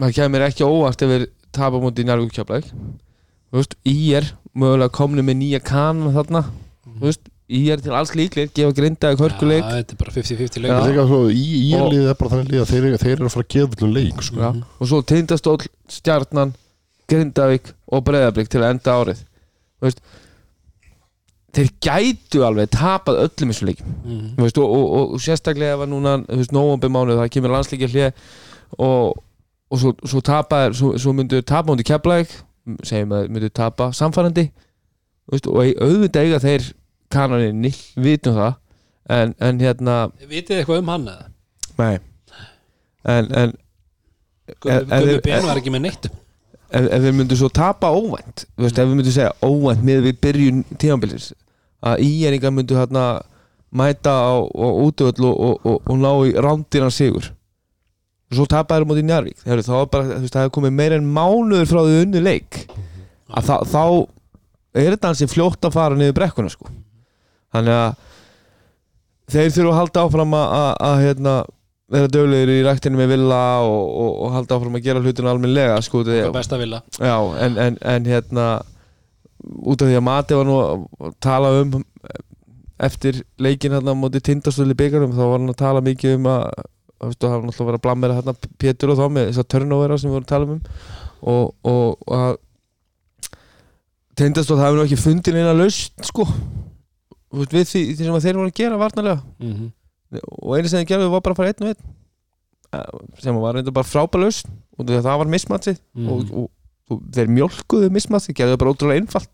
C: það kemur ekki á óvart ef við tapa á móti Njarvík kjöflæk þú veist, í er mögulega komnu með nýja kan þarna, þú veist, í er til alls líklegir gefa grindaði
A: Já,
C: körkuleik
A: þetta er bara 50-50
B: Ég
A: leik
B: tekur að sko, í, í er liðið er bara þannig liðið að þeir, eru- þeir eru að fara að gefa öllum leik, sko.
C: já, og svo tindastóll, stjarnan grindavík og breyðablík til að enda árið þú veist þeir gætu alveg tapað öllum þessum leikum
A: Mhm.
C: Þú veist, og, og, og, og sérstaklega ef að núna þú veist, nóvambir mánuð, það kemur landslíkja hlje og, og svo, svo tapa þeir- svo, svo myndu þeir tapa múndi keflæk segjum að þeir myndu tapa samfærandi veist, og ei- auðvitað eiga þeir kananinni, við vitum það en, en hérna
A: vitið þið eitthvað um hann eða?
C: nei. en, en
A: Gummi-
C: Ef- ef-
A: Gummi
C: ef-
A: Ben var ekki með neitt
C: ef, ef við myndum svo tapa óvænt þú veist, ef við myndum segja óvænt með við byrjun tíðanbilsins að íjæringar myndu hérna mæta á, á útöðl og, og, og, og ná í rándýran sigur og svo tapa þeir á móti Njarvík Heru, þá er bara, þú veist, það hefur komið meira en mánuður frá því unnu leik að þá, þá er þetta hansi fljótt að fara niður brekkuna sko þannig að þeir þurfa að halda áfram að, að, að hérna, vera döglegir í ræktinu með villa og, og, og halda áfram að gera hlutina almennilega sko, því-
A: Okkar besta villa
C: Já, en, en, en hérna út af því að Mati var nú að tala um eftir leikin hérna á móti tindastöðli byggarum þá var hann að tala mikið um að þú veist, og það var náttúrulega að vera að blammera hérna Pétur og þá með þess að turnovera sem við vorum að tala um og, og, og að tindastöð það hefur nú ekki fundin eina laust sko Þú veist, við því, því sem að þeir voru að gera varnarlega
A: Mhm.
C: og einu sem þeir gerðu var bara að fara einn og einn Eh, sem var reynda bara frábælaust og það var mismatsið og,
A: Mhm.
C: og, og þeir mjölkuðu mismatsi gerðu það bara ótrúlega einfalt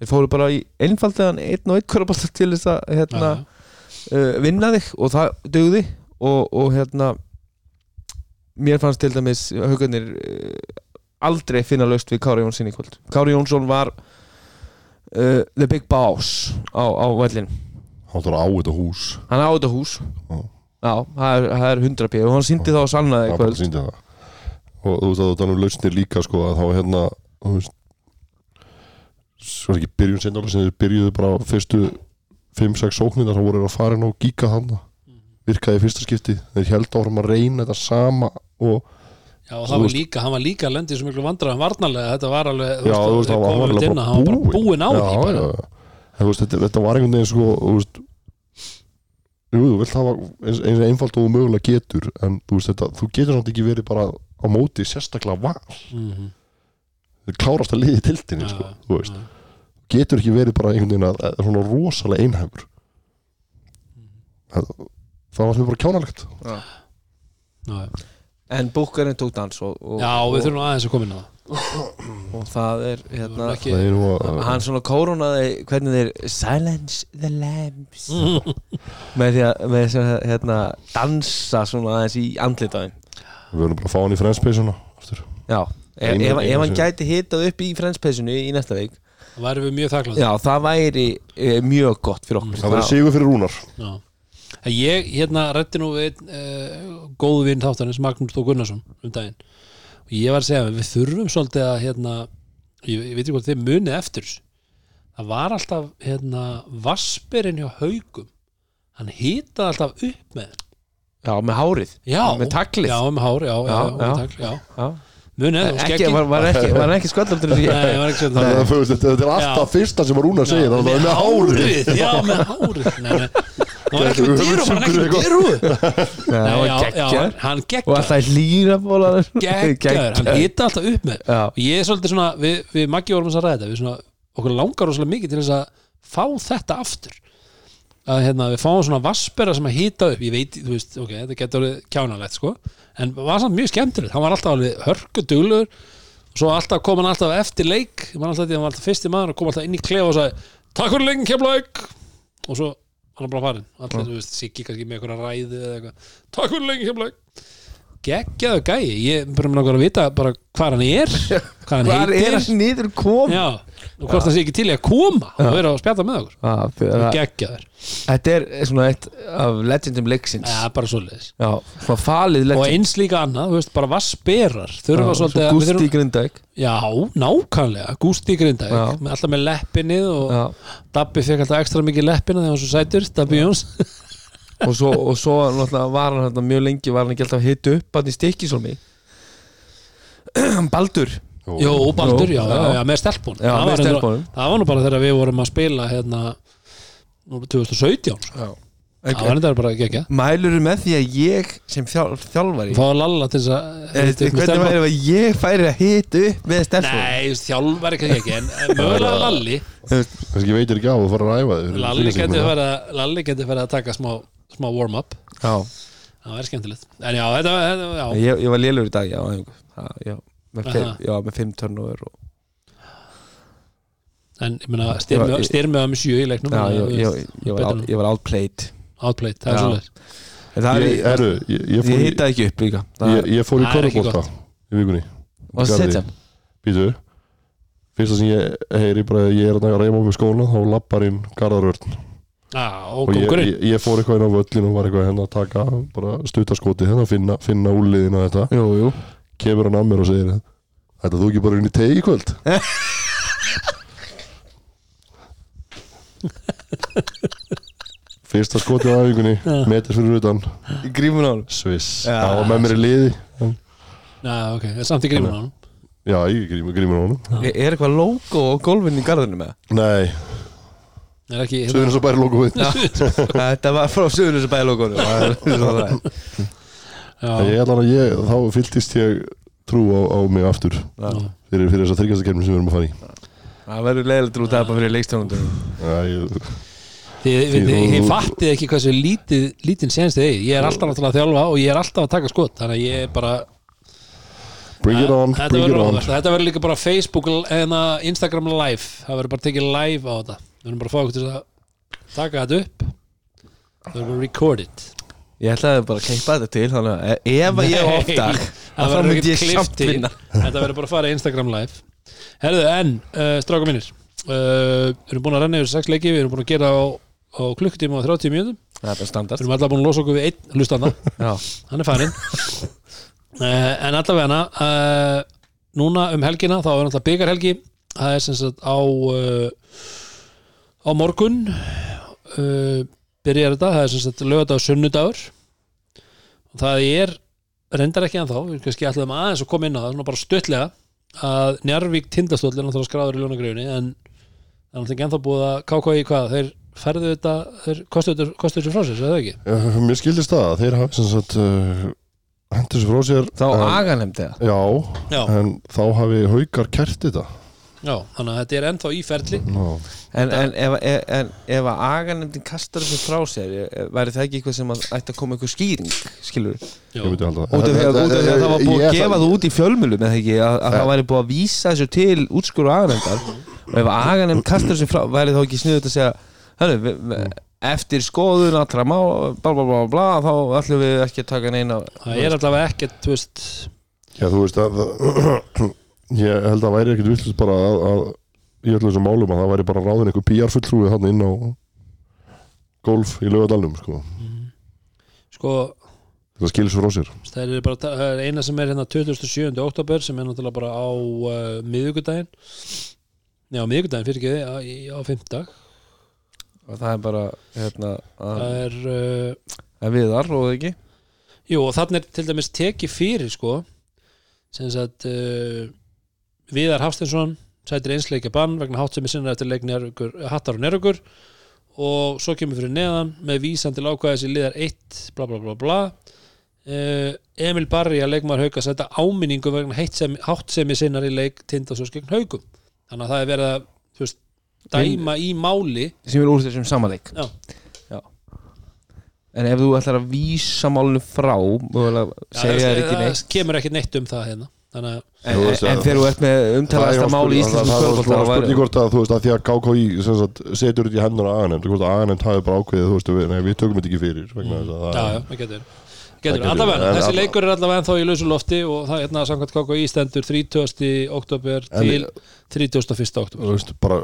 C: þeir fóru bara í einfaldiðan einn og einn körubalt til þess að hérna,
A: Já, já.
C: uh, vinna þig og það dugði og, og hérna mér fannst til dæmis haugarnir uh, aldrei finna laust við Kári Jónsson í kvöld Kári Jónsson var uh, the big boss á, á vellin
B: Hann þarf að á þetta hús.
C: hann á þetta hús
B: Já.
C: Já, það er, það er 100 pí og hann síndi það og sannaði
B: Það
C: í
B: bara
C: kvöld
B: síndi það. Og þú veist að þú þannig lausnir líka, sko, að þá hérna, þú veist, svo er ekki byrjun sinna alveg sem þeir byrjuðu bara á fyrstu 5-6 sóknina, þá voru þeir að fara inn og gíka þannig. Virkaði í fyrsta skipti. Þeir held áfram að reyna þetta sama og
A: Já, og það var líka, hann var líka að lenda í svo miklu vandræðan varnarlega, þetta var alveg þú
B: Já,
A: veist,
B: þú veist, hann
A: kom
B: var
A: alveg
B: alveg
A: inn að hann var bara búinn á
B: já,
A: því bara.
B: já, já. En, þú veist, þetta, þetta var einhvern veginn sko, þú veist Jú, þú vilt hafa eins, eins einfalt og þú mögulega getur en þú veist þetta, þú getur samt ekki verið bara á móti sérstaklega val
A: Mhm.
B: þau klárast að liði tildinni,
A: Já,
B: sko,
A: já,
B: þú veist getur ekki verið bara einhvern veginn að, að svona rosalega einhæfur það, það var sem bara kjánalegt
A: Já, já.
C: en búkarinn tók dans og, og,
A: Já,
C: og,
A: við þurfum aðeins að koma inn á það
C: og og það er hérna,
A: Við vorum ekki-
B: það er nú að
C: hann svona kórunaði hvernig þeir silence the lambs með því að með því að hérna, dansa svona aðeins í andlit á þeim
B: við verðum bara að fá hann í frenspeysuna aftur
C: já, ef,
B: Einu- einu
C: ef, ef hann
B: sinni.
C: gæti hitað upp í frenspesinu í næsta veik
A: Það væri við mjög þakklátt
C: já, það væri e, mjög gott fyrir okkur
B: það verður sigur fyrir Rúnar
A: Já. En Ég hérna rætti nú við uh, góðu vinn þáttanins Magnús Þó Gunnarsson um daginn og ég var að segja að við þurfum svolítið að hérna, ég, ég veit ekki hvort þið munið eftir þessu. það var alltaf hérna vasperinn hjá haugum hann hitaði alltaf upp með þeim.
C: já, með hárið,
A: já,
C: með taglið
A: já, með hár, já, já,
C: Já,
A: já,
C: já.
A: með tagl, já.
C: Já.
A: munið, það var
C: ekki,
A: skeggið.
C: var, var ekki, var hann ekki sköldaldur
A: Nei, það var ekki
B: þannig
A: svona
B: að þú veist, þetta þetta er alltaf fyrsta sem að Rúnar segir þannig að það er með hárið
A: já, með hárið nei, nei. það var ekki
B: Gæti
A: með dyrú, hann var ekki með dyrú já, já,
C: geggjar
A: hann
C: og
A: geggjör
C: alltaf hlýra bólar
A: geggjaður, hann hita alltaf upp með
C: Já.
A: og ég er svolítið svona, við, við Maggi vorum að ræða þetta, við svona, okkur langar rosalega mikið til þess að fá þetta aftur að hérna, við fáum svona vassbera sem að hita upp, ég veit, þú veist, ok þetta getur alveg kjánalegt, sko en var samt mjög skemmtilegt, hann var alltaf alveg hörkuduglur og svo alltaf kom hann alltaf eftir leik, ég man alltaf því að hann var alltaf fyrsti maður og kom alltaf inn í klefa og sagði takk fyrir leikin, kemlaug og svo var hann bara farin, alltaf, þú veist, Siggi kannski með einhverja ræðu eða eitthvað, takk fyrir leikin, kemlaug geggjaðu gæi ég bara mér langar að vita bara hvað hann er hvað hann
C: Hvar
A: heitir
C: er hann niður kom?
A: já, og hvort hann sé ekki til í að koma og vera að spjata með okkur
C: Ah, það,
A: geggjaður,
C: þetta er svona eitt af legendum leiksins
A: ja, bara svoleiðis
C: Já, svona falið
A: og
C: legend
A: eins líka annað, þú veist, bara vassberar þurfa svolítið að við
C: Gústi
A: þurfum,
C: Grindæk
A: já, nákvæmlega Gústi Grindæk,
C: Já.
A: með- alltaf með leppinnið og
C: Já,
A: Dabbi fekk alltaf ekstra mikið leppina þegar hann var svo sætur, Dabbi Jóns
C: og svo, og svo náttúrulega var hann hérna, mjög lengi var hann ekki alltaf að hita upp hann í stikkisólmi Baldur
A: Jó, og Baldur,
C: Jó,
A: já, já,
C: já.
A: já, með stelpunum
C: Já,
A: það,
C: með
A: var reyndar-
C: stelpunum.
A: það var nú bara þegar við vorum að spila hérna, nú 2017 sko.
C: Já.
A: það var þetta bara geggja
C: Mælur með því að ég sem þjál, þjálfari
A: fá Lalla til þess að
C: er,
A: hita upp með
C: Eh, Hvernig
A: stelpa?
C: væri ef að ég færi að hita upp með stelfum?
A: Nei, þú veist, þjálfari kannski ekki en en mögulega Lalli
B: kannski veitir ekki á að fara að ræfa þig fyrir
A: Lalli
B: síðasta
A: getur
B: tíma.
A: verið að Lalli getur verið að taka smá, smá warm-up
C: Já,
A: það væri skemmtilegt en já, þetta, þetta já,
C: ég, ég var lélur í dag Já, já, já, með, fimm,
A: Aha.
C: já, með fimm törnur og
A: en ég meina styrmið
C: ég-
A: styrmi var með sjö í leiknum
C: Já,
A: þannig að,
C: ég,
A: þú
C: ég,
A: veist,
C: ég, var,
A: betra
C: out-
A: en-
C: ég var outplayed
A: outplayed, það er
C: Já.
A: svolítið
C: En það
B: Ég-
C: er,
B: herru, ég- ég
C: ég,
B: fór
C: ég
B: í-
C: hita ekki upp líka Það
B: ég- ég fór í
A: Það er ekki
B: körfubólta í vikunni
C: Og
B: Garði.
C: setja
B: býtu fyrsta sem ég heyri bara að ég er að reyma okkur skóla þá lappar inn garðarörn
A: já, og
B: og ég,
A: kongurinn
B: ég, ég fór eitthvað inn á völlin og var eitthvað henn að taka bara stutaskoti henn að finna, finna úliðin og þetta
C: Jú, jú
B: kemur hann að mér og segir Þetta þú ekki bara inn í tegi í kvöld? Fyrsta skotið á æfingunni metið fyrir utan,
C: Í grímun á hann
B: sviss
C: Já.
B: Það var með mér í liði En-
A: já, ok, það er samt í grímun á hann
B: Já, ég grímur grímur á honum
C: Er eitthvað logo á gólfinu í garðinu með
B: Nei,
A: er ekki
B: söðurinn svo bæri logo við
C: Þetta var frá sögurnu sem bæði logonu Já,
A: já,
B: Ég ætla að ég, þá fylltist ég trú á, á mig aftur fyrir, fyrir þessa þryggjastakefni sem við erum að fara í
C: Það verður leiðilegt út af bara fyrir leikstjónundur
B: Já, ég,
A: þið, þið, þið,
B: Því-
A: þið fattið ekki hversu lítið, lítinn senst þið eigi ég er alltaf náttúrulega að þjálfa og ég er alltaf að taka skot þannig að ég er bara
B: Bring it on,
A: Þetta
B: bring
A: verður
B: it on
A: óvært. Þetta verður líka bara Facebook en Instagram live það verður bara tekið live á þetta við verðum bara að fá okkur til að taka þetta upp það verður bara record it
C: Ég ætlaði bara að keipa þetta til Þannig að e- ef að ég á
A: Nei,
C: oftar
A: það
C: Þá
A: verður
C: myndi
A: ekki
C: ég samt
A: klifti
C: vinna
A: þetta verður bara að fara í Instagram live herðu en uh, stráka mínir uh, við erum búin að renna yfir sex leiki við erum búin að gera á, á klukkutíma og 30 mínútum við
C: Það er bara standart
A: erum alltaf búin að losa okkur við einn hlustanda
C: Já,
A: hann er farinn uh, en allavega uh, núna um helgina þá er alltaf byggarhelgi það er sem sagt á uh, á morgun uh, byrjar þetta það er sem sagt lögadagur sunnudagur og það er reyndar ekki ennþá, við kannski ætlaðum aðeins að koma inn á það, svona bara stuttlega að Njarvík tindastóll er náttúrulega skráður í ljónagröfunni en það er náttúrulega ekki ennþá búið að káka í hvað, þeir ferðu þetta þeir kostu þetta- kostu þessu frá sér, segðu það ekki?
B: Eh, Mér skildist það að þeir hafi sem sagt uh, hendur þessu frá sér
C: þá
B: en,
C: aga nefndi það
B: Já,
A: Já,
B: en þá hafi haukar kert þetta
A: Já, þannig að þetta er ennþá í ferli
B: Já,
C: En, en ef, ef, en ef að aganemdin kastar þessu frá sér eh, væri það ekki eitthvað sem að ætti að koma eitthvað skýring skilur við
A: Jó.
B: ég myndi halda
C: út af því að út af því að það var búið
B: Ég
C: að gefa
B: ætla-
C: það út í fjölmjölum eða ekki að, að það væri búið að vísa þessu til útskúru aganemdar og ef aganemd kastar þessu frá væri þá ekki sniðut að segja hörru, við- við- eftir skoðun allra má bla bla bla bla þá ætlum við ekki að taka neina
A: Það er allavega ekkert, þú veist
B: Já, þú veist að ég held að það væri ekkit villust bara að, að í öllum þessum málum að það væri bara ráðin einhver PR fulltrúi hann inn á golf í laugadalnum sko.
A: Sko,
B: það skilur svo frá sér
A: það er bara það er eina sem er hérna 27. oktober sem er náttúrulega bara á uh, miðvikudaginn Já, miðvikudaginn fyrir ekki á, á fimmtag
C: og það er bara hérna, að,
A: Það er uh,
C: að viðar og ekki
A: Jú, og þannig er til dæmis tekið fyrir sko, sem sagt uh, Viðar Hafsteinsson sætir einsleikja bann vegna háttsemi sinna eftir leik Njarðvíkur- hattar og nerugur og svo kemur fyrir neðan með vísan til ákvæðis í liðar 1 bla bla bla bla uh, Emil Barri að leikmaður hauka sæta áminningu vegna heittsemi- háttsemi sinnar í leik tindasós gegn haugum þannig að það er verið að þú veist, dæma í máli
C: sem er úr þessum samanleik
A: Já.
C: Já. en ef þú ætlar að vísa málinu frá mögulega segja þér ekki neitt
A: kemur ekki neitt um það hérna þannig að
C: en,
B: Þú
C: en,
B: veist að-
C: þegar þú ert með umtalaðasta
B: Það er
C: máli
B: spurning-
C: í íslenskum
B: það- það-
C: kvöldbólta
B: Það var spurning hvort að þú veist að því að KKÍ sem sagt, setur þetta í hendur að aðanemnd hvort að aðanemnd hafi bara ákveðið þú veist við, nei, við tökum þetta ekki fyrir vegna þess að
A: Já,
B: það
A: já, það getur Getur,
B: getur-
A: allavega,
B: en
A: þessi
B: alla-
A: leikur er allavega ennþá í lausu lofti og það er hérna samkvæmt KKÍ stendur 30. oktober
B: En-
A: til 31. oktober
B: þú veist bara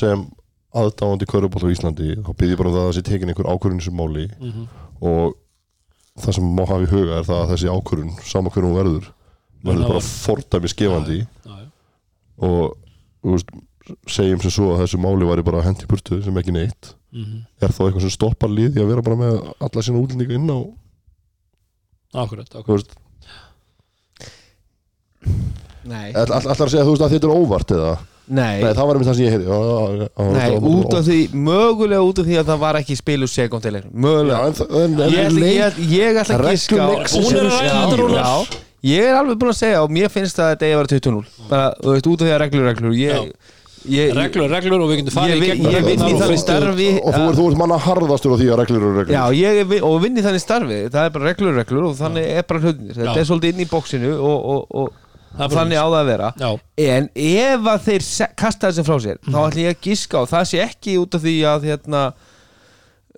B: sem aðdáandi körubólt á Íslandi þá byrði bara um það að það sé tekin einhver ákvörun sem máli
A: Mhm.
B: og það sem má hafa í huga er það að þessi ákvörun sama hvernig hún verður
A: það
B: verður bara
A: var-
B: fordæmi skefandi
A: Já, já.
B: og þú veist, segjum sem svo að þessu máli væri bara hendi burtu sem ekki neitt
A: Mhm.
B: er þá eitthvað sem stoppar liði að vera bara með alla sína útlendinga inn á
A: Akkurat,
B: þú
A: akkurat
B: veist,
C: nei,
B: all, all, allar að segja þú veist að þetta er óvart eða
C: nei,
B: Nei, það var einmitt það sem ég heyrði Já, já, já, já,
C: nei
B: það var bara
C: út af því mögulega út af því að það var ekki spilu sekundilegur
B: Já,
C: mögulega
B: en það- en- en-
C: ég ætla, ég,
B: leik-
C: ætla- ég ætla að
B: Reglum
C: giska á-
B: leiksins
A: Búnir að ræða þetta, Rúnar?
C: Já, ég er alveg búin að segja og mér finnst að þetta eigi að vera 20-0 bara, þú veist, út af því að reglur, reglur ég, ég,
A: Reglur, reglur og við getum
C: Ég
A: farið í
C: veit-
A: gegn
C: ég vinn í
A: reglurnar og
C: þannig
A: fyrstu-
C: starfi
B: Og þú ert, þú ert manna harðastur á því að reglur eru reglur
C: Já, ég er, vi- og vinn í þannig starfi það er bara reglur, reglur og þannig er bara hlutinir þetta
A: Já.
C: er svolítið inn í bóksinu og, og, og,
A: Það er bara
C: þannig á það að vera
A: Já.
C: en ef að þeir se- kasta þessum frá sér þá ætlum ég að giska á, það sé ekki út af því að hérna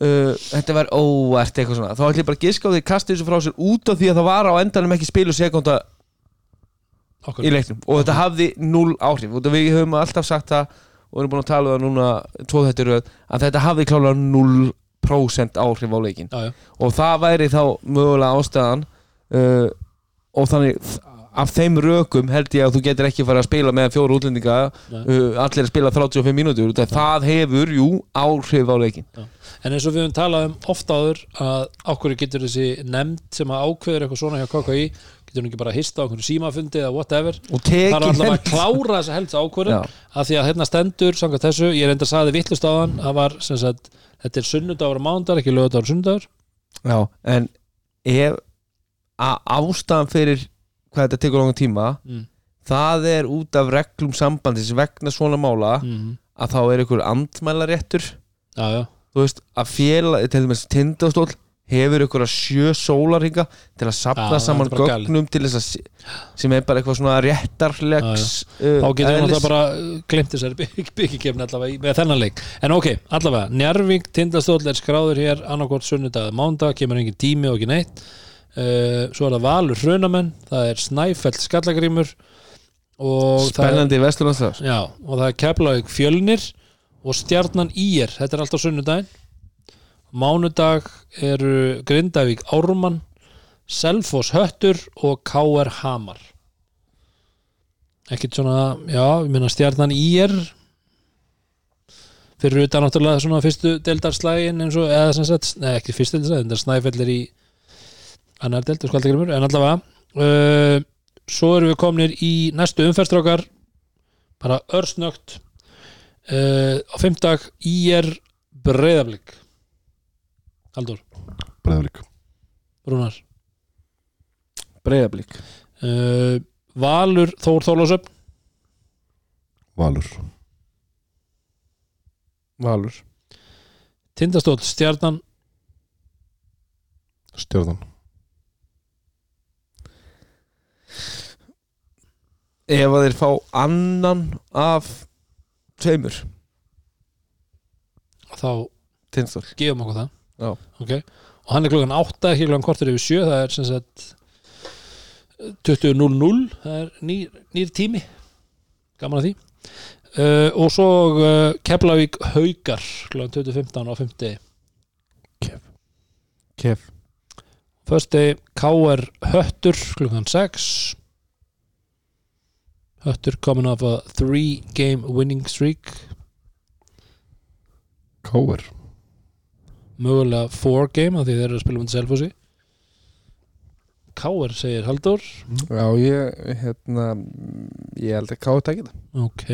C: Uh, þetta var óvart eitthvað svona þá ætlum ég bara að giska á því að kasta þessu frá sér út af því að það var á endanum ekki spilu sekunda í
A: Akkurat.
C: leiknum og þetta hafði null áhrif og við höfum alltaf sagt það og erum búin að tala um það núna tvo þetta röð að þetta hafði klálega 0% áhrif á leikin
A: Já, já.
C: og það væri þá mögulega ástæðan uh, og þannig af þeim rökum held ég að þú getur ekki fara að spila með fjóru útlendinga
A: Nei.
C: uh, allir að spila 35 mínútur það, það hefur, jú, áhrif á leikin
A: En eins og við höfum talað um oft áður að okkur getur þessi nefnd sem að ákveður eitthvað svona hjá KKÍ getur hún ekki bara að hista á einhvern símafundi eða whatever
C: og tekin
A: Það er alltaf að
C: held-
A: klára þessa helst ákvörðum
C: Já.
A: af því að hérna stendur, samkvæmt þessu ég er enda að saði vittlust á hann það var sem sagt, þetta er sunnudagur og mándagur ekki lögudagur og sunnudagur
C: Já, en ef að ástæðan fyrir hvað þetta tekur langan tíma
A: Mm.
C: það er út af reglum sambandis vegna svona mála
A: mm.
C: að þá er ykkur andmælaréttur
A: já, já,
C: þú veist, að féla, til dæmis tindastóll hefur ykkur að sjö sólarhinga til að
A: Já,
C: sapna
A: það
C: saman
A: er bara galið.
C: gögnum til þess að se- sem er bara eitthvað svona réttarlegs uh,
A: þá getur hann alltaf bara glimt þessari byggikefni allavega í- með þennan leik en ok, allavega, Njarvík tindastóll er skráður hér annarkvort sunnudag eða mándag, kemur engin tími og ekki neitt uh, svo er það Valur Hrunamenn það er Snæfell Skallagrímur og það er,
C: spennandi vesturlandslegar
A: já, og það er Keflavík Fjölnir og Stjarnan Íer þetta er alltaf sunnudaginn mánudag eru Grindavík Ármann Selfoss Höttur og K.R. Hamar ekkert svona já, ég meina stjarnan í er fyrir utan náttúrulega svona fyrstu deildarslægin eins og, eða sem sagt, neða ekki fyrstu deildarslægin þetta er snæfellir í annar deildar skvaldagrimur, en allavega uh, svo erum við komnir í næstu umferðstrákar bara örsnögt uh, á fimmtag í er breyðablík Haldur,
B: Breiðablík
A: Rúnar
C: breyðablík
A: Eh, uh, Valur Þór Þólasöfn
B: Valur
C: Valur
A: Tindastóll, Stjarnan,
B: Stjarnan
C: Ef að þeir fá annan af tveimur
A: þá
C: Tindstól
A: gefum okkur það
C: Já.
A: Ok. og hann er klukkan 8, ekki klukkan kortur yfir 7 það er sem sagt eh, 20.00 það er nýr, nýr tími gaman að því uh, og svo uh, Keflavík Haugar klukkan 20.15 á 5
C: Kef
A: Fösti K.R. Höttur klukkan 6 Höttur komin af a 3 game winning streak
B: Káver
A: mögulega 4 game af því þeir eru að spila um selfossi K.R. segir Haldur
C: Já, ég, hérna Ég held að káðu takið það
A: Ok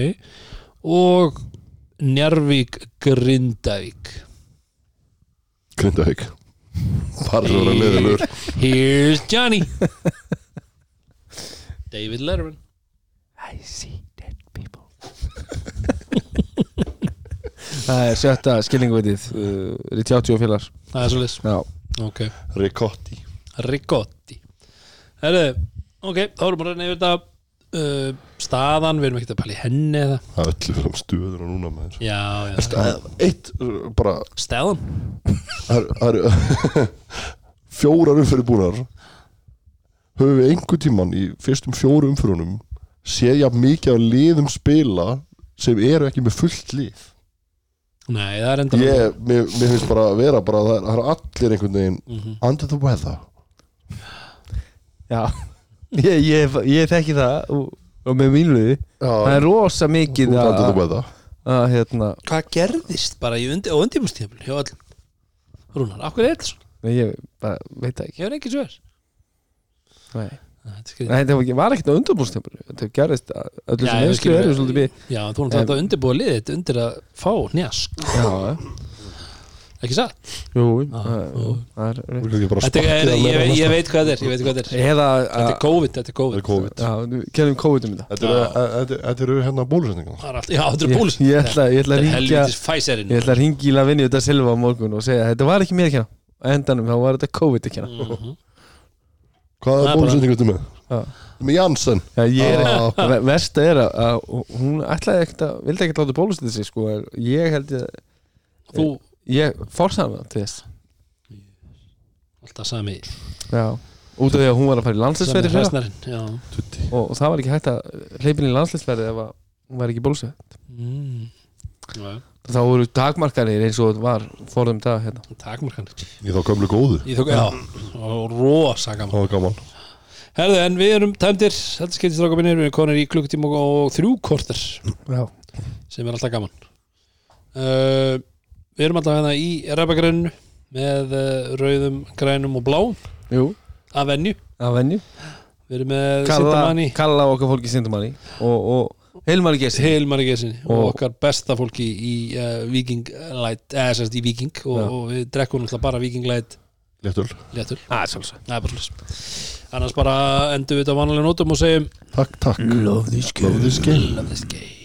A: Og Njarvík Grindavík
B: Grindavík Parður að leiðilegur
A: Here's Johnny David Letterman
C: I see dead people Það er sjötta skilningveitið uh, er í 80 og félags
A: Það er svolítið
C: Já
A: Ok
B: Ricotti
A: Ricotti Herðu Ok, þá erum við að reyna yfir þetta uh, Staðan, við erum ekkert að pæla í henni eða
B: Það er öllu fram stöðuna núna maður
A: Já, já
B: Stað- Eitt uh, bara
A: Staðan
B: það eru- það eru fjórar umfyrir búnar höfum við einhver tíman í fyrstum fjóru umfyrunum séð jafn mikið af liðum spila sem eru ekki með fullt lið
A: Nei, það er enda
B: ég, mér, mér finnst bara að vera bara að það er- það eru allir einhvern veginn
A: Mhm.
B: under the weather
C: Já Ég, ég, ég þekki það og, og með mínluði Það er rosa mikið
B: Út under the
C: að,
B: weather
C: að hérna
A: Hvað gerðist bara í undi, á undimustíðum hjá öll Rúnar, af hverju er þetta svona?
C: Nei, Ég bara veit það ekki
A: Ég er ekki svo þess
C: Nei
A: Nei,
C: Nei, það var, ekki, var ekkert að undanbúrstempur Þetta gerðist að öllu
A: Já,
C: sem
A: ég
C: hefur
A: skil
C: skilur
A: við-
C: eru svolítið við
A: Já, þú erum þetta að undirbúa liðið þitt undir að fá njask,
C: Já,
A: ekki satt?
C: jú,
A: Já,
C: það-
A: Ah, jú.
C: það er rétt.
B: Þetta er bara
A: Þetta
B: sparkið
A: er,
B: að
A: ég,
B: meira
A: ég,
B: næsta.
A: ég veit hvað þetta er, ég veit hvað þetta er.
C: Eða
A: Þetta er COVID, þetta er
B: Þetta er
A: COVID.
B: COVID
C: Já, kennum COVID um þetta
B: Þetta eru- þetta- þetta eru hérna bólusetningar
A: Það er allt, já, þetta er
C: Ég-
A: búls.
C: Ég ætla, ég
A: Þetta
C: ætla að
A: er
C: ringja
A: helvitis Pfizerinn.
C: Ég ætla að ringja í Lavinni þetta selva á morgun og segja Þetta var ekki mér ekki á endanum, þá var þetta COVID ekki
A: Mm.
C: hérna
A: Það
B: Hvað er
A: er bara-
B: bólusetningar þetta með?
C: Já.
B: Með Janssen
C: Já, ég er
B: Já.
C: ekki Vesta er að, að hún ætlaði ekkert að vildi ekkert láta bólustíða sig sko en Ég held ég
A: Þú,
C: Ég fórsaði með það til þess
A: alltaf sami,
C: Já Út af því að hún var að fara í
A: sami
C: landslæsverði fyrir
A: hræsnarinn. Já.
B: Tutti
C: og, og það var ekki hægt að hleypin í landslæsverði ef að hún var ekki bólustíð
A: Mm. Já, já.
C: Þá voru takmarkanir eins og var forðum dag hérna
A: Takmarkan.
B: Í þá gömlu góðu
A: Ég þók, já, og rosa gaman.
B: Það var gaman
A: Herðu, en við erum tæmdir, þetta skiptir stráka minnir, við erum konir í klukkutíma og þrjú korter,
C: Já
A: sem er alltaf gaman. Uh, við erum alltaf hérna í ræpagræninu með uh, rauðum, grænum og bláum
C: Jú,
A: að venju.
C: að venju
A: Við erum með
C: Kalla,
A: Sintamanni,
C: kalla okkar fólki Sindamanni og, og Heilmanni Gessi
A: Hilmar Gessinni og
C: Og-
A: okkar besta fólki í uh, Viking Light, eða sérst í Viking og,
C: Já.
A: og við drekkum náttúrulega bara Viking Light
B: Léttul
A: léttul,
C: Það er svolítið
A: það er bara slis annars bara endum við þetta á vanalega nótum og segjum
B: Takk, takk Love this game
A: Love this game